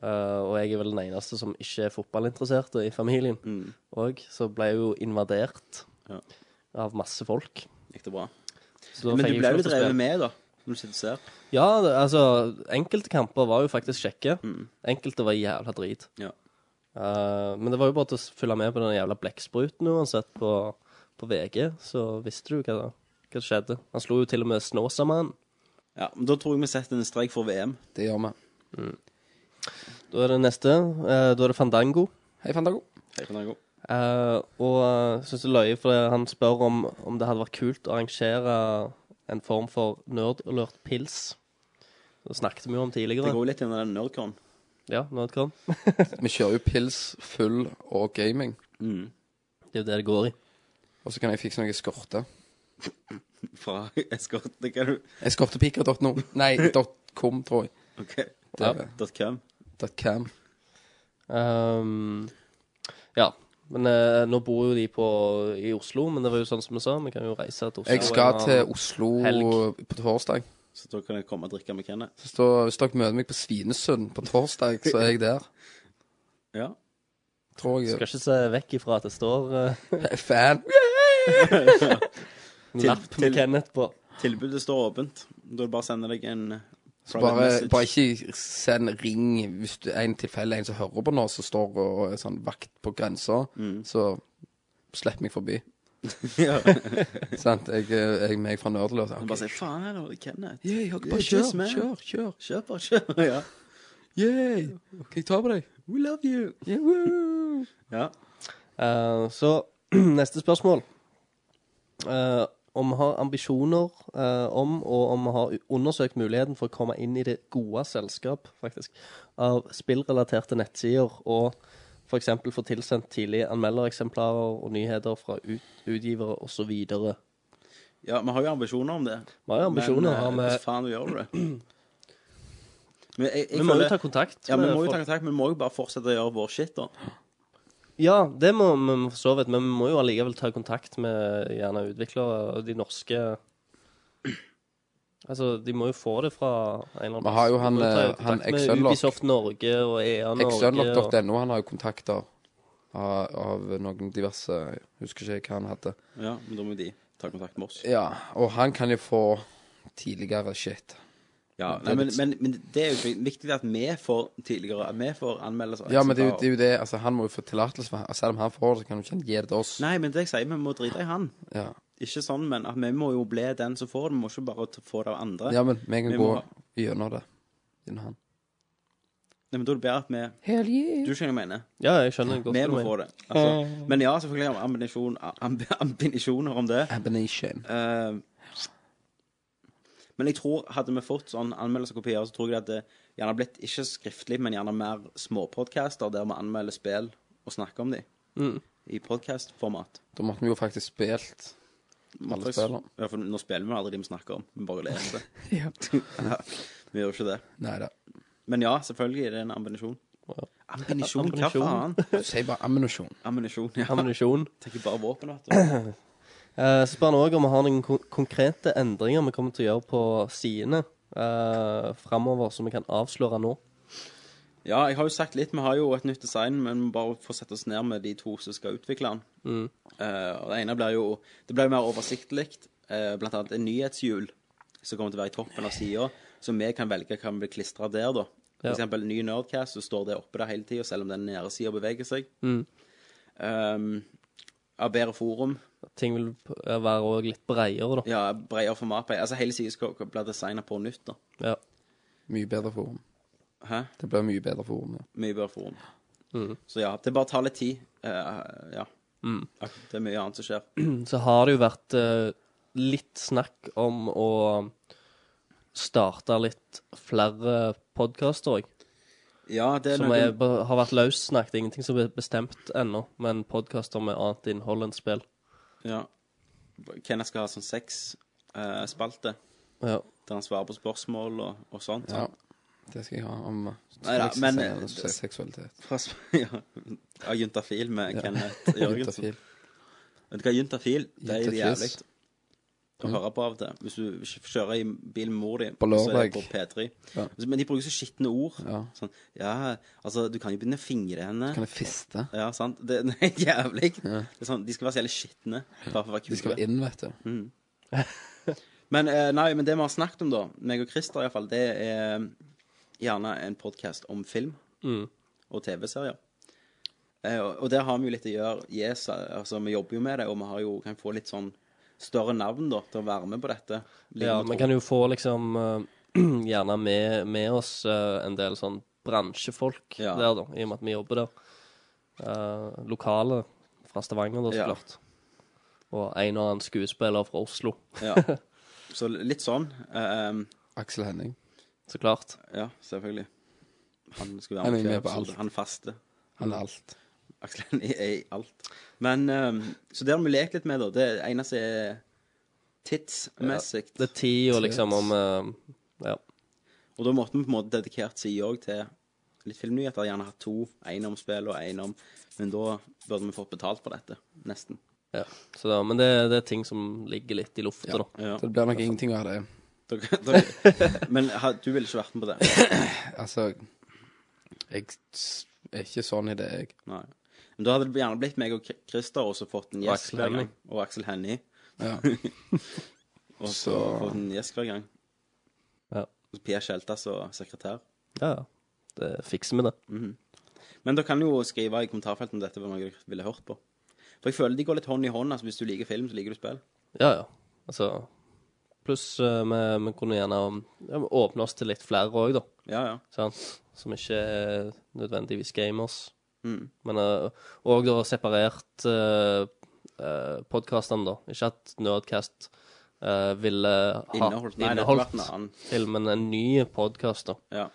eh, og jeg er vel den eneste som ikke er fotballinteresserte i familien. Og så ble jeg jo invadert Mm. Ja. av masse folk. Gikk det bra? Så da Men fikk du jeg ble ikke lov til jo å drevet spille. med, da. når du sitter og ser. Ja, det, altså, enkelte kamper var jo faktisk kjekke. Enkelte var jævla drit. Mm. Ja. Eh, men det var jo bare til å følge med på den jævla blekkspruten uansett på, på VG, så visste du hva, hva som skjedde. Han slo jo til og med Snåsamannen. Ja, men Da tror jeg vi setter en streik for VM. Det gjør vi. Da er det neste. Eh, da er det Fandango. Hei, Fandago. Hei, Fandango. Eh, og jeg syns det er løye, for han spør om, om det hadde vært kult å arrangere en form for nerdalert pils. Det snakket vi jo om Det tidligere. går jo litt inn i den nerdcon. Ja, nerdcon. Vi kjører jo pils, full og gaming. Mm. Det er jo det det går i. Og så kan jeg fikse noe eskorte. Fra eskorte, det kan du Eskortepiker.no. Nei, .com, tror jeg. OK. Det er det. Dot com. .cam. Ehm, ja. Men eh, nå bor jo de på, i Oslo, men det var jo sånn som vi sa, vi kan jo reise til Oslo. Jeg skal en til annen- Oslo helg. på torsdag. Så da kan jeg komme og drikke med Kenneth. Så står- hvis dere møter meg på Svinesund på torsdag, så er jeg der. Ja. Tror Skal jeg. ikke se vekk ifra at det står eh, Jeg er fan. lapp med til- Kenneth på. Tilbudet står åpent. Da er det bare å sende deg en private Bare, message. bare ikke send ring hvis det er en tilfelle en som hører på nå, som står og er sånn vakt på grensa, Mm. så slipp meg forbi. Sant? Jeg, eh, jeg er meg fra Nerdeløs. Bare si Okay. 'faen, her er det Kenneth'. Yeah, jeg, Yeah, bare cheers, kjør, man. kjør, kjør. Kjør, bare kjør. Ja. Yeah. Kan jeg ta på deg? We love you. Yeah, woo. Ja. Eh, så neste spørsmål. Eh, om vi har ambisjoner eh, om, og om vi har u- undersøkt muligheten for å komme inn i det gode selskap, faktisk, av spillrelaterte nettsider og f.eks. få tilsendt tidlige anmeldereksemplarer og nyheter fra ut, utgivere osv. Vi ja, vi har jo ambisjoner om det. har jo ambisjoner. har Men eh, hvordan vi, faen gjør du det? Men jeg, jeg vi må føler- jo ta kontakt. Ja, vi med må jo folk. ta kontakt, men vi må jo bare fortsette å gjøre vår shit, da. Ja, det må vi for så vidt, men vi må jo allikevel ta kontakt med gjerne utviklere og de norske Altså, de må jo få det fra en eller annen Vi har jo han, Vi må ta eh, han kontakt med Exunlock. Ubisoft Norge og EA Norge. og- Exunlock.no, han har jo kontakter av, av noen diverse Husker ikke hva han hadde. Ja, men da må de ta kontakt med oss. Ja, og han kan jo få tidligere shit. Ja, nei, men, men, men det er jo ikke viktig at vi får tidligere At vi får anmeldelser. og Ja, men det er jo eksemplarer. det, er jo det altså, han må jo få tillatelse, for han- selv om han får det, så kan du ikke han gi det til oss. Nei, men det jeg sier, vi må drite i han. Ja. Ikke sånn, men at vi må jo bli den som får det. Vi må ikke bare t- få det av andre. ja, men vi kan Vi gå må- gjennom det. Gjennom han. Nei, men da er det bedre at vi Hell yeah. Du skjønner hva jeg mener. Ja, jeg skjønner godt Vi hva du må få mener. det. Altså, men ja, selvfølgelig har vi ambinasjon- amb ambinasjoner om det. Abination. Eh, men jeg tror hadde vi fått sånn anmeldelsekopier, så tror jeg det hadde gjerne blitt ikke skriftlig, men gjerne mer småpodcaster der vi anmelder spill og snakker om dem. I podcastformat. Da måtte vi jo faktisk spilt alle spillene. Ja, for nå spiller vi jo aldri de vi snakker om, vi bare leser. Ja. ja, vi gjør ikke det. Nei da. Men ja, selvfølgelig er det en ammunisjon. Ammunisjon, hva Ammunisjon. faen? Si bare ammunisjon. Ammunisjon, ja. Ammunisjon. Tenker bare våpen, vet du. Eh, så spør han òg om vi har noen kon konkrete endringer vi kommer til å gjøre på sidene uh, framover, som vi kan avsløre nå. Ja, jeg har jo sagt litt, vi har jo et nytt design, men vi må bare få sette oss ned med de to som skal utvikle den. Eh, og det ene blir jo Det blir jo mer oversiktlig. eh, blant annet en nyhetshjul som kommer til å være i toppen av sida, så vi kan velge hva vi vil klistre der, da. For Ja. eksempel ny Nerdcast, så står det oppe der hele tida, selv om den nede sida beveger seg. Um, ja, bedre forum. Ting vil p- være òg litt bredere, da. Ja, bredere format. Altså hele sida skal bli designa på nytt, da. Ja. Mye bedre forum. Hæ? Det blir mye bedre forum, ja. Mye bedre forum. Mm. Så ja, det bare tar litt tid. Eh, ja. Ak- Det er mye annet som skjer. så har det jo vært eh, litt snakk om å starte litt flere podkaster òg. Ja, det er Som noe er, ba- har vært løssnakket. Ingenting som er bestemt ennå, men podkaster med annet innhold enn spill. ja. Kenneth skal ha sånn sexspalte, Ja. der han svarer på spørsmål og, og sånt. ja. Det skal jeg ha om eh, Neida, sex- Sånn. men- se- seksualitet. Fra sp- ja. ja Juntafil med Kenneth Jørgensen. Juntafil. Vet du hva, Juntafil, det er Juntafis. Mm. jævlig å høre på av og til. Hvis du kj- kjører i bil med mor di, På så er det lørdag. på P3. Ja. Men de bruker så skitne ord. Ja. Sånn, ja, altså, du kan jo begynne å fingre henne. Kan jeg fiste? Ja, sant. Det, det er jævlig. Det er sånn, de skal være så jævlig skitne. bare for å være De skal kule. være inn, vet du. Men, eh, nei, men det vi har snakket om, da, meg og Christer iallfall, det er eh, gjerne en podkast om film Mm. og TV-serier. Eh, og, og der har vi jo litt å gjøre. Yes, altså, vi jobber jo med det, og vi har jo, kan få litt sånn større navn da, til å være med på dette. Ja, vi kan jo få liksom eh, gjerne med, med oss eh, en del sånn bransjefolk Ja. der, da, i og med at vi jobber der. Eh, lokale fra Stavanger, da, så Ja. klart. Og en og annen skuespiller fra Oslo. Ja. Så litt sånn. Aksel Henning. Så klart. Ja, selvfølgelig. Han skulle Han være er med på med på episode. alt. Han faste. Han er Mm. alt. Aksel Hennie er i alt. Men ehm, Så det har vi lekt litt med, da. Det eneste er tidsmessig. Det er ti og liksom om eh, Ja. Og da måtte vi på en måte dedikert side òg til litt filmnyheter. Gjerne hatt to. Én om spill og én om Men da burde vi fått betalt for dette. Nesten. ja. Så, da- men det, det er ting som ligger litt i lufta, da. Ja. Så det blir nok ingenting av det. Dere- dere- Men ha- du ville ikke vært med på det? Altså, jeg s- er ikke sånn i det, jeg. Nei. Men da hadde det gjerne blitt meg og Kri- Christer og så fått en Og gjest Aksel hver gang. Hennie. Og Aksel Hennie. Ja. og så Så- fått en gjest hver gang. Ja. Og Pia Skjeltas og sekretær. Ja, ja. Det fikser vi, det. Men dere kan jo skrive i kommentarfeltet om dette hvem dere ville hørt på. For jeg føler de går litt hånd i hånd. altså Hvis du liker film, så liker du spill. Ja, ja. Altså Pluss eh, vi, vi kunne gjerne ja, vi åpne oss til litt flere òg, da. Ja, ja. Sant? Som ikke er nødvendigvis gamers. Mm. Men òg da separert uh, podkastene, da. Ikke at Nerdcast eh, ville ha Inneholdt. Nei, det hadde vært en annen. inneholdt filmen en ny podkast, da. Ja.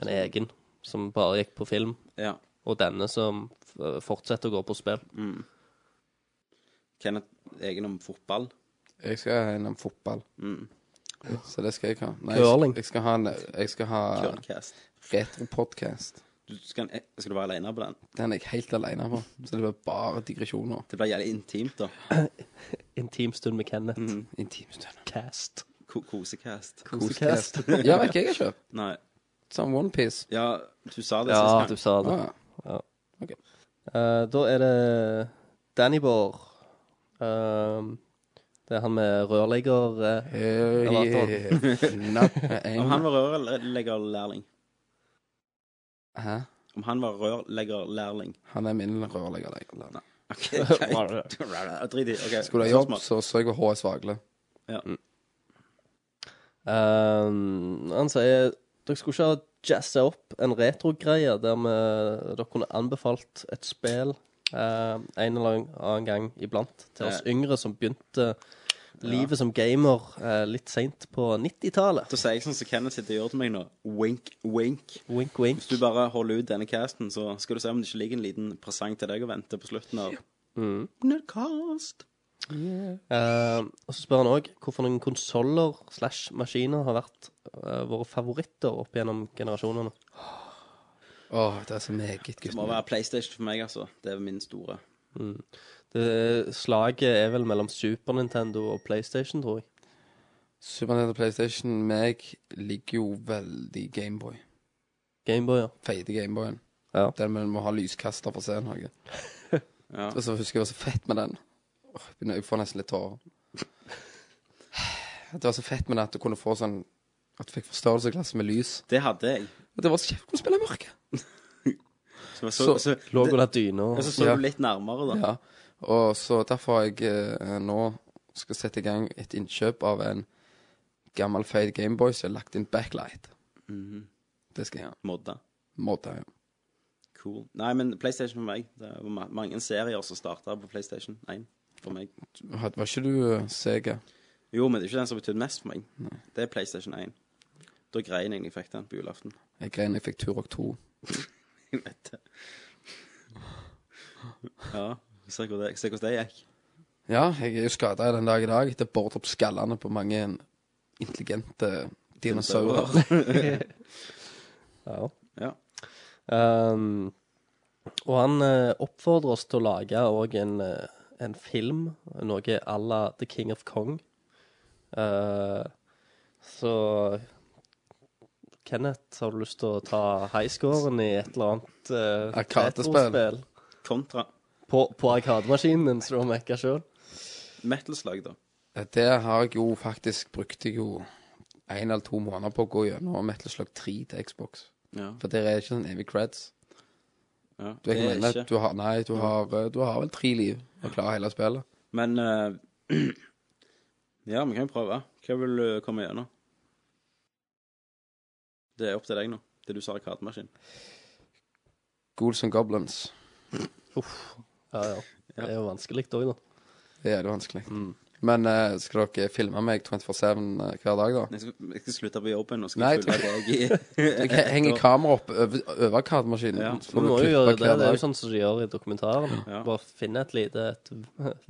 En egen. Som bare gikk på film. Ja. Og denne som eh, fortsetter å gå på spill. Mm. Kenneth egen om fotball. Jeg skal ha en om fotball, Mm. så det skal jeg ha. Nei, jeg skal- Curling. Jeg skal ha, en, jeg skal ha Curlcast. retropodcast. Du skal, eh, skal du være aleine på den? Den er jeg helt alene på, så det blir bare digresjoner. Det blir jævlig intimt, da. Intimstund med Kenneth. Mm. Intimstund. Cast. Ko kosecast. Kosecast. Ja, vet ikke jeg har kjøpt. Nei. Sånn Onepiece. Ja, du sa det Ja, du sist gang. sa det. Ah, Ja. Ok. Eh, da er det Danny Bård. Ehm, det er han med rørlegger eh, Om han Hæ? var rørleggerlærling. Om han var rørleggerlærling. Han er min rørlegger. jeg. OK, greit. Drit i. ok. Skulle ha jobb, Spørsmål. så så jeg HS Vagle. ehm, Han sier dere skulle ikke ha jazza opp en retrogreie der vi- dere kunne anbefalt et spill eh, en eller annen gang iblant til oss yngre som begynte livet som gamer eh, litt seint på 90-tallet. Da sier jeg sånn som Kenneth sitter og gjør til meg nå. Wink, wink. Wink, wink. Hvis du bare holder ut denne casten, så skal du se om det ikke ligger en liten presang til deg og venter på slutten av Mm. Nerdcast. Eh, og så spør han òg hvorfor noen konsoller slash maskiner har vært eh, våre favoritter opp gjennom generasjonene. Å, det er så meget, Det gutten. må være PlayStation for meg, altså. Det er min store. Det, eh, slaget er vel mellom Super Nintendo og PlayStation, tror jeg. Super Nintendo PlayStation, meg ligger jo veldig Gameboy. Gameboy, ja. Feite Gameboyen. Ja. Den med må ha lyskaster for å se noe. Ja. Og så husker jeg det var så fett med den. Åh, jeg begynner- jeg får nesten litt tårer. Det var så fett med den at du kunne få sånn At du fikk forstørrelsesglass med lys. Det hadde jeg. Og det var så kjekt å kunne spille i mørket. Så, så, Så- så, Lå under dyna. og så så Ja. du litt nærmere, da. Ja. Og så derfor har jeg eh, nå skal sette i gang et innkjøp av en gammel feit Gameboy som er lagt inn backlight. Det skal jeg ha. Mhm. Modda. Måte, ja. Cool. Nei, men PlayStation for meg. Det var ma- mange serier som starta på PlayStation 1 for meg. Had- Var ikke du eh, Sega? Jo, men det er ikke den som betydde mest for meg. Det er PlayStation 1. Da grein jeg da jeg fikk den på julaften. Jeg grein jeg fikk Turok 2. Jeg vet det. Ja, se hvordan det, se hvordan det gikk. Ja, jeg er jo skada den dag i dag. Det boret opp skallene på mange intelligente dinosaurer. Ja. Ja. Ehm, og han eh, oppfordrer oss til å lage òg en, eh, en film, noe à la The King of Kong. Eh, så Kenneth, har du lyst til å ta highscoren i et eller annet eh, Arkadespill. retrospill? Kontra På, på arkademaskinen din, så du har mekka sjøl? metal-slag, da. Eh, Det har jeg jo faktisk brukt jeg jo en eller to måneder på å gå gjennom Metal Slug 3 til Xbox. Ja. For der er ikke sånn evig creds. Ja, Du, det jeg er mener, ikke. at du har, nei, du har, eh, du har vel tre liv å klare hele spillet. Men eh, Ja, vi kan jo prøve. Hva vil du komme gjennom? Det er opp til deg nå. Det er du som har kartemaskin. Ghouls and Goblins. Uff. Ja, ja. Det er jo vanskelig òg, da. Mm. Det er det vanskelig. Men eh, skal dere filme meg 24-7 hver dag, da? Jeg skal, jeg skal slutte på jobben og skal Nei, følge deg i jeg henger kamera opp over, over kartemaskinen. Ja. så Vi får må vi jo klippe gjøre det. hver Det er dag. jo sånn som de gjør i dokumentaren. Ja. Bare finne et lite et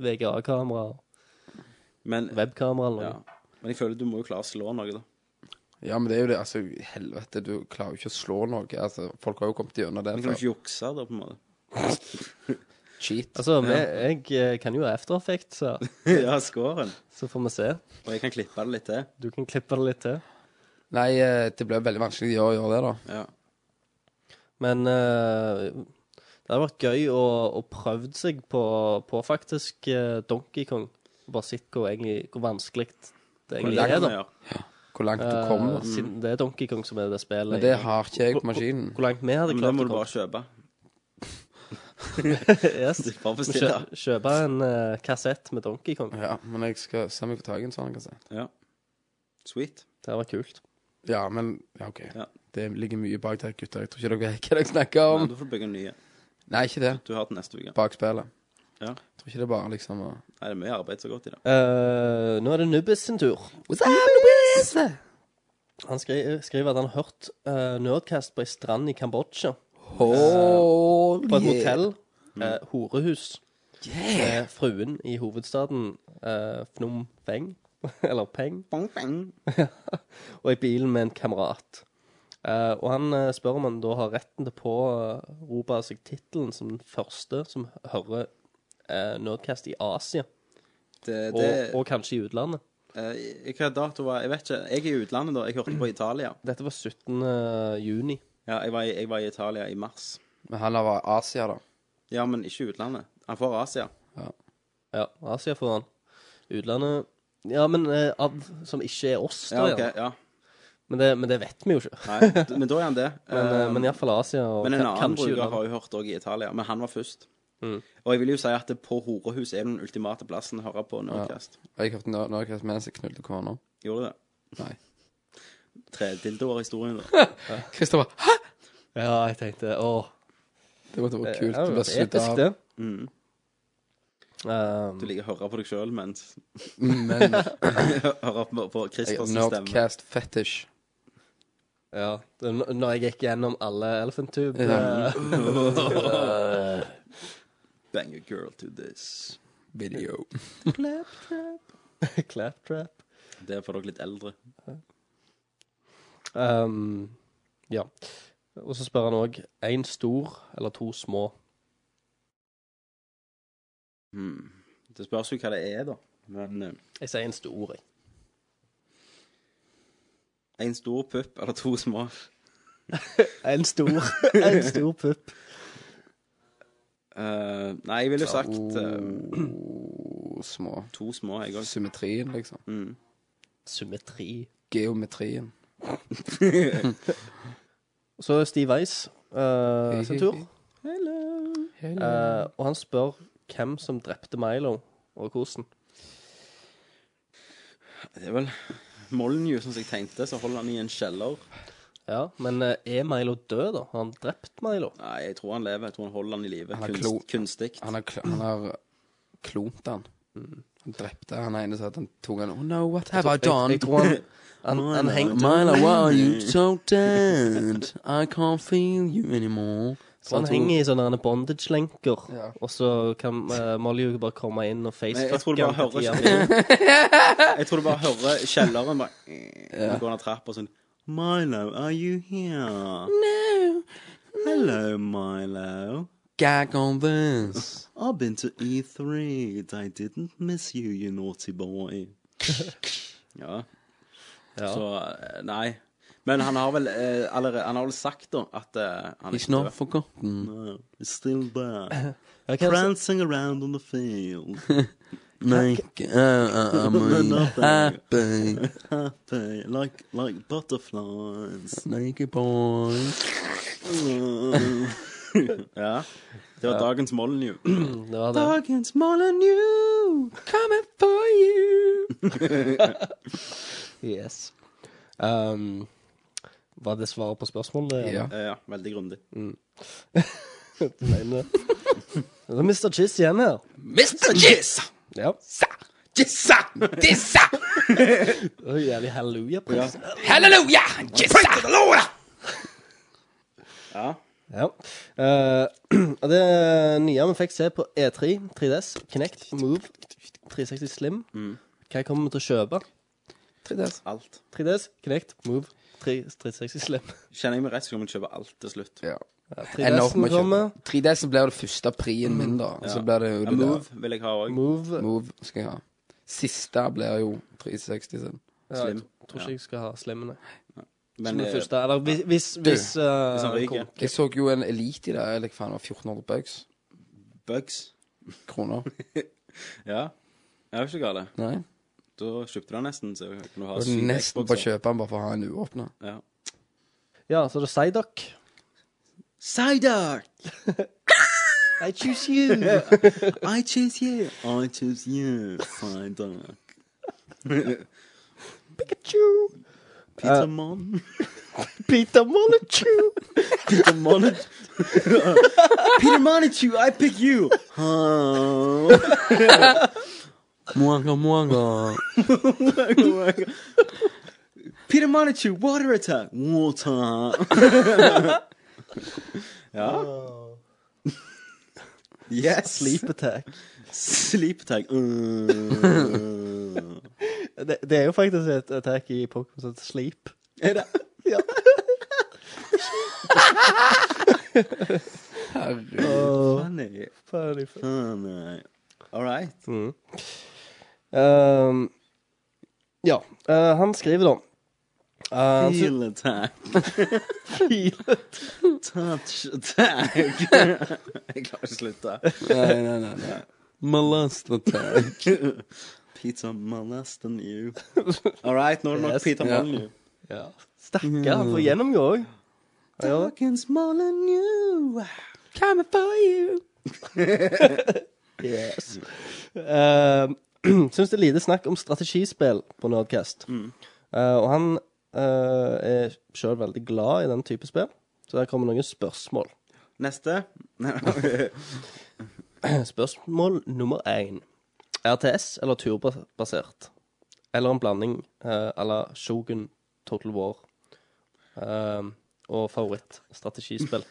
VGA-kamera, Men, webkamera eller ja. noe. Men jeg føler du må jo klare å slå noe, da. sånn- Ja, men det er jo det. Altså, helvete, du klarer jo ikke å slå noe. Altså, folk har jo kommet gjennom det. Men kan du før. ikke jukse, da, på en måte? Cheat. Altså, vi, jeg eh, kan jo After Effects, så, ja, scoren. så får vi se. Og jeg kan klippe det litt til. Du kan klippe det litt til. Nei, eh, det ble veldig vanskelig å gjøre, gjøre det, da. Ja. Men eh, det hadde vært gøy å, å prøve seg på, på faktisk eh, Donkey Kong. Og Bare sett hvor, egentlig- hvor vanskelig det Hvor egentlig er. langt kan da. vi gjøre? Hvor langt du Eh, kommer. siden det er Donkey Kong som er det spillet. Men det i- har ikke jeg på maskinen. Hvor langt vi hadde Men da klart må å du komme. bare kjøpe. Yes. Bare Vi bestille. kjø- Kjøpe en eh, kassett med Donkey Kong. Ja, men jeg skal se om jeg får tak i en sånn, kanskje. Ja. Sweet. Det hadde vært kult. Ja, men ja, OK. Ja. Det ligger mye bak der, gutter. Jeg tror ikke dere vet hva dere snakker Nei, om. da får du bygge en ny. Nei, ikke det. Du har den neste uke. Bak spillet. Ja. Jeg tror ikke det er bare liksom å Nei, det er mye arbeid som har gått i det. Eh, nå er det Nubbes sin tur. What's up, Louise? Han skri skriver at han har hørt eh, Nerdcast på ei strand i Kambodsja. Holy På et hotell. eh, Mm. horehus. Med fruen i hovedstaden eh, Phnom Peng. Eller Peng. Bang, bang. Og i bilen med en kamerat. Eh, og han eh, spør om han da har retten til å pårope seg tittelen som den første som hører eh, Nerdcast i Asia. Det, Og, det, og kanskje i utlandet. eh, hva dato var Jeg vet ikke. Jeg er i utlandet, da. Jeg hørte på Italia. Dette var 17. juni. Ja, jeg var, i, jeg var i Italia i mars. Men han har vært Asia, da. Ja, men ikke utlandet. Han får Asia. Ja, Asia foran. Utlandet Ja, men eh, av, som ikke er oss, Ja, da. ok, gjerne. ja. Men, det, men det vet vi jo ikke. Nei, d- men da er han det. Men, Eh, eh, men iallfall Asia og men en ka- annen kanskje bruker utlandet. Mm. har jo hørt òg i Italia. Men han var først. Og jeg vil jo si at det på horehus er den ultimate plassen å høre på Nordkast. Jeg hørte nå, nå mens jeg knulte kona. Gjorde du det? Nei. Tredildoer i historien, da. Kristoffer, hæ? Ja, jeg tenkte Å. Det måtte være kult. Eh, det Du hadde ble vært slutt episk, av. det. Mm. Um, Du liker å høre på deg sjøl mens Men Høre på, på jeg- Christers stemme. Nerdcast fetish. ja, det, er n- når jeg gikk gjennom alle Elephant Tube Ja. eh, Bang a girl to this. Video. Claptrap Det er for dere litt eldre. um, Ja. Og så spør han òg én stor eller to små. Mm. Det spørs jo hva det er, da. Men eh, Jeg sier en stor, jeg. en stor pupp eller to små En stor. en stor pupp. Eh, Nei, jeg ville jo sagt eh, Oh, små. to små, jeg òg. Symmetrien, liksom. Mm. Symmetri. Geometrien. Så Steve Weiss eh, sin tur. Eh, og han spør hvem som drepte Milo, og hvordan. Det er vel Molyneux, som jeg tenkte, så holder han i en kjeller. Ja, Men eh, er Milo død, da? Har han drept Milo? Nei, jeg tror han lever. Jeg tror han holder han i live. har Kunst, klo. kunstig. Han har, kl- han har klont han. Mm. Han drepte han ene så at han tok han Oh no, what have I done? Jeg, jeg tror han, han, han hengte Milo, why are you so dead? I can't feel you anymore. Så Han tror- henger i sånne derne bondage-lenker, Ja. og så kan uh, Molly bare komme inn og Nei, jeg tror facefucke du bare hører tida. Jeg tror du bare hører kjelleren bare Så går han av trappa og sånn Milo, are you here? No. Hello, Milo. Gag on this. I've been to E3. I didn't miss you, you naughty boy. ja. Ja. Så eh, Nei. Men han har vel eh, allerede Han har vel sagt, da, at eh, han He's not forgotten. No, he's still there. Ja, hva er det som- Prancing around on the field. Make uh, a moon happy. Happy, like, like butterflies. Snake boys. ja. Det var dagens Molyneux. Det var det. Dagens Molyneux, coming for you. Yes. Ehm, var det svaret på spørsmålet? eller? Ja. Ja, ja, veldig grundig. Du mener det? Det er Mr. Chiss igjen her. Mr. Jizz! Ja. Jizza! Dissa! Det er jo jævlig halleluja-pris. Ja. Halleluja! Jizza! Ja. Eh, og det nye vi fikk se på E3, 3DS, Kinect, Move, 360 Slim Mm. Hva kommer vi til å kjøpe? 3DS. Alt. 3DS, Kinect, Move, 3, 360 Slim. Kjenner jeg meg rett, så kan man kjøpe alt til slutt. Ja. Ja, Ender 3DS-en opp med å kommer. kjøpe. 3DS blir det første prien min, da. Og så blir det jo Ja, det der. move vil jeg ha òg. Move. Move skal jeg ha. Siste blir jo liksom. 360 sin. Ja, jeg Slim. tror ikke jeg skal ha Slim, nei. Men Som den eh, første. Eller hvis Hvis, hvis, eh, hvis han ryker. kom- Jeg så jo en Elite i det. Eller hva faen, det var 1400 bucks. Bugs. Kroner. Ja. Jeg vet ikke hva det er. Nei. Da kjøpte du den nesten, så kan du ha Og syv nesten på å Xboxer. kjøpe den bare for å ha en uåpna. Ja. Ja, så er det Psyduck. Sider! I choose you! I choose you. I choose you. Sider. Pikachu! Peter Mon. Peter Monichu! Peter Mon. Peter Monichu, I pick you. Mwanga, mwanga. Peter Monichu, water attack. Water. ja. Yes. Sleep Attack. Sleep attack. Uh. Det, det er jo faktisk et attack i Pokémon som heter Sleep. Er det? Ja. Åh, Funny. funny, funny. Funny. All right. Mm. Ehm, ja, eh, han skriver da eh, han sy- Feel attack. Touch attack. Jeg klarer ikke å slutte. Nei, nei, nei. nei. Molest attack. Pizza Manas than you. All right, nå er det nok Yes. Peter Ja. Molyneux. ja. Stakkar, han får gjennomgå òg. Dawkins Molyneux. Coming for you. Yes. Uh, Syns det er lite snakk om strategispill på Nerdcast. Eh, og han eh, er sjøl veldig glad i den type spill, så der kommer noen spørsmål. Neste. Nei, Eh, Spørsmål nummer én. RTS eller turbasert? Eller en blanding eh, à la Shogun, Total War eh, og favorittstrategispill.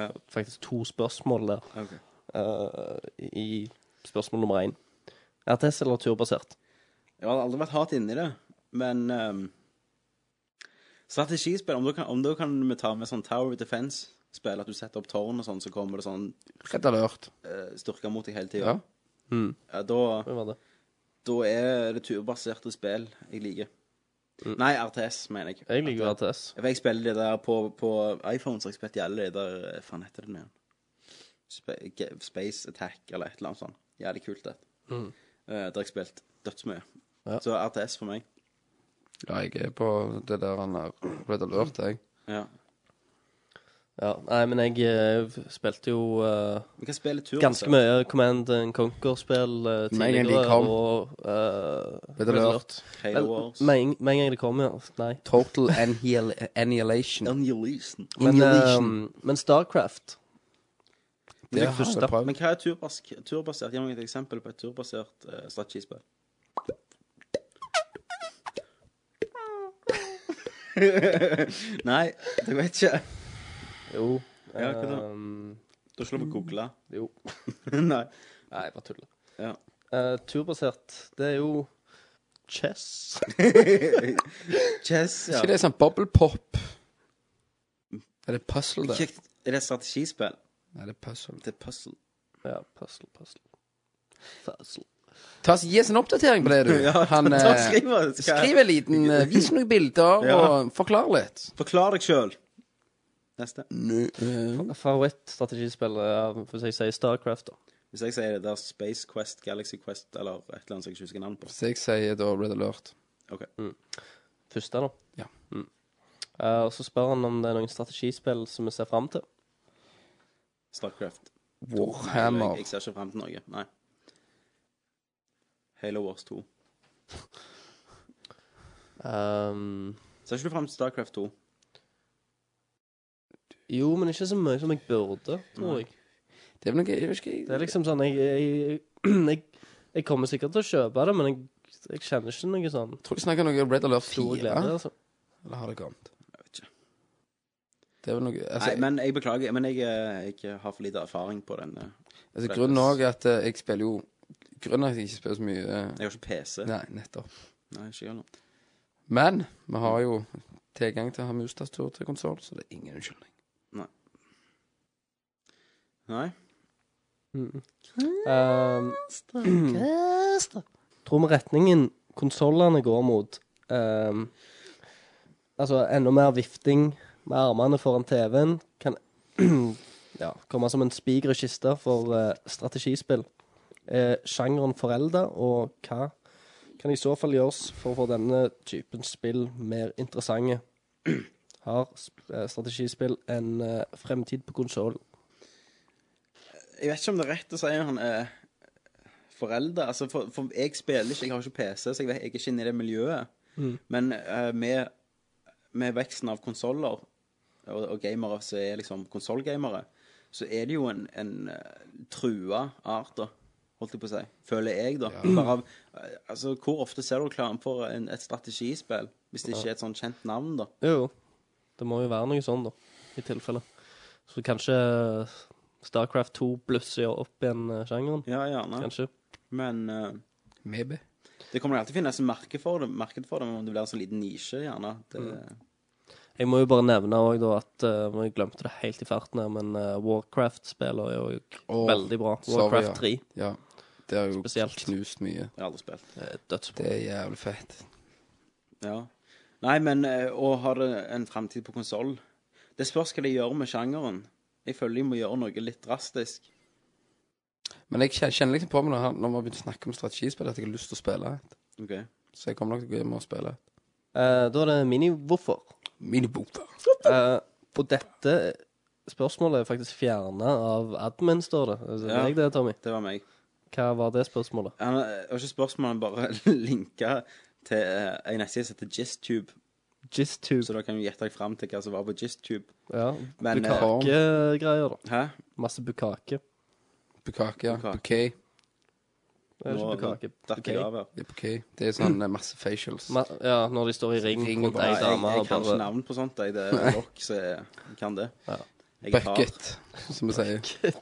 Ja. Faktisk to spørsmål der Ok. eh, i spørsmål nummer én. RTS eller turbasert? Jeg har aldri vært hardt inni det, men um, Strategispill, om da kan, om da kan vi ta med sånn Tower Defense-spill, at du setter opp tårn og sånn, så kommer det sånn Redd alert. eh, styrker mot deg hele tida. Ja. Ja, da, Hva var det? da er det turbaserte spill jeg liker. Nei, RTS, mener jeg. Jeg liker jo RTS. Jeg vet jeg spiller det der på, på iPhone, så jeg spilte alle de der eh, Faen, heter det med igjen? Space Attack eller et eller annet sånt. Jævlig kult, det. Eh, der jeg spilte dødsmye. Mm. Ja. Så RTS for meg. Ja, jeg er på det der han er Red alert, jeg. Ja. Ja, nei, men jeg eh, spilte jo eh, Vi kan spille tur. ganske mye Command and Conquer-spill eh, Med en gang de tidligere, kom. og eh, Red alert. Halo Vel, Wars. Med en med en gang det kommer, ja. Nei. Total annihil annihilation. Annihilation. Men, Annihilation. eh, men Starcraft Det har første. jeg prøvd. Men hva er turbas turbasert? Gi meg et eksempel på et turbasert eh, strategispill. Nei, jeg vet ikke. Jo. Ja, hva da? ehm, Da slår vi google. jo. Nei. Nei, jeg bare tuller. Ja. Eh, turbasert, det er jo chess. Chess, ja. Ikke det er sånn bubble pop? Er det puzzle, det? Kjekt. Er det strategispill? Nei, det er puzzle. Det er puzzle. ja, puzzle, puzzle. Puzzle. Ta oss, Gi oss en oppdatering på det, du. Ja, Han, ta- ta- eh, skriv oss. Skal jeg- skriv en liten eh, Vis noen bilder, Ja. og forklar litt. Forklar deg sjøl. Neste. Nø- eh, Favorittstrategispill, eh, hvis jeg sier Starcraft, da. Hvis jeg sier det der Space Quest, Galaxy Quest eller et eller annet som jeg ikke husker navnet på Så jeg sier da Red Alert. Ok. Første, da. Ja. Mm. Eh, og så spør han om det er noen strategispill som vi ser fram til. Starcraft. Warhammer. Jeg, jeg ser ikke frem til noe. Nei. Halo Wars 2. Ehm, Ser ikke du frem til Starcraft 2? jo, men ikke så mye som jeg burde, tror jeg. Det er vel noe jeg vet ikke, Det er liksom sånn Jeg, jeg, jeg, jeg, jeg kommer sikkert til å kjøpe det, men jeg, jeg kjenner ikke noe sånn jeg tror de snakker noe om Red Alert stor 4. glede. Altså. Eller har det kommet? Jeg vet ikke. Det er vel noe altså, Nei, men jeg beklager, men jeg, eh, jeg har for lite erfaring på den. eh. altså, Grunnen òg er at eh, jeg spiller jo Grunnen er at jeg ikke spiller så mye eh, Jeg har ikke PC. Nei, nettopp. Nei, ikke jeg heller. Men vi har jo tilgang til å ha mustastatur til konsoll, så det er ingen unnskyldning. Nei. Mm. Ehm, tror vi retningen konsollene går mot ehm, Altså enda mer vifting med armene foran TV-en kan ja, komme som en spiger i kista for eh, strategispill. Er sjangeren forelda, og hva kan i så fall gjøres for å få denne typen spill mer interessante? Har sp- eh, strategispill en eh, fremtid på konsoll? Jeg vet ikke om det er rett å si han er foreldre. Altså, for, for jeg spiller ikke, jeg har ikke PC, så jeg, vet, jeg er ikke inne i det miljøet. Men eh, med, med veksten av konsoller og, og gamere som er liksom konsollgamere, så er det jo en, en eh, trua art, da. Holdt jeg på å si. Føler jeg, da. Bare av, eh, altså, hvor ofte ser du reklame for en, et strategispill hvis det ikke er et sånn kjent navn, da? Jo, jo. Det må jo være noe sånn, da. I tilfelle. Så kanskje Starcraft 2 blusser jo opp igjen eh, sjangeren. Ja, gjerne. Kanskje. Men eh, Maybe. Det kommer alltid finnes en merke for det, marked for det, men om det blir en sånn liten nisje, gjerne. at Det, Jeg må jo bare nevne òg, da, at eh, Jeg glemte det helt i farten her, men eh, Warcraft spiller jo Åh, veldig bra. sorry, Warcraft ja. Ja. Det er jo Spesielt. knust Jeg mye. har aldri spilt. 3 er dødsbra. Det er jævlig fett. Ja. Nei, men eh, å ha det en framtid på konsoll Det spørs hva de gjør med sjangeren. Jeg føler de må gjøre noe litt drastisk. Men jeg kjen- kjenner liksom på meg når han- når vi har begynt å snakke om strategispill, at jeg har lyst til å spille et. Ok. Så jeg kommer nok til å gå hjem og spille et. Eh, da er det mini-hvorfor. Miniboofer. Eh, og dette spørsmålet er faktisk fjerna av admin, står det. Altså, det Ja. er jeg det, Tommy? Det var meg. Hva var det spørsmålet? Han eh, det var ikke spørsmål, han bare linka til eh, en nettside som heter Gistube. Gistube. Så da kan du gjette deg fram til hva som var på Gistube. Ja. Men, eh, Bukakegreier, da. Hæ? Masse bukake. Bukake, ja. Bukake. Bukake. Det er Nå ikke bukake. datt jeg Bukake. av her. Det er bukake. Det er sånn eh, masse facials. Ma ja, når de står i ring Ring rundt og ei Nei, jeg, dame jeg og kan ikke bare navn på sånt. Jeg, det er rock, så jeg kan det. Ja. Jeg er hard. Bucket, som vi sier.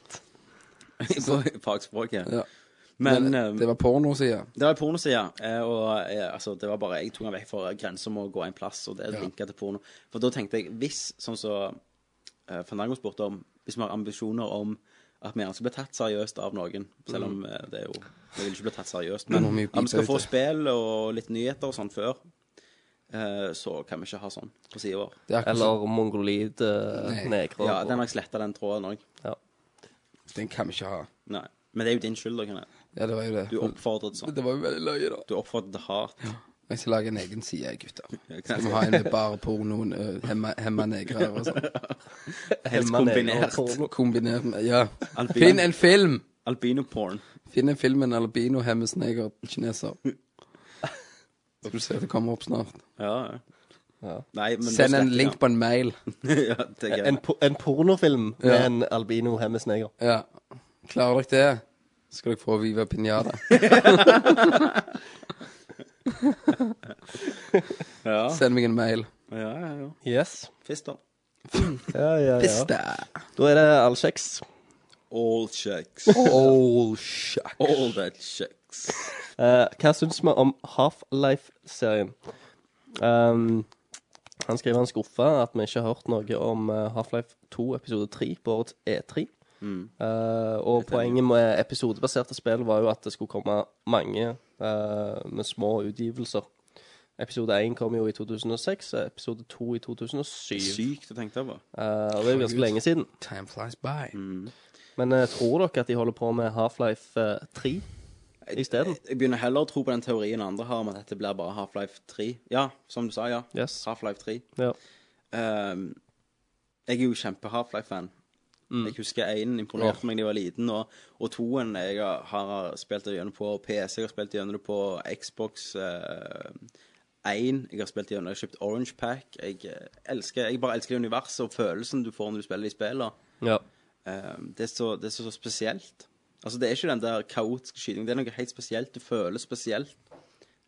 på fagspråket. Ja. Men, Men eh, eh, det var pornosida. det var pornosida, eh, og eh, altså, det var bare jeg tok den vekk fra grensa med å gå en plass, og det Ja. linka til porno. For da tenkte jeg, hvis, sånn som eh, Fandango spurte om, hvis vi har ambisjoner om at vi gjerne skal bli tatt seriøst av noen, selv om eh, det er jo Vi vil ikke bli tatt seriøst, men Nå Mm. må vi at vi skal bite få ut det. spill og litt nyheter og sånn før, eh, så kan vi ikke ha sånn på sida vår. Det er akkurat sånn. Eller mongolid eh, Nei. negre. Ja, den og- har jeg sletta, den tråden òg. sånn. Den kan vi ikke ha. Nei. Men det er jo din skyld, da, Kenneth. Ja, det var jo det. Du oppfordret sånn. Det var jo veldig løye, da. Du oppfordret til hardt. Jeg skal lage en egen side, gutter. Ja, Skal vi ha en med bare pornoen, eh, hemma, hemma negrer og sånn. Helst Hemma negre og kombinert. porno. Kombinert med Ja. Albino. Finn en film! Albino-porn. Finn en film med en albino hemmes neger kineser. Skal du se at det kommer opp snart. Ja, Ja. Nei, men Send en link på en mail. ja, det er En, greit. po en pornofilm med Ja. en albino hemmesneger. Ja. Klarer dere det, skal dere få Viva Pinjada. Ja, Send meg en mail. ja, ja. ja. Yes. Fister. Ja, ja, ja. Pista! Da er det all kjeks. All checks. Oh, shuck. All that checks. Eh, hva syns vi om Half-Life-serien? Ehm, han skriver han skuffa at vi ikke har hørt noe om eh, Half-Life 2 episode 3 på årets E3. Mm. Eh, og poenget med episodebaserte spill var jo at det skulle komme mange eh, med små utgivelser. Episode 1 kom jo i 2006, og episode 2 i 2007. Sykt å tenke på. Eh, og det er jo ganske lenge siden. Mm. Time flies by. Men eh, tror dere at de holder på med Half-Life eh, 3 isteden? Jeg begynner heller å tro på den teorien andre har om at dette blir bare Half-Life 3. Ja, som du sa, ja. Yes. Half-Life 3. Ja. Ehm, jeg er jo kjempe Half-Life-fan. Jeg husker én imponerte meg da jeg var liten, og, og toen jeg har- har spilt det gjennom på PC, jeg har spilt det gjennom det på Xbox eh, 1, jeg har spilt det gjennom, jeg har kjøpt Orange Pack. Jeg, eh, elsker, jeg bare elsker det universet og følelsen du får når du spiller de spillene. Ja. Ehm, det, er så, det er så, så spesielt. Altså, det er ikke den der kaotiske skytingen, det er noe helt spesielt. Du føler spesielt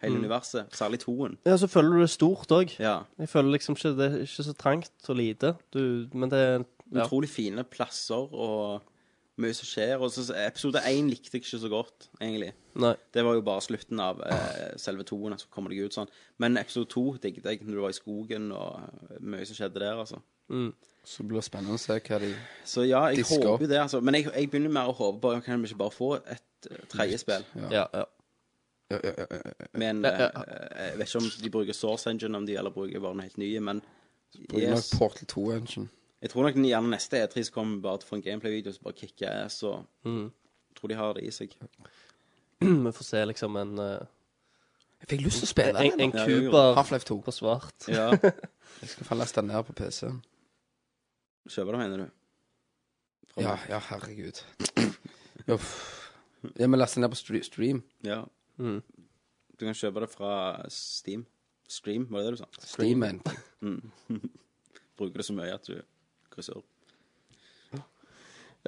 hele Mm. universet, særlig toen. Ja, så føler du det stort òg. Ja. Jeg føler liksom ikke det er ikke så trangt og lite. Du, men det er ja. Utrolig fine plasser og mye som skjer. Og så, så episode én likte jeg ikke så godt, egentlig. Nei. Det var jo bare slutten av eh, selve toen. Så kommer det ikke ut sånn. Men episode to digget jeg når du var i skogen, og mye som skjedde der, altså. Så det blir spennende å se hva de Så ja, jeg Disker håper opp. jo det, altså. Men jeg, jeg begynner mer å håpe på Kan vi ikke bare få et eh, tredje spill? Ja, ja. Med en Ja, ja. eh, Jeg vet ikke om de bruker Source Engine, om de eller bruker bare en helt ny, men Bruker nok Portal 2-engine. Jeg tror nok den gjerne neste E3 så kommer vi bare til å få en gameplay-video som bare kicker ass, og Mm. tror de har det i seg. Vi får se liksom en eh, Jeg fikk lyst til å spille En, en den, da. kuber Half-Life 2. på svart. Ja. Jeg skal falle den ned på PC-en. Kjøper det, mener du? Fra- Ja, ja, herregud. Uff. Ja, men last den ned på stre- stream. Ja. Mm. Du kan kjøpe det fra Steam. Stream, var det det du sa? Stream en ting. Bruker det så mye at du krysser opp.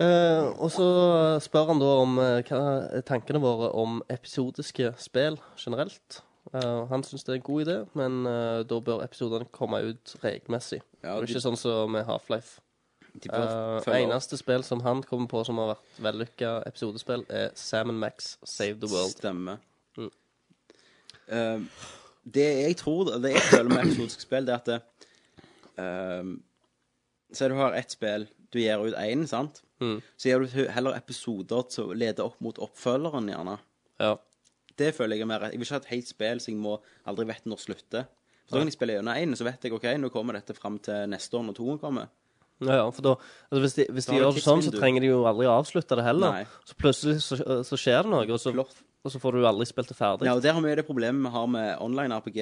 Eh, og så spør han da om eh, hva er tankene våre om episodiske spill generelt. Eh, han syns det er en god idé, men eh, da bør episodene komme ut regelmessig. Ja, og de- ikke sånn som med Half-Life. De bør Uh, følge opp. eneste spill som han kommer på som har vært vellykka episodespill, er Sam Max Save the World. Stemmer. Mm. Ehm, det jeg tror Det jeg føler med episodisk spill, det er at det, ehm, Se, du har ett spill. Du gir ut én, sant? Mm. Så gir du heller episoder som leder opp mot oppfølgeren, gjerne. Ja. Det føler jeg er mer Jeg vil ikke ha et helt spill så jeg må aldri vet når slutter. For da kan jeg spille gjennom én, så vet jeg OK, nå kommer dette fram til neste år når toen kommer. Ja, ja, for da, altså hvis de, hvis Da de har du gjør det sånn, så tidsvindu. trenger de jo aldri å avslutte det heller. Nei. Så plutselig så, så skjer det noe, og så, Plott. og så får du aldri spilt det ferdig. Ja, og der har vi jo det problemet vi har med online RPG.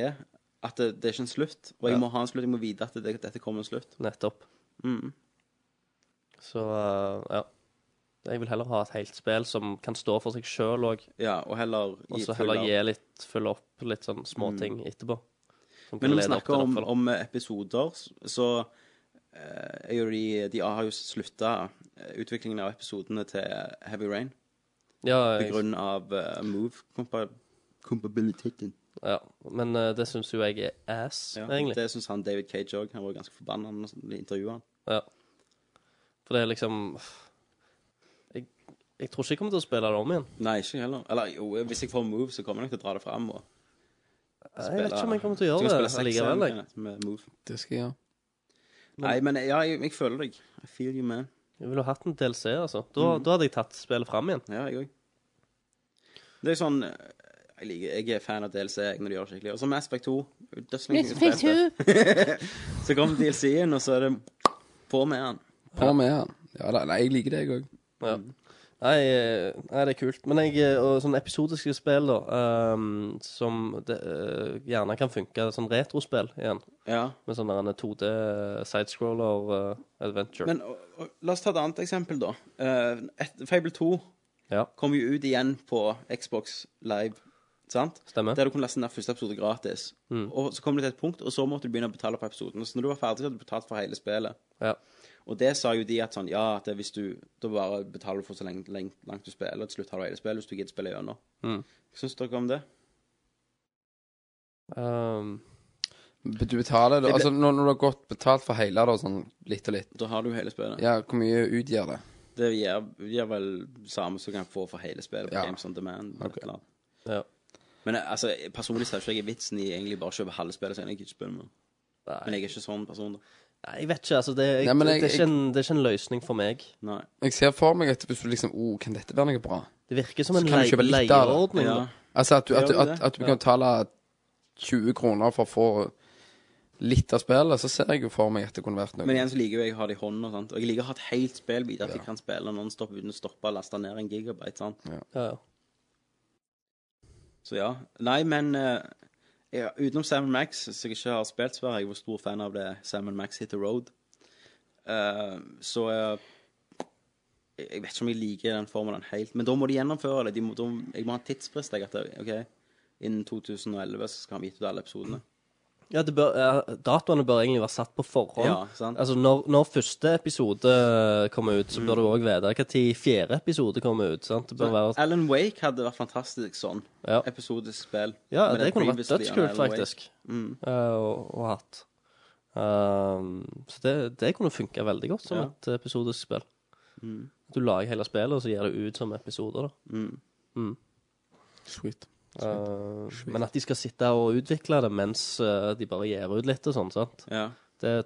At det, det er ikke en slutt. Og jeg må ha en slutt, jeg må vite at det, dette kommer en slutt. Nettopp. Mm. Så eh, ja. Jeg vil heller ha et helt spill som kan stå for seg sjøl òg, Ja, og heller gi og så full heller av- Mm. gi litt, fylle opp litt sånn småting etterpå. som kan Men når vi lede opp snakker til om, oppfølgeren. om episoder, så eh, er jo de, de har jo slutta utviklingen av episodene til Heavy Rain ja, jeg- pga. move-kompabiliteten. ja, men eh, det syns jo jeg er ass, Ja, egentlig. det syns han David Cage òg. Han var ganske forbanna da de intervjua han. Ja. For det er liksom jeg, jeg tror ikke jeg kommer til å spille det om igjen. Nei, ikke jeg heller. Eller jo, hvis jeg får move, så kommer jeg nok til å dra det fram. Og Jeg vet ikke om jeg kommer til å Så kan jeg gjøre det spille allikevel. jeg. sexen, eh, Med move. Det skal jeg gjøre. Nei, men ja, jeg, jeg føler deg. I feel you, man. Jeg ville hatt en DLC, altså. Da, da hadde jeg tatt spillet fram igjen. Ja, jeg òg. Det er sånn eh, jeg, liker, jeg er fan av DLC jeg, når de gjør det skikkelig. Og så Mass Effect 2. dødslenge siden jeg spilte. så kommer DLC-en, og så er det på med han. På med den. Ja, da, nei, jeg liker det, jeg òg. Ja. Nei, eh, nei, det er kult. Men jeg, eh, og sånne episodiske spill, da, ehm, som det, eh, gjerne kan funke som retrospill igjen, Ja. med sånn der en 2D eh, sidescroller eh, adventure. Men og, og, la oss ta et annet eksempel, da. Eh, et, Fable 2 ja, kom jo ut igjen på Xbox Live. Sant? stemmer. Mm, Der du kunne laste ned første episode gratis. Mm. Og så kom det til et punkt, og så måtte du begynne å betale for episoden. Så når du var ferdig, så hadde du betalt for hele spillet. Ja. Og det sa jo de at sånn, ja, at det hvis du da bare betaler du for så lenge, lenge, langt du spiller, til slutt har du hele spillet, hvis du gidder spille gjennom. Mm. Hva syns dere om det? Ehm, Du betaler det. Det ble- Altså, når, når du har godt betalt for hele det, og sånn litt og litt Da har du jo hele spillet. Ja, hvor mye utgjør det? Det gir, gir vel samme som du kan få for hele spillet på Ja. Games On Demand. eller Ok. et eller annet. ja. Men eh, altså, personlig ser ikke jeg vitsen i egentlig bare å kjøpe halve spillet, så jeg ikke spiller mer. Men Nei, jeg er ikke sånn person, da. nei, jeg vet ikke. Altså, det, jeg, Nei, men jeg- det, er ikke en, det er ikke en løsning for meg. Nei. Jeg ser for meg at hvis du liksom Å, kan dette være noe bra? Det virker som Så en kan du leie- kjøpe litt av det. leieordning. Ja. da. Altså at du, at, Gjør du- du at, det? at du kan betale 20 kroner for å få litt av spillet, så ser jeg jo for meg at det kunne vært noe. Men igjen så liker jo jeg å ha det i hånden og sånt. Og jeg liker å ha et helt spill videre, at jeg kan spille nonstop uten å stoppe og laste ned en gigabyte. sant? Så ja. Nei, men eh, ja, utenom Sam Max, som jeg ikke har spilt, så er jeg jo stor fan av det Sam Max Hit the Road. Eh, så eh, jeg jeg vet ikke om jeg liker den formelen helt, men da må de gjennomføre det. De må, da, jeg må ha en tidsfrist. Jeg, at det, ok, Innen 2011 så skal han vite ut alle episodene. Ja, det bør, eh, Datoene bør egentlig være satt på forhånd. Ja, sant. Altså, når, når første episode eh, kommer ut, så bør du òg vite når fjerde episode kommer ut. sant? Det bør være... Alan Wake hadde vært fantastisk sånn. Episodisk spill. Ja, Med det, den kunne vært previously on dødskult, Alan Wake. faktisk. Mm. eh, og, og hatt. Ehm, så det, det kunne funka veldig godt som Ja. et episodisk spill. Mm. Du lager hele spillet, og så gir det ut som episoder. da. Mm. Mm. Sweet. Eh, Men at de skal sitte og utvikle det mens eh, de bare gir ut litt og sånn, sant? Ja. Det er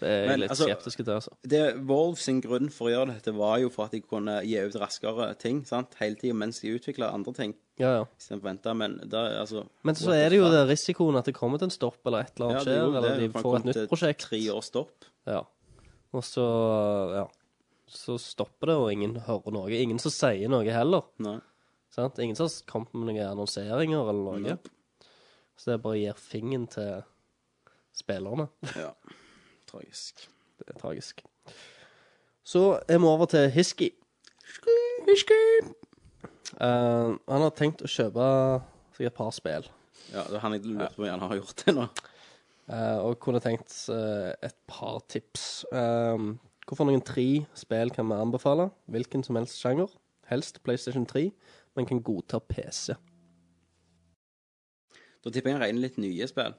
jeg Men, litt altså, skeptisk til, altså. det, Valve sin grunn for å gjøre dette var jo for at de kunne gi ut raskere ting sant? hele tida mens de utvikla andre ting. Ja, ja. Istedenfor å vente. Men, der, altså, Men så er det jo det risikoen at det kommer til en stopp, eller et eller Ja, annet det er jo skjer, eller det, de for det får et kom nytt til prosjekt. Tre år stopp. Ja. Og så, ja. Så stopper det, og ingen hører noe. Ingen som sier noe heller. Nei. Sant? Ingen som har kommet med noen annonseringer eller noe. Så det bare gir fingeren til spillerne. Ja. Tragisk. Det er tragisk. Så er vi over til Hiski. Eh, han har tenkt å kjøpe seg et par spill. Ja, det var han jeg lurte på om han har gjort det nå. Eh, og kunne tenkt eh, et par tips. Um, hvorfor noen tre spill kan vi anbefale? Hvilken som helst sjanger. Helst PlayStation 3, men kan godta PC. Da tipper jeg han regner litt nye spill.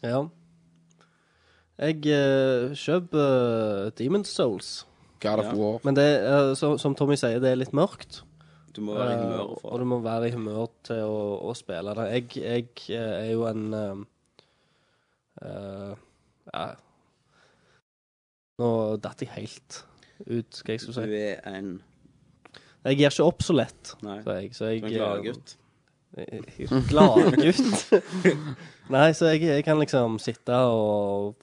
Ja. Jeg eh, kjøper eh, Demon's Souls. God of Ja. War. Men det, er, så, som Tommy sier, det er litt mørkt. Du må være i Eh, humør for Og du må være i humør til å, å spille det. Jeg, jeg eh, er jo en eh, eh, ja. Nå datt jeg helt ut, hva jeg skulle Du si. er en Jeg gir ikke opp så lett, Nei. sa jeg. Så jeg Du er en gladgutt. eh, Gladgutt? Nei, så jeg, jeg kan liksom sitte og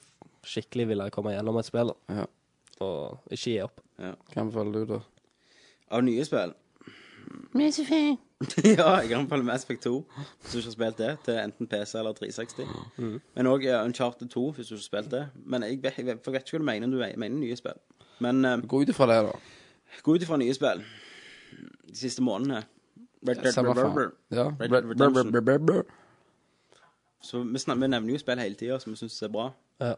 skikkelig ville komme gjennom et spill. da. Ja. Og ikke gi opp. ja. Hva anbefaler du, da? Av nye spill? ja, jeg anbefaler Mass Effect 2, hvis du ikke har spilt det, til enten PC eller 360. Men òg Uncharted 2, hvis du ikke har spilt det. Men jeg vet, jeg vet, for jeg vet ikke hva du mener, om du mener nye spill. Men eh, Gå ut ifra det, da. gå ut ifra nye spill de siste månedene. Red Dead Samme faen. Revolver. Ja. Red Red- Dead Redemption. Red- Red- Red- Så vi, snak, vi nevner jo spill hele tida som vi syns er bra. Ja.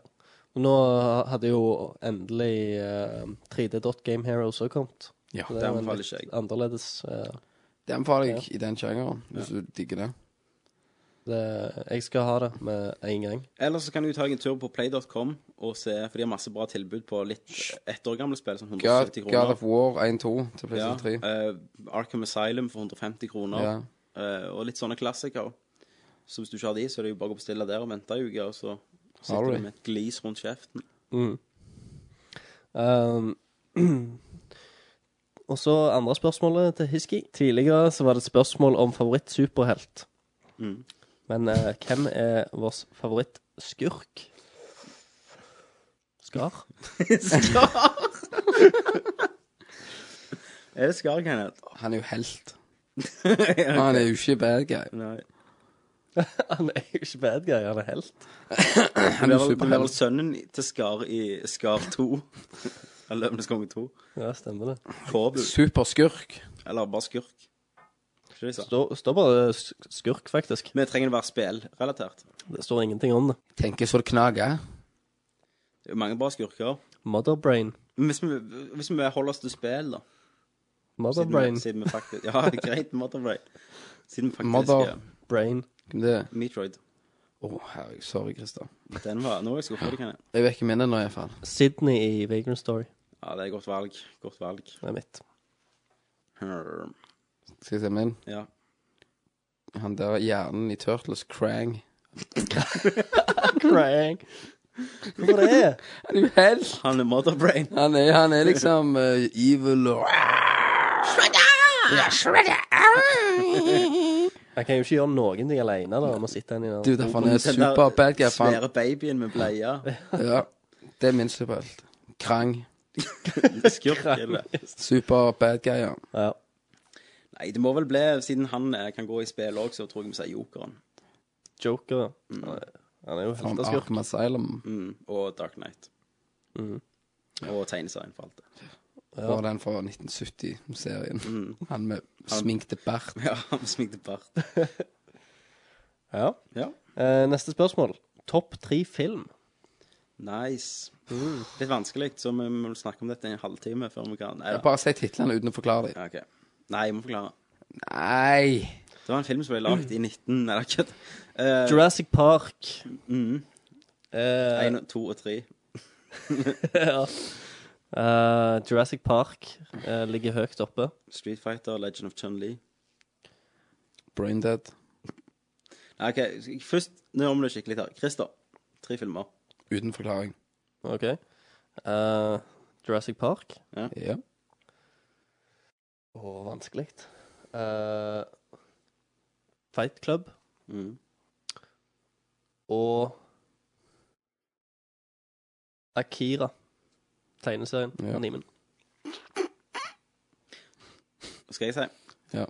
Og nå hadde jo endelig eh, 3D.Game Heroes også kommet. Ja, Så det er jo anbefaler litt ikke jeg. Annerledes. eh, Det anbefaler jeg i den sjangeren, hvis du digger det. det, jeg skal ha det med en gang. Eller så kan du ta deg en tur på play.com og se, for de har masse bra tilbud på litt ett år gamle spill, sånn God, 170 God kroner. of War 1-2 til PlayStation 3. eh, Arkham Asylum for 150 kroner. Ja. eh, og litt sånne klassikere. Så hvis du ikke har de, så er det jo bare å bestille der og vente ei uke, og så Har sitter du de? du med et glis rundt kjeften. Mm. Um, og så andre spørsmålet til Hiski. Tidligere så var det et spørsmål om favoritt-superhelt. Mm. Men eh, hvem er vår favoritt-skurk? Skar? Skar! er det Skar, Kenneth? Han er jo helt. Han er jo ikke bad guy. Nei. han er jo ikke bad guy, han er helt. Han Det er er vel- det er vel superhelt. sønnen til Skar i Skar 2. Eller Løvenes konge 2. Ja, stemmer det. Kåbu. Superskurk. Eller bare skurk. Ikke det, jeg sa? Står står bare sk- skurk, faktisk. Vi trenger det være spillrelatert. Det står ingenting om det. Tenker så det knager. Det er mange bra skurker. Motherbrain. Men hvis vi, hvis vi holder oss til spill, da Siden Motherbrain. vi, siden vi faktisk Ja, greit, Motherbrain. Siden vi faktisk Mother- er Brain. Det Å, Metroid. herregud. Sorry, Christer. Den var Nå er jeg skuffa, kan jeg. Jeg vekker minnet nå, iallfall. Sydney i Vagrant Story. Ja, det er godt valg. Godt valg. Det er mitt. Hmm. Skal jeg se min? Ja. Han der hjernen i Turtles, Krang. Crank. Hvorfor det? Han er jo helt. Han er Motherbrain. Han er, han er liksom eh, evil og Jeg Han kan jo ikke gjøre noen ting alene. Da. Han må sitte inn i den. Du, derfor han er super bad guy. for han- Svære babyen med bleia. Ja, det er min superhelt. Krang. Skurk, eller? Super bad guy, ja. Nei, det må vel bli, siden han eh, kan gå i spill òg, så tror jeg vi sier Jokeren. Joker, ja. Han er jo From helteskurk. Arkham Asylum. Mm, og Dark Knight. Mm. Mhm. Og tegneserien, for alt det. Og den fra 1970-serien. Han med sminkte bart. Ja, med sminkte bart. Ja. Ja. Eh, neste spørsmål. Topp tre film. Nice. Mm. Litt vanskelig, så vi må snakke om dette i en halvtime før vi kan Nei, Jeg da. Bare si titlene uten å forklare dem. Ja, ok. Nei, jeg må forklare. Nei! Det var en film som ble laget i 19... Nei, det er kødd. Eh, Jurassic Park. mm, Eh, en, to og tre. ja. Eh, Jurassic Park eh, ligger høyt oppe. Street Fighter, Legend of Chun-Li. Braindead. Nei, OK, skal- først Nå gjør vi det skikkelig her. Christer. Tre filmer. Uten forklaring. OK. Eh, Jurassic Park. Ja. Å, vanskelig. Eh, Fight Club Mm. og Akira. Tegneserien. Ja. Animen. Hva skal jeg si? Ja.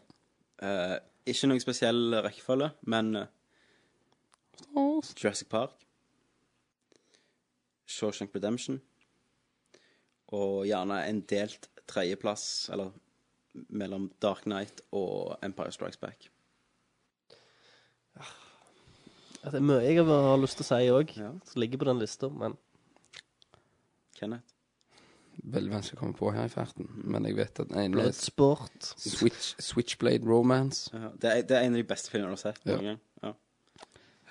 Eh, ikke noen spesiell rekkefølge, men eh, Jurassic Park. Shawshank Redemption. Og gjerne en delt tredjeplass, eller mellom Dark Knight og Empire Strikes Back. Ja, Altså, Det er mye jeg har lyst til å si òg, Ja. som ligger på den lista, men Kenneth. Veldig vanskelig å komme på her i farten, men jeg vet at den ene er Bloodsport. Switch, Switchblade Romance. Ja, det, er, det er en av de beste filmene jeg har sett. Ja. noen gang. Ja.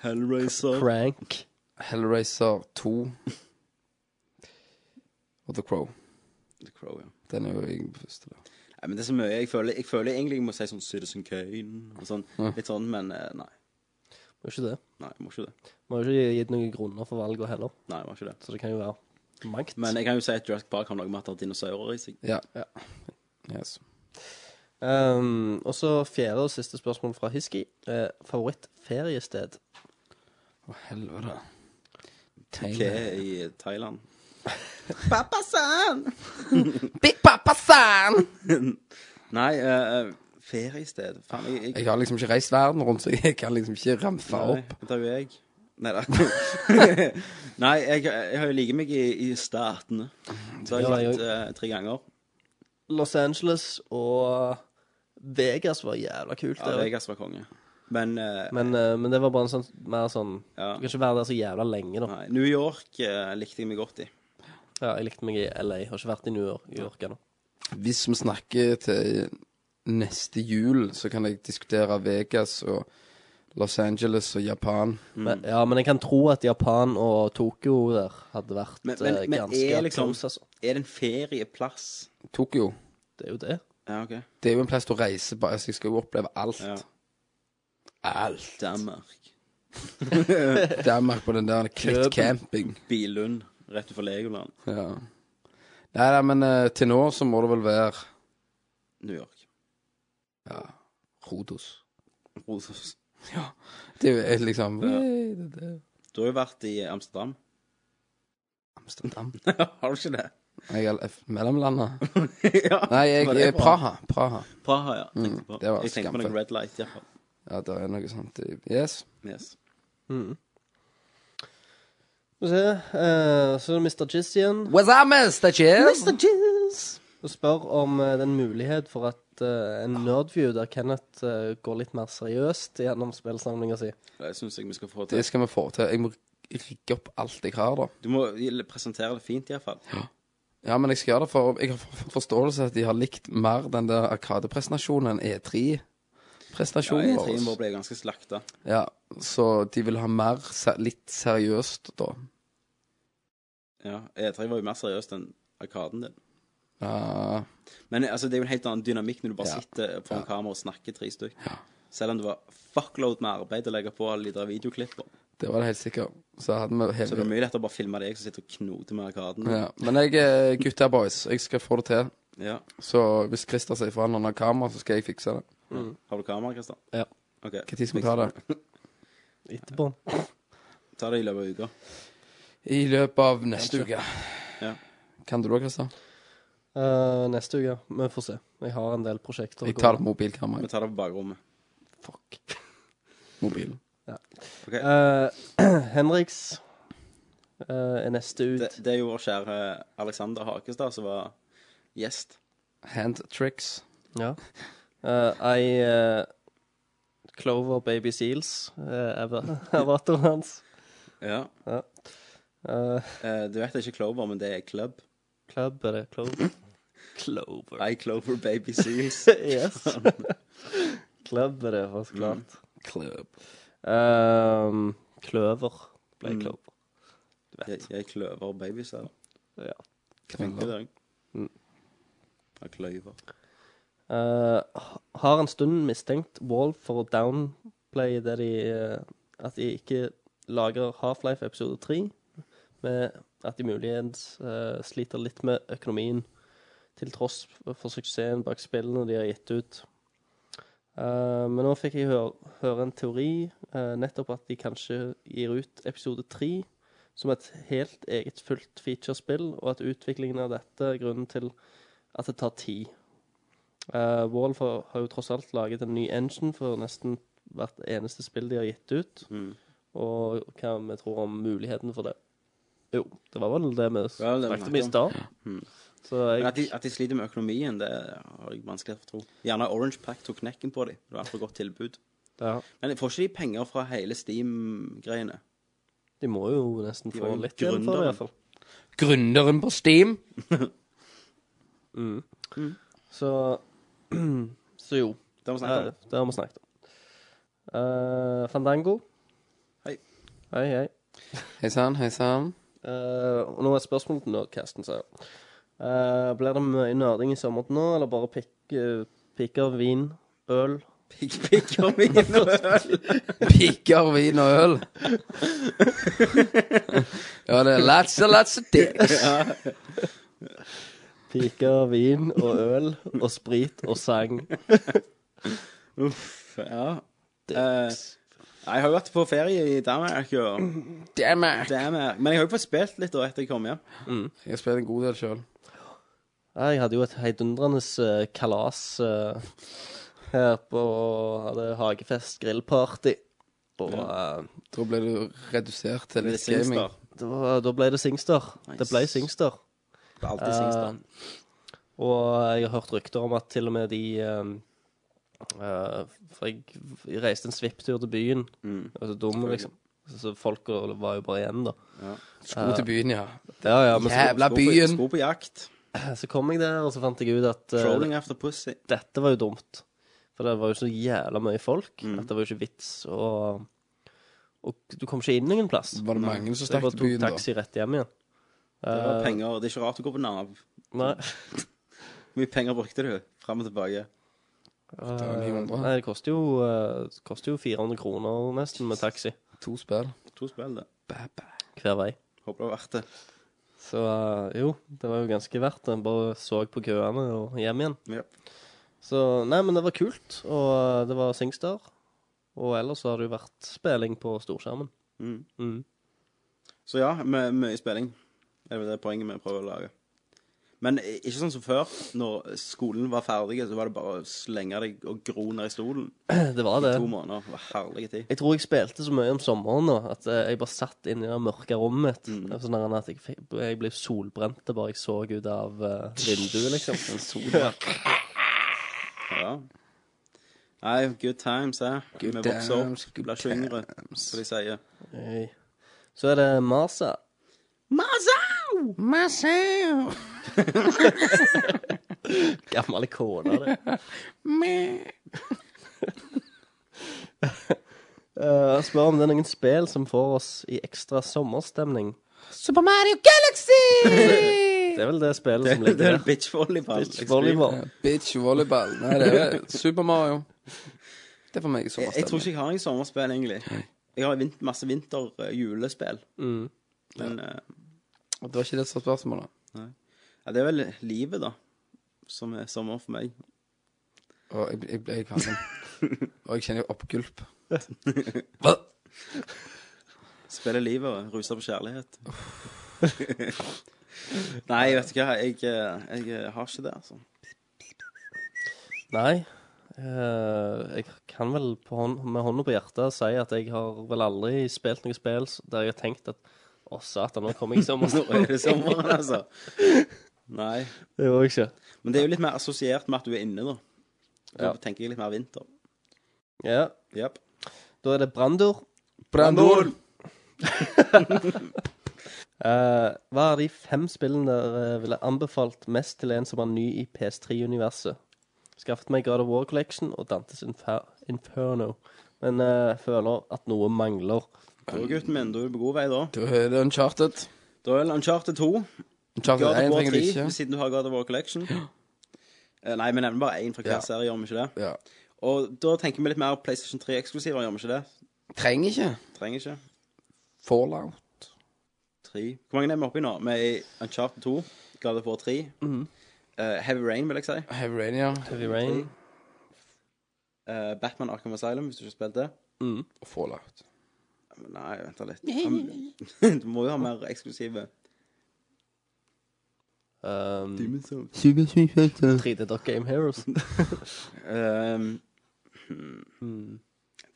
Hellraiser. Crank. Hellraiser 2. Og The Crow. The Crow, ja. Den er jo jeg først til. da. Nei, men det er så mye. Jeg føler, jeg føler egentlig jeg må si sånn Citizen Kane og sånn. Litt sånn, men eh, nei. Må ikke det. Nei, jeg må ikke det. Vi har jo ikke gitt noen grunner for valget heller, Nei, jeg må ikke det. så det kan jo være mangt. Men jeg kan jo si at Jurassic Park har noe med at det er dinosaurer i seg. Ja. Yes. Ehm, og så fjerde og siste spørsmål fra Hiski. Eh, Favorittferiested? Å, helvete. Hva Tegnet. er i eh, Thailand? Pappa-san! Big Papa San! Nei, eh, feriested Faen, jeg, jeg Jeg har liksom ikke reist verden rundt, så jeg kan liksom ikke ramfe Nei, opp. det er jo jeg. Nei da. Nei, jeg, jeg har jo ligget meg i, i statene. Så jeg Ja, har jeg vært eh, tre ganger. Los Angeles og Vegas var jævla kult. Ja, det også. Vegas var konge. Men eh, men, eh, men det var bare en sånn mer sånn Ja. Du kan ikke være der så jævla lenge, da. nei, New York eh, likte jeg meg godt i. Ja, jeg likte meg i LA. Har ikke vært i New York, New York ennå. Hvis vi snakker til neste jul, så kan jeg diskutere Vegas og Los Angeles og Japan. Mm. Men, ja, men jeg kan tro at Japan og Tokyo der hadde vært Men- men- eh, men ganske er liksom- close, altså. Er det en ferieplass? Tokyo. Det er jo det. Ja, OK. Det er jo en plass til å reise, bare, så jeg skal jo oppleve alt. Ja. Alt. Danmark. Danmark på den der Kvitt camping. Billund. Rett utenfor Legoland. Ja. Nei, nei, men eh, til nå så må det vel være New York. ja, Rodos. Rosas. Det er jo liksom Ja. hey, det, det. Du har jo vært i Amsterdam. Amsterdam. har du ikke det? Jeg er f- mellomlandet. ja. Nei, jeg Var det er bra? Praha. Praha. Praha, ja. Tenkte Mm, på. det var jeg tenkte på skamfett. noe red light, iallfall. Ja, det er noe sånt. i- Yes. Yes. Mm. Skal vi se. eh, så er det Mr. Jizz igjen. What's up, Mr. Cheers? og spør om eh, det er en mulighet for at eh, en nerdview der Kenneth eh, går litt mer seriøst gjennom spillsamlinga si. Det syns jeg vi skal få til. Det skal vi få til. Jeg må rigge opp alt jeg har, da. Du må presentere det fint, iallfall. Ja, men jeg skal gjøre det, for jeg har for- forståelse at de har likt mer den der Arkade-presentasjonen enn E3-presentasjonen Ja, E E3-en vår vår. ble ganske slakta. Ja, så de vil ha mer se litt seriøst, da. Ja, E3 var jo mer seriøst enn Arkaden din. Ja, Men altså, det er jo en helt annen dynamikk når du bare Ja. sitter foran kamera og snakker tre stykk. Selv om det var fuckload med arbeid å legge på alle de der videoklipper. det var det helt sikkert. Så hadde vi Så det er hele mye lettere å bare filme deg som sitter og knoter med Arkaden. ja. Men jeg er gutta boys. Jeg skal få det til. Ja. Så hvis Christer sier fra når han har kamera, så skal jeg fikse det. Har du kamera, Kristian? Ja. Ok. Hva tid skal vi ta det? Etterpå. Ta det i løpet av uka. I løpet av neste uke. Ja. Kan du da, Christer? Eh, neste uke. Vi får se. Jeg har en del prosjekter. å Jeg gå tar det med. på mobilkameraet. Vi tar det på bakrommet. Mobilen. Eh, Henriks eh, er neste ut. Det, det er jo vår kjære Alexander Hakestad som var gjest. Hand tricks. Ja. Eh, ei eh, Clover Baby Seals eh, er eratoren hans. Ja. Ja. Eh, Eh, du vet det er ikke Clover, men det er Club. club, er det Clover? Clover. I Clover Baby Seals. yes. club er det, for så klart. Club. Ehm, kløver ble Mm. Clover. Jeg, jeg kløver babies her. Ja. Funker Kløver. det? Mm. Mm. Jeg kløver. Eh, ha- har en stund mistenkt Wall for å downplaye det de eh, At de ikke lager Half-Life episode 3, med at de muligens eh, sliter litt med økonomien, til tross for suksessen bak spillene de har gitt ut. Eh, men nå fikk jeg hør, høre en teori, eh, nettopp at de kanskje gir ut episode 3 som et helt eget fullt featurespill, og at utviklingen av dette er grunnen til at det tar tid. Uh, Wall for, har jo tross alt laget en ny engine for nesten hvert eneste spill de har gitt ut. Mm. Og hva vi tror om muligheten for det. Jo, det var vel det vi Det var vel snakket det vi om i snakket stad. Mm. Så Men At de, jeg at de sliter med økonomien, det har jeg vanskelig for å tro. Gjerne Orange Pack tok knekken på dem. Det var et for godt tilbud. ja, Men får ikke de penger fra hele Steam-greiene? De må jo nesten De få var jo litt igjen for det, gründeren. iallfall. Gründeren på Steam. Mm. Så Så jo. Det har vi snakket om. Eh, Det har vi snakket om. Eh, Fandango. Hei. Hei, hei. Hei sann, hei sann. Eh, og nå er spørsmålet til Nerdcasten, sier jeg. Eh, blir det mye nerding i sommer til nå, eller bare pikk- eh, pikker, vin, øl? Pikk, pikk og vin og øl. Piker, vin og øl. ja, det er lots and lots of dicks. Piker, vin og øl og sprit og sang. Uff, ja. Eh, jeg har jo vært på ferie i Danmark, og Damn it. Danmark. men jeg har jo fått spilt litt da etter jeg kom hjem. Jeg har spilt en god del sjøl. Jeg hadde jo et heidundrende eh, kalas eh, her på Hadde hagefest, grillparty. Og eh, Da ble du redusert til Med litt gaming. Singstar. det var, da ble det Singstar. Det ble Nice. Singstar. Det er alltid Singstar. Eh, og jeg har hørt rykter om at til og med de eh, eh, For jeg, jeg reiste en svipptur til byen. Mm. Jeg var så dum, liksom. Så folka var jo bare igjen, da. Sko til byen, ja. Ja, ja, men så, Jævla Sko på- byen. Sko på jakt. så kom jeg der, og så fant jeg ut at eh, Trolling after pussy. dette var jo dumt. For det var jo så jævla mye folk Mm. at det var jo ikke vits å Og du kom ikke inn ingen plass. Var det mange som Så jeg stakk bare til tok byen, da? taxi rett hjem igjen. Det var Eh, penger. Det er ikke rart du går på Nav. Nei. Hvor mye penger brukte du? Fram og tilbake. var 900. Nei, det koster jo, eh, det koster jo 400 kroner nesten med taxi To spill. To spill, det. Bæ, bæ. hver vei. Håper det var verdt det. Så eh, jo, det var jo ganske verdt det. Bare så på køene og hjem igjen. Ja. Så nei, men det var kult. Og eh, det var Singstar. Og ellers så har det jo vært spilling på storskjermen. Mm. Mm. Så ja, mø- mye spilling. Det er vel det poenget vi prøver å lage. Men i- ikke sånn som før. Når skolen var ferdig, så var det bare å slenge deg og gro ned i stolen. Det var det. To måneder. Det var herlig tid. Jeg tror jeg spilte så mye om sommeren nå at eh, jeg bare satt inne i det mørke rommet mitt. Mm. Det var Sånn der at jeg, fikk- jeg ble solbrent det bare jeg så ut av eh, vinduet, liksom. Den solen. Ja. Nei, good times, eh. Vi Good vokser times, opp. good Blir ikke yngre, times. som de sier. Oi. Så er det Masa. Mazau! Mazau! Gammel kone, det. Eh, Han spør om det er noen spill som får oss i ekstra sommerstemning. Super Mario Galaxy! Det er vel det spillet Det som er det ligger er der. bitch volleyball. Beach volleyball. Bitch volleyball. Nei, det er Super Mario. Det er for meg Jeg, jeg tror ikke jeg sommerstemning. har noen sommerspill, egentlig. Jeg har vint, masse vinter-julespill. Mm. Men eh, Det var ikke det som var spørsmålet. ja, det er vel livet, da, som er sommer for meg. Og jeg, jeg ble kvalm. Og jeg kjenner jo oppgulp. Hva? Spiller livet, ruser på kjærlighet. Nei, vet du hva, jeg, eh, jeg, jeg har ikke det, altså. Nei. Eh, jeg kan vel på hånd, med hånda på hjertet si at jeg har vel aldri spilt noe spill s- der jeg har tenkt at å, satan, nå kommer jeg i sommer. Nå er det sommeren, altså. Nei. Det var jeg ikke. Men det er jo litt mer assosiert med at du er inne, da. Da Ja. tenker jeg litt mer vinter. Ja. Japp. Da er det Brandur. Brandur! Eh, hva er de fem spillene dere ville anbefalt mest til en som er ny i PS3-universet? Skaffet meg God of War Collection og Dantes Infer Inferno, men eh, føler at noe mangler. Da, gutten min, da er du på god vei, da. Da er det Uncharted. Da er det Uncharted 2. Uncharted God 1 of War trenger 3, de ikke. siden du har God of War Collection. Eh, Nei, vi nevner bare én fra hver Ja. serie, gjør vi ikke det? Ja. Og da tenker vi litt mer PlayStation 3-eksklusiver, gjør vi ikke det? Trenger ikke. Trenger ikke. Fallout. Tre. Hvor mange er vi oppe i nå? Vi er i Uncharted 2, God of War 3, eh, Heavy Rain, vil jeg si. Heavy Rain, ja. Heavy Rain. Eh, Batman Arkham Asylum, hvis du ikke har spilt det. Mm. Og Fallout. Nei, vent da litt. Han- Du må jo ha mer eksklusive. Um, Souls. 3D Dock Game Heroes. Ehm, Mm.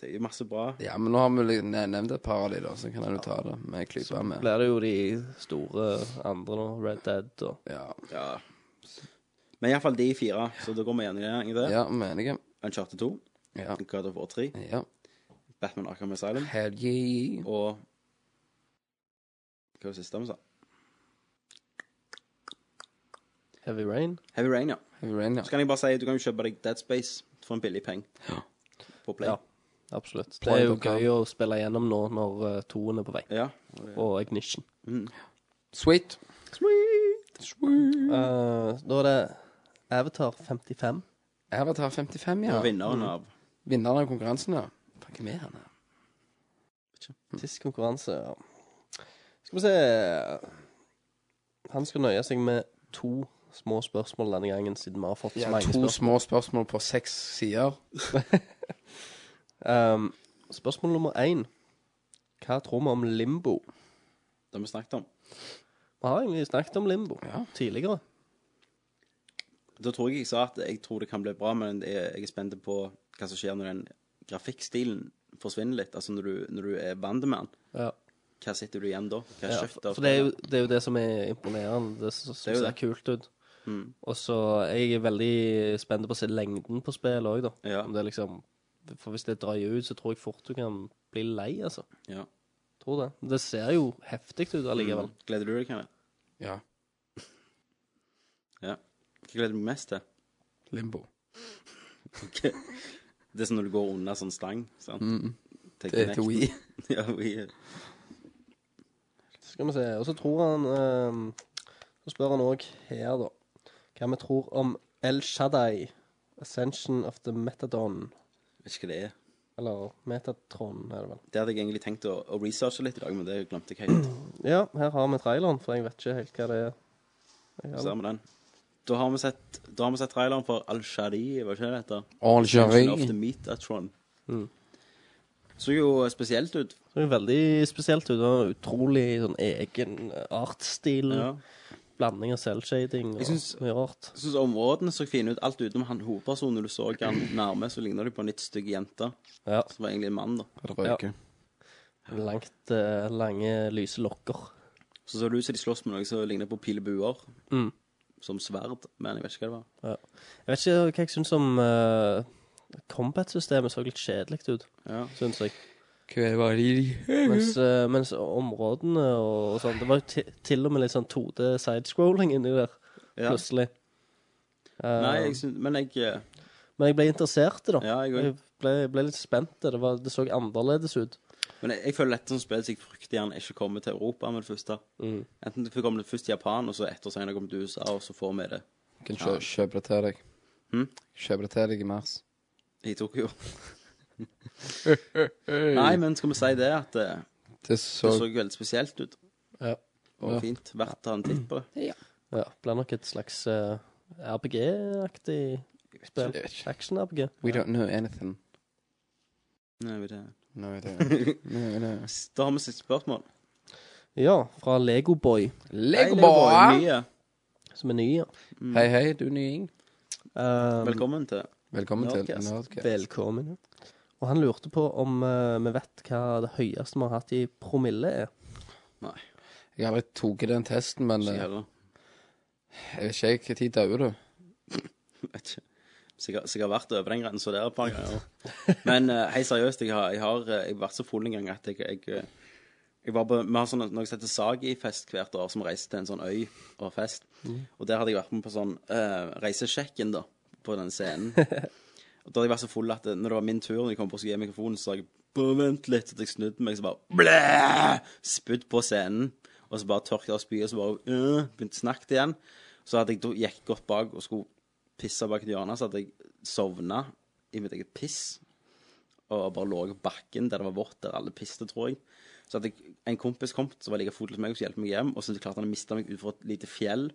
Det er jo masse bra. Ja, men nå har vi litt- ne- nevnt et par av de, da, så kan du ta det med en klype med. Blir det jo de store andre nå. Red Dead og Ja, Ja. Men iallfall de fire, så da går vi igjen i det. ja mener jeg. Uncharted 2, Ja. God of War 3, ja. Batman Arkham Asylum Hell yeah. og Hva var det siste vi sa? Heavy Rain. Heavy Rain, ja. Heavy Rain, ja. Så kan jeg bare si at du kan jo kjøpe deg Dead Space for en billig penge. På Play. Ja. Ja. Absolutt. Det er jo Point.com. gøy å spille gjennom nå når eh, toen er på vei. Og Ignition. Mm. Sweet. Sweet. Eh, da er det Avatar 55. Avatar 55, Og ja. Mm. vinneren av Vinneren av konkurransen, ja. Faen, hvem er han her? Sist konkurranse, ja. Skal vi se Han skal nøye seg med to små spørsmål denne gangen, siden vi har fått så Ja, mange to spørsmål. små spørsmål på seks sider. Um, spørsmål nummer én. Hva tror vi om limbo? det vi snakket om. Vi har egentlig snakket om limbo Ja. tidligere. Da tror jeg jeg sa at jeg tror det kan bli bra, men jeg jeg er spent på hva som skjer når den grafikkstilen forsvinner litt. Altså når du, når du er bandemann. Ja. Hva sitter du igjen da? Hva Ja, kjøtt for for det er, jo, det er jo det som er imponerende. Det som som er jo ser det. Mm. kult ut. Og så er jeg veldig spent på å se lengden på spillet òg, da. Ja. Om det er liksom, for hvis det drar ut, så tror jeg fort du kan bli lei, altså. Ja. Mm. Tror det. Det ser jo heftig ut allikevel. Gleder du deg, Kenneth? Ja. Ja. Hva gleder du deg mest til? Limbo. Ok. Det er som når du går under sånn stang. Sant? Mm. Til Det er til Kinect. Wii. ja, Wii. Skal vi se. Og så tror han ehm, Så spør han òg her, da, hva vi tror om El Shaddai, Ascension of the Metadon. Vet ikke hva det er. Eller Metatron, er det vel. Det hadde jeg egentlig tenkt å, å researche litt i dag, men det glemte jeg helt. Ja, her har vi traileren, for jeg vet ikke helt hva det er. Så Ser vi den. Da har vi sett, da har vi sett traileren for Al-Shari, hva ikke det heter? All Function of Jerry. the Metatron. Mm. Så jo spesielt ut. Det er jo veldig spesielt ut. og Utrolig sånn egen artsstil. Ja. Blanding av selvshading og Jeg synes- mye rart. Jeg syns områdene så fine ut. Alt utenom han hovedpersonen du så han nærme, så ligner de på en litt stygg jente. Ja. Som var egentlig en mann, da. Det røyker. Langt, eh, lange, lyse lokker. Så så det ut som de slåss med noe som ligner på pil og buer. Mm. Som sverd, men jeg vet ikke hva det var. Jeg vet ikke hva jeg syns om eh, combat-systemet. så litt kjedelig ut, Ja. syns jeg. Kvevari. Mens, eh, mens områdene og, og sånn Det var jo ti- til og med litt sånn 2D sidescrolling inni der, Ja. plutselig. Eh, Nei, jeg syns Men jeg eh, Men jeg ble interessert i det. Ja, jeg òg. ble, ble litt spent. Det, var, det så annerledes ut. Men jeg, jeg føler dette som spill så jeg frykter gjerne ikke kommer til Europa med det første. Mm. Enten det kommer det først til Japan, og så etter senere kommer det til USA, og så får vi det Kan kjø kjøpe det til deg. Mm. Hm? Kjøpe det til deg i mars. i Tokyo. Mm. Nei, men skal vi si det, at eh, det, Det det så så veldig spesielt ut. Ja. Og fint. Verdt å ta en titt på det. Ja, blir nok et slags eh, RPG-aktig Jeg Spill. Action-RPG. We don't know anything. Nei, vi vet No, we ikke. don't. No, we don't. Da har vi siste spørsmål. Ja, fra Legoboy, Lego Hei, boy! Nye. som er ny. Ja. Hei, hei, du nying. Eh, Velkommen til Velkommen Nerdcast. til Nerdcast. velkommen. ja. Og han lurte på om eh, vi vet hva det høyeste vi har hatt i promille er. Jeg har aldri tatt den testen, men eh, Sikkert. jeg vet ikke jeg, når dauer du? Vet ikke. Sikkert, sikkert vært over den grensa der et par ganger. Men eh, hei, seriøst, jeg har, jeg har, eh, jeg har vært så full en gang at jeg, jeg, eh, jeg var på, Vi har sånn, noe som heter Sagi-fest hvert år, som reiser til en sånn øy og har fest. Og der hadde jeg vært med på sånn eh, reisesjekken, da, på den scenen. Og da hadde jeg vært så full at eh, når det var min tur, når jeg kom på å skulle gi mikrofonen, så sa jeg bare vent litt, at jeg snudde meg, så bare blæ! Spydd på scenen. Og så bare tørket jeg av spyet, og så bare øh, begynte snakket igjen. Så hadde jeg da gikk godt bak og skulle pisse bak et hjørne, så hadde jeg sovna i mitt eget piss. Og bare lå på bakken der det var vått, der alle piste, tror jeg. Så hadde jeg en kompis kommet som var like fot som meg, og skulle hjelpe meg hjem. Og så klarte han å miste meg utfor et lite fjell.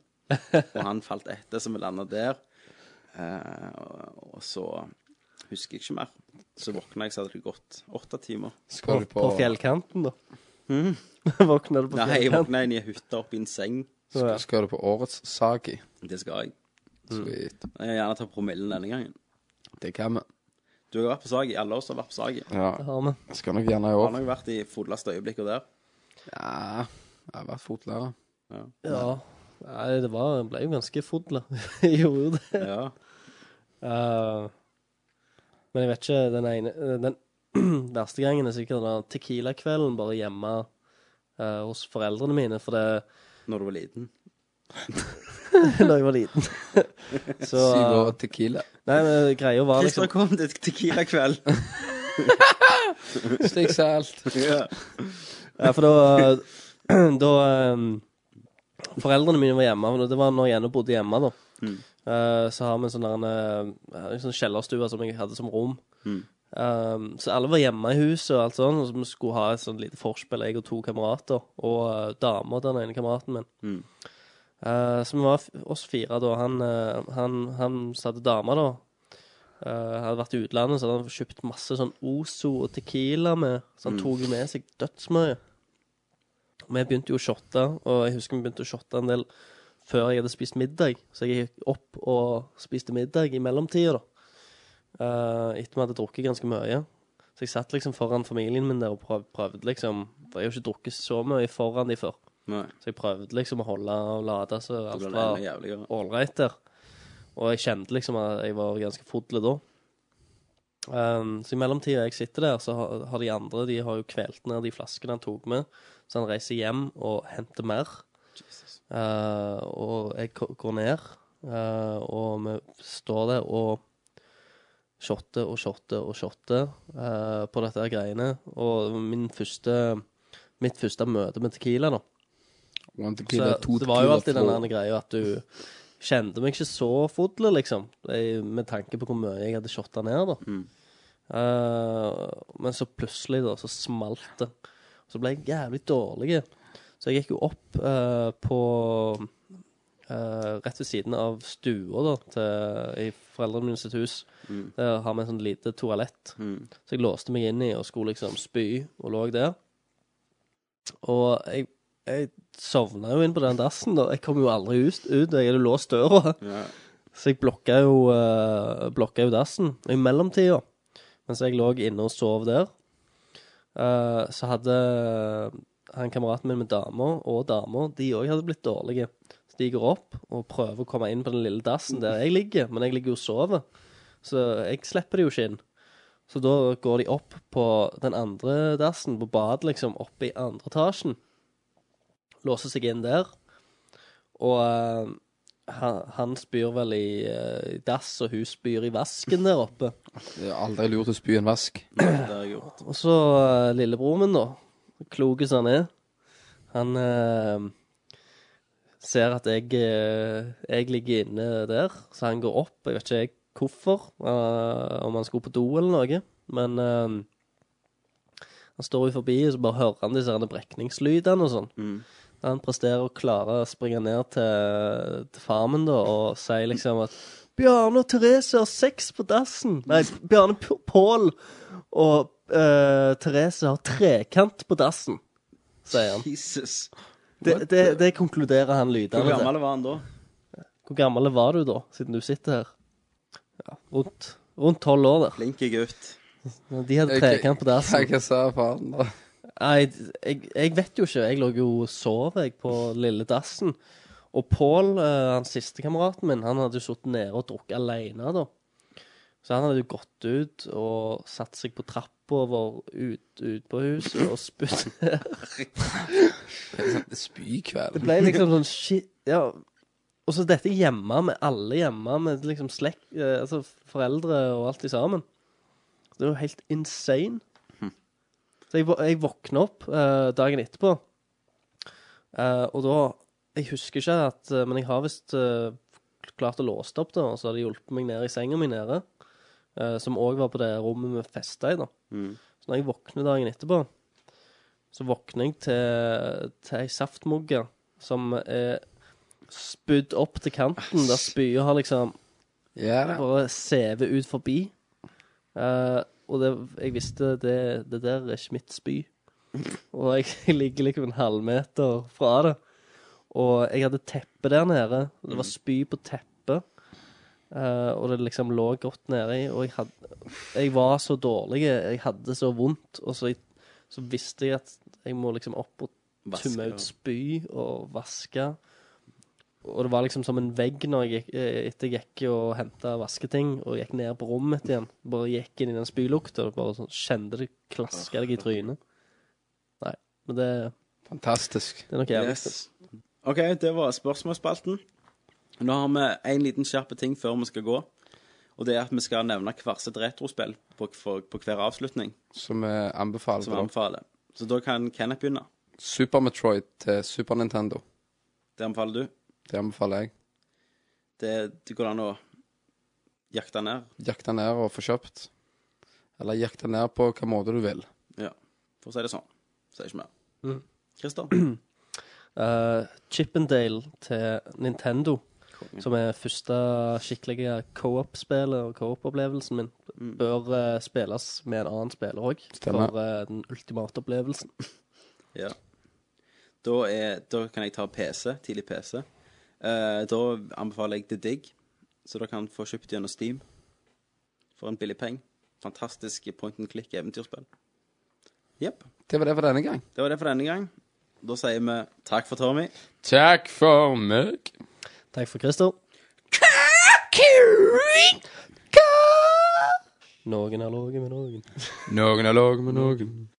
Og han falt etter, så vi landa der. Eh, og, og så husker jeg ikke mer. Så våkna jeg, så hadde det gått åtte timer. På, Skal du på på, fjellkanten, da. Våkna du på Mm. Nei, jeg fjellkanten? våkna inn i ei hytte oppi en seng. Så, ja. Mm. skal du på årets Sagi? Det skal jeg. Sweet. Jeg vil gjerne ta promillen denne gangen. Det kan vi. Du har vært på Sagi. Alle oss har vært på Sagi. Ja, Det har vi. jeg skal nok gjerne i Har år. nok vært i fulleste øyeblikket der. Ja, jeg har vært fotlærer. Ja. Nei, det var, ble jo ganske fodla. Jeg gjorde jo det. Ja. Eh, men jeg vet ikke, den ene Den verste gangen er sikkert den der tequila-kvelden bare hjemme eh, hos foreldrene mine, for det Når du var liten. da jeg var liten. Så Syv eh, år tequila. Nei, men greia var Christer liksom kom til Tequila-kveld. Stikk salt. ja. Ja, for da Da eh, Foreldrene mine var hjemme, og det var når jeg ennå bodde hjemme, da. Eh, så har vi en sånn der en, eh, en sånn kjellerstue som jeg hadde som rom. Um, så alle var hjemme i huset, og alt sånn, og så vi skulle ha et sånn lite forspill, jeg og to kamerater, og uh, dama til den ene kameraten min. Eh, så vi var f- oss fire da. Han, eh, han, han som hadde dama, da, eh, hadde vært i utlandet, så hadde han kjøpt masse sånn Ozo og Tequila med, så han tok jo med seg dødsmye. Og Vi begynte jo å shotte, og jeg husker vi begynte å shotte en del før jeg hadde spist middag. Så jeg gikk opp og spiste middag i mellomtida, da. Eh, etter vi hadde drukket ganske mye. Så jeg satt liksom foran familien min der og prøv, prøvde, liksom For jeg har jo ikke drukket så mye foran de før. Nei. Så jeg prøvde liksom å holde og lade, så Det alt ble var enda jævligere. ålreit der. Og jeg kjente liksom at jeg var ganske fodle da. Ehm, så i mellomtida jeg sitter der, så har, har de andre de har jo kvelt ned de flaskene han tok med. Så han reiser hjem og henter mer. Eh, og jeg ko- går ned, eh, og vi står der og shotter og shotter og shotter eh, på dette her greiene. Og min første, mitt første møte med Tequila, da. One tequila, Så two det var jo tequila, alltid four. den der greia at du kjente meg ikke så fodle, liksom. Jeg- Med tanke på hvor mye jeg hadde shotta ned, da. Eh, men så plutselig, da, så smalt det. Så ble jeg jævlig dårlig. Så jeg gikk jo opp eh, på eh, Rett ved siden av stua da, til, i foreldrene mine sitt hus. Der har vi en sånn lite toalett. Mm. Så jeg låste meg inn i og skulle liksom spy, og lå der. Og jeg, jeg sovna jo inn på den dassen, da. Jeg kom jo aldri ut. ut. Jeg hadde låst døra. Ja. Så jeg blokka jo, eh, blokka jo dassen. Og i mellomtida, mens jeg lå inne og sov der, eh, så hadde eh, han kameraten min med dama og dama, de òg hadde blitt dårlige. Så de går opp og prøver å komme inn på den lille dassen der jeg ligger, men jeg ligger jo og sover. Så jeg slipper det jo ikke inn. Så da går de opp på den andre dassen, på badet, liksom, oppe i andre etasjen. Låser seg inn der. Og eh, han, han spyr vel i eh, i dass, og hun spyr i vasken der oppe. Det er aldri lurt å spy en vask. Det har jeg gjort. Og så eh, lillebroren min, da. Kloke som han er. Han eh, ser at jeg, eh, jeg ligger inne der, så han går opp. Jeg vet ikke jeg hvorfor, eh, om han skulle på do eller noe. Men eh, han står jo forbi, og så bare hører han disse herne brekningslydene og sånn. Da han presterer å klare å springe ned til, til farmen da, og si liksom at Bjarne og Therese har sex på dassen. Nei, Bjarne P- Pål og eh, Therese har trekant på dassen, sier han. Jesus. Det, det, det konkluderer han lydende. Hvor til. gammel var han da? Hvor gammel var du da, siden du sitter her? Ja, rundt rundt tolv år der. Flink gutt. De hadde trekant på dassen. Hva sa faren da? Nei, jeg, jeg vet jo ikke. Jeg lå jo og sov jeg, på lille dassen. Og Pål, eh, han siste kameraten min, han hadde jo sittet nede og drukket alene da. Så han hadde jo gått ut og satt seg på trappa vår ut, ut på huset og spytt. Spykveld. Det ble liksom sånn shit Ja. Og så dette hjemme med alle hjemme, med liksom slekt, eh, altså foreldre og alt i sammen. Det var jo helt insane. Så jeg, vå- jeg våkna opp eh, dagen etterpå, Eh, og da Jeg husker ikke at eh, Men jeg har visst eh, klart å låse det opp, da, og så har de hjulpet meg ned i senga mi nede, eh, som òg var på det rommet vi festa i, da. Så når jeg våkner dagen etterpå, så våkner jeg til, til ei saftmugge som er spydd opp til kanten, der spya har liksom Ja da. bare sevet ut forbi. Eh, og det, jeg visste det, det der er ikke mitt spy. Og jeg, ligger liksom en halvmeter fra det. Og jeg hadde teppe der nede. og Det var spy på teppet. Eh, og det liksom lå godt nedi. Og jeg, hadde, jeg var så dårlig. Jeg hadde så vondt. Og så, så visste jeg at jeg må liksom opp og Vaske, tumme ja. ut spy og vaske. Og det var liksom som en vegg når jeg gikk, eh, etter jeg gikk og henta vasketing og gikk ned på rommet mitt igjen. Bare gikk inn i den spylukta og bare sånn, kjente det klaska deg i trynet. Nei, men det, Fantastisk. det er nok jævlig. Yes. OK, det var spørsmålsspalten. Nå har vi en liten skjerpe ting før vi skal gå. Og det er at vi skal nevne hvert sitt retrospill på, for, på hver avslutning. Som eh, anbefaler Som vi for dere. anbefaler. Så da kan Kenneth begynne. Super Metroid til Super Nintendo. Det anbefaler du. Det anbefaler jeg. Det, det går an å jakte ned. Jakte ned og få kjøpt. Eller jakte ned på hvilken måte du vil. Ja, for å si det sånn. Sier ikke mer. Mhm. Christer? Eh, Chippendale til Nintendo, Mm. som er første skikkelige co-op-spillet og co-op-opplevelsen min, bør eh, spilles med en annen spiller òg, Stemmer. for eh, den ultimate opplevelsen. Ja. Da, er, da kan jeg ta PC, tidlig PC. Eh, da anbefaler jeg The Dig, så dere kan få kjøpt gjennom Steam for en billig penge. Fantastisk point and click eventyrspill. Jepp. Det var det for denne gang. Det var det for denne gang. Da sier vi takk for Tommy. Takk for meg. Takk for Christer. Noen er lave med noen. Noen er lag med noen.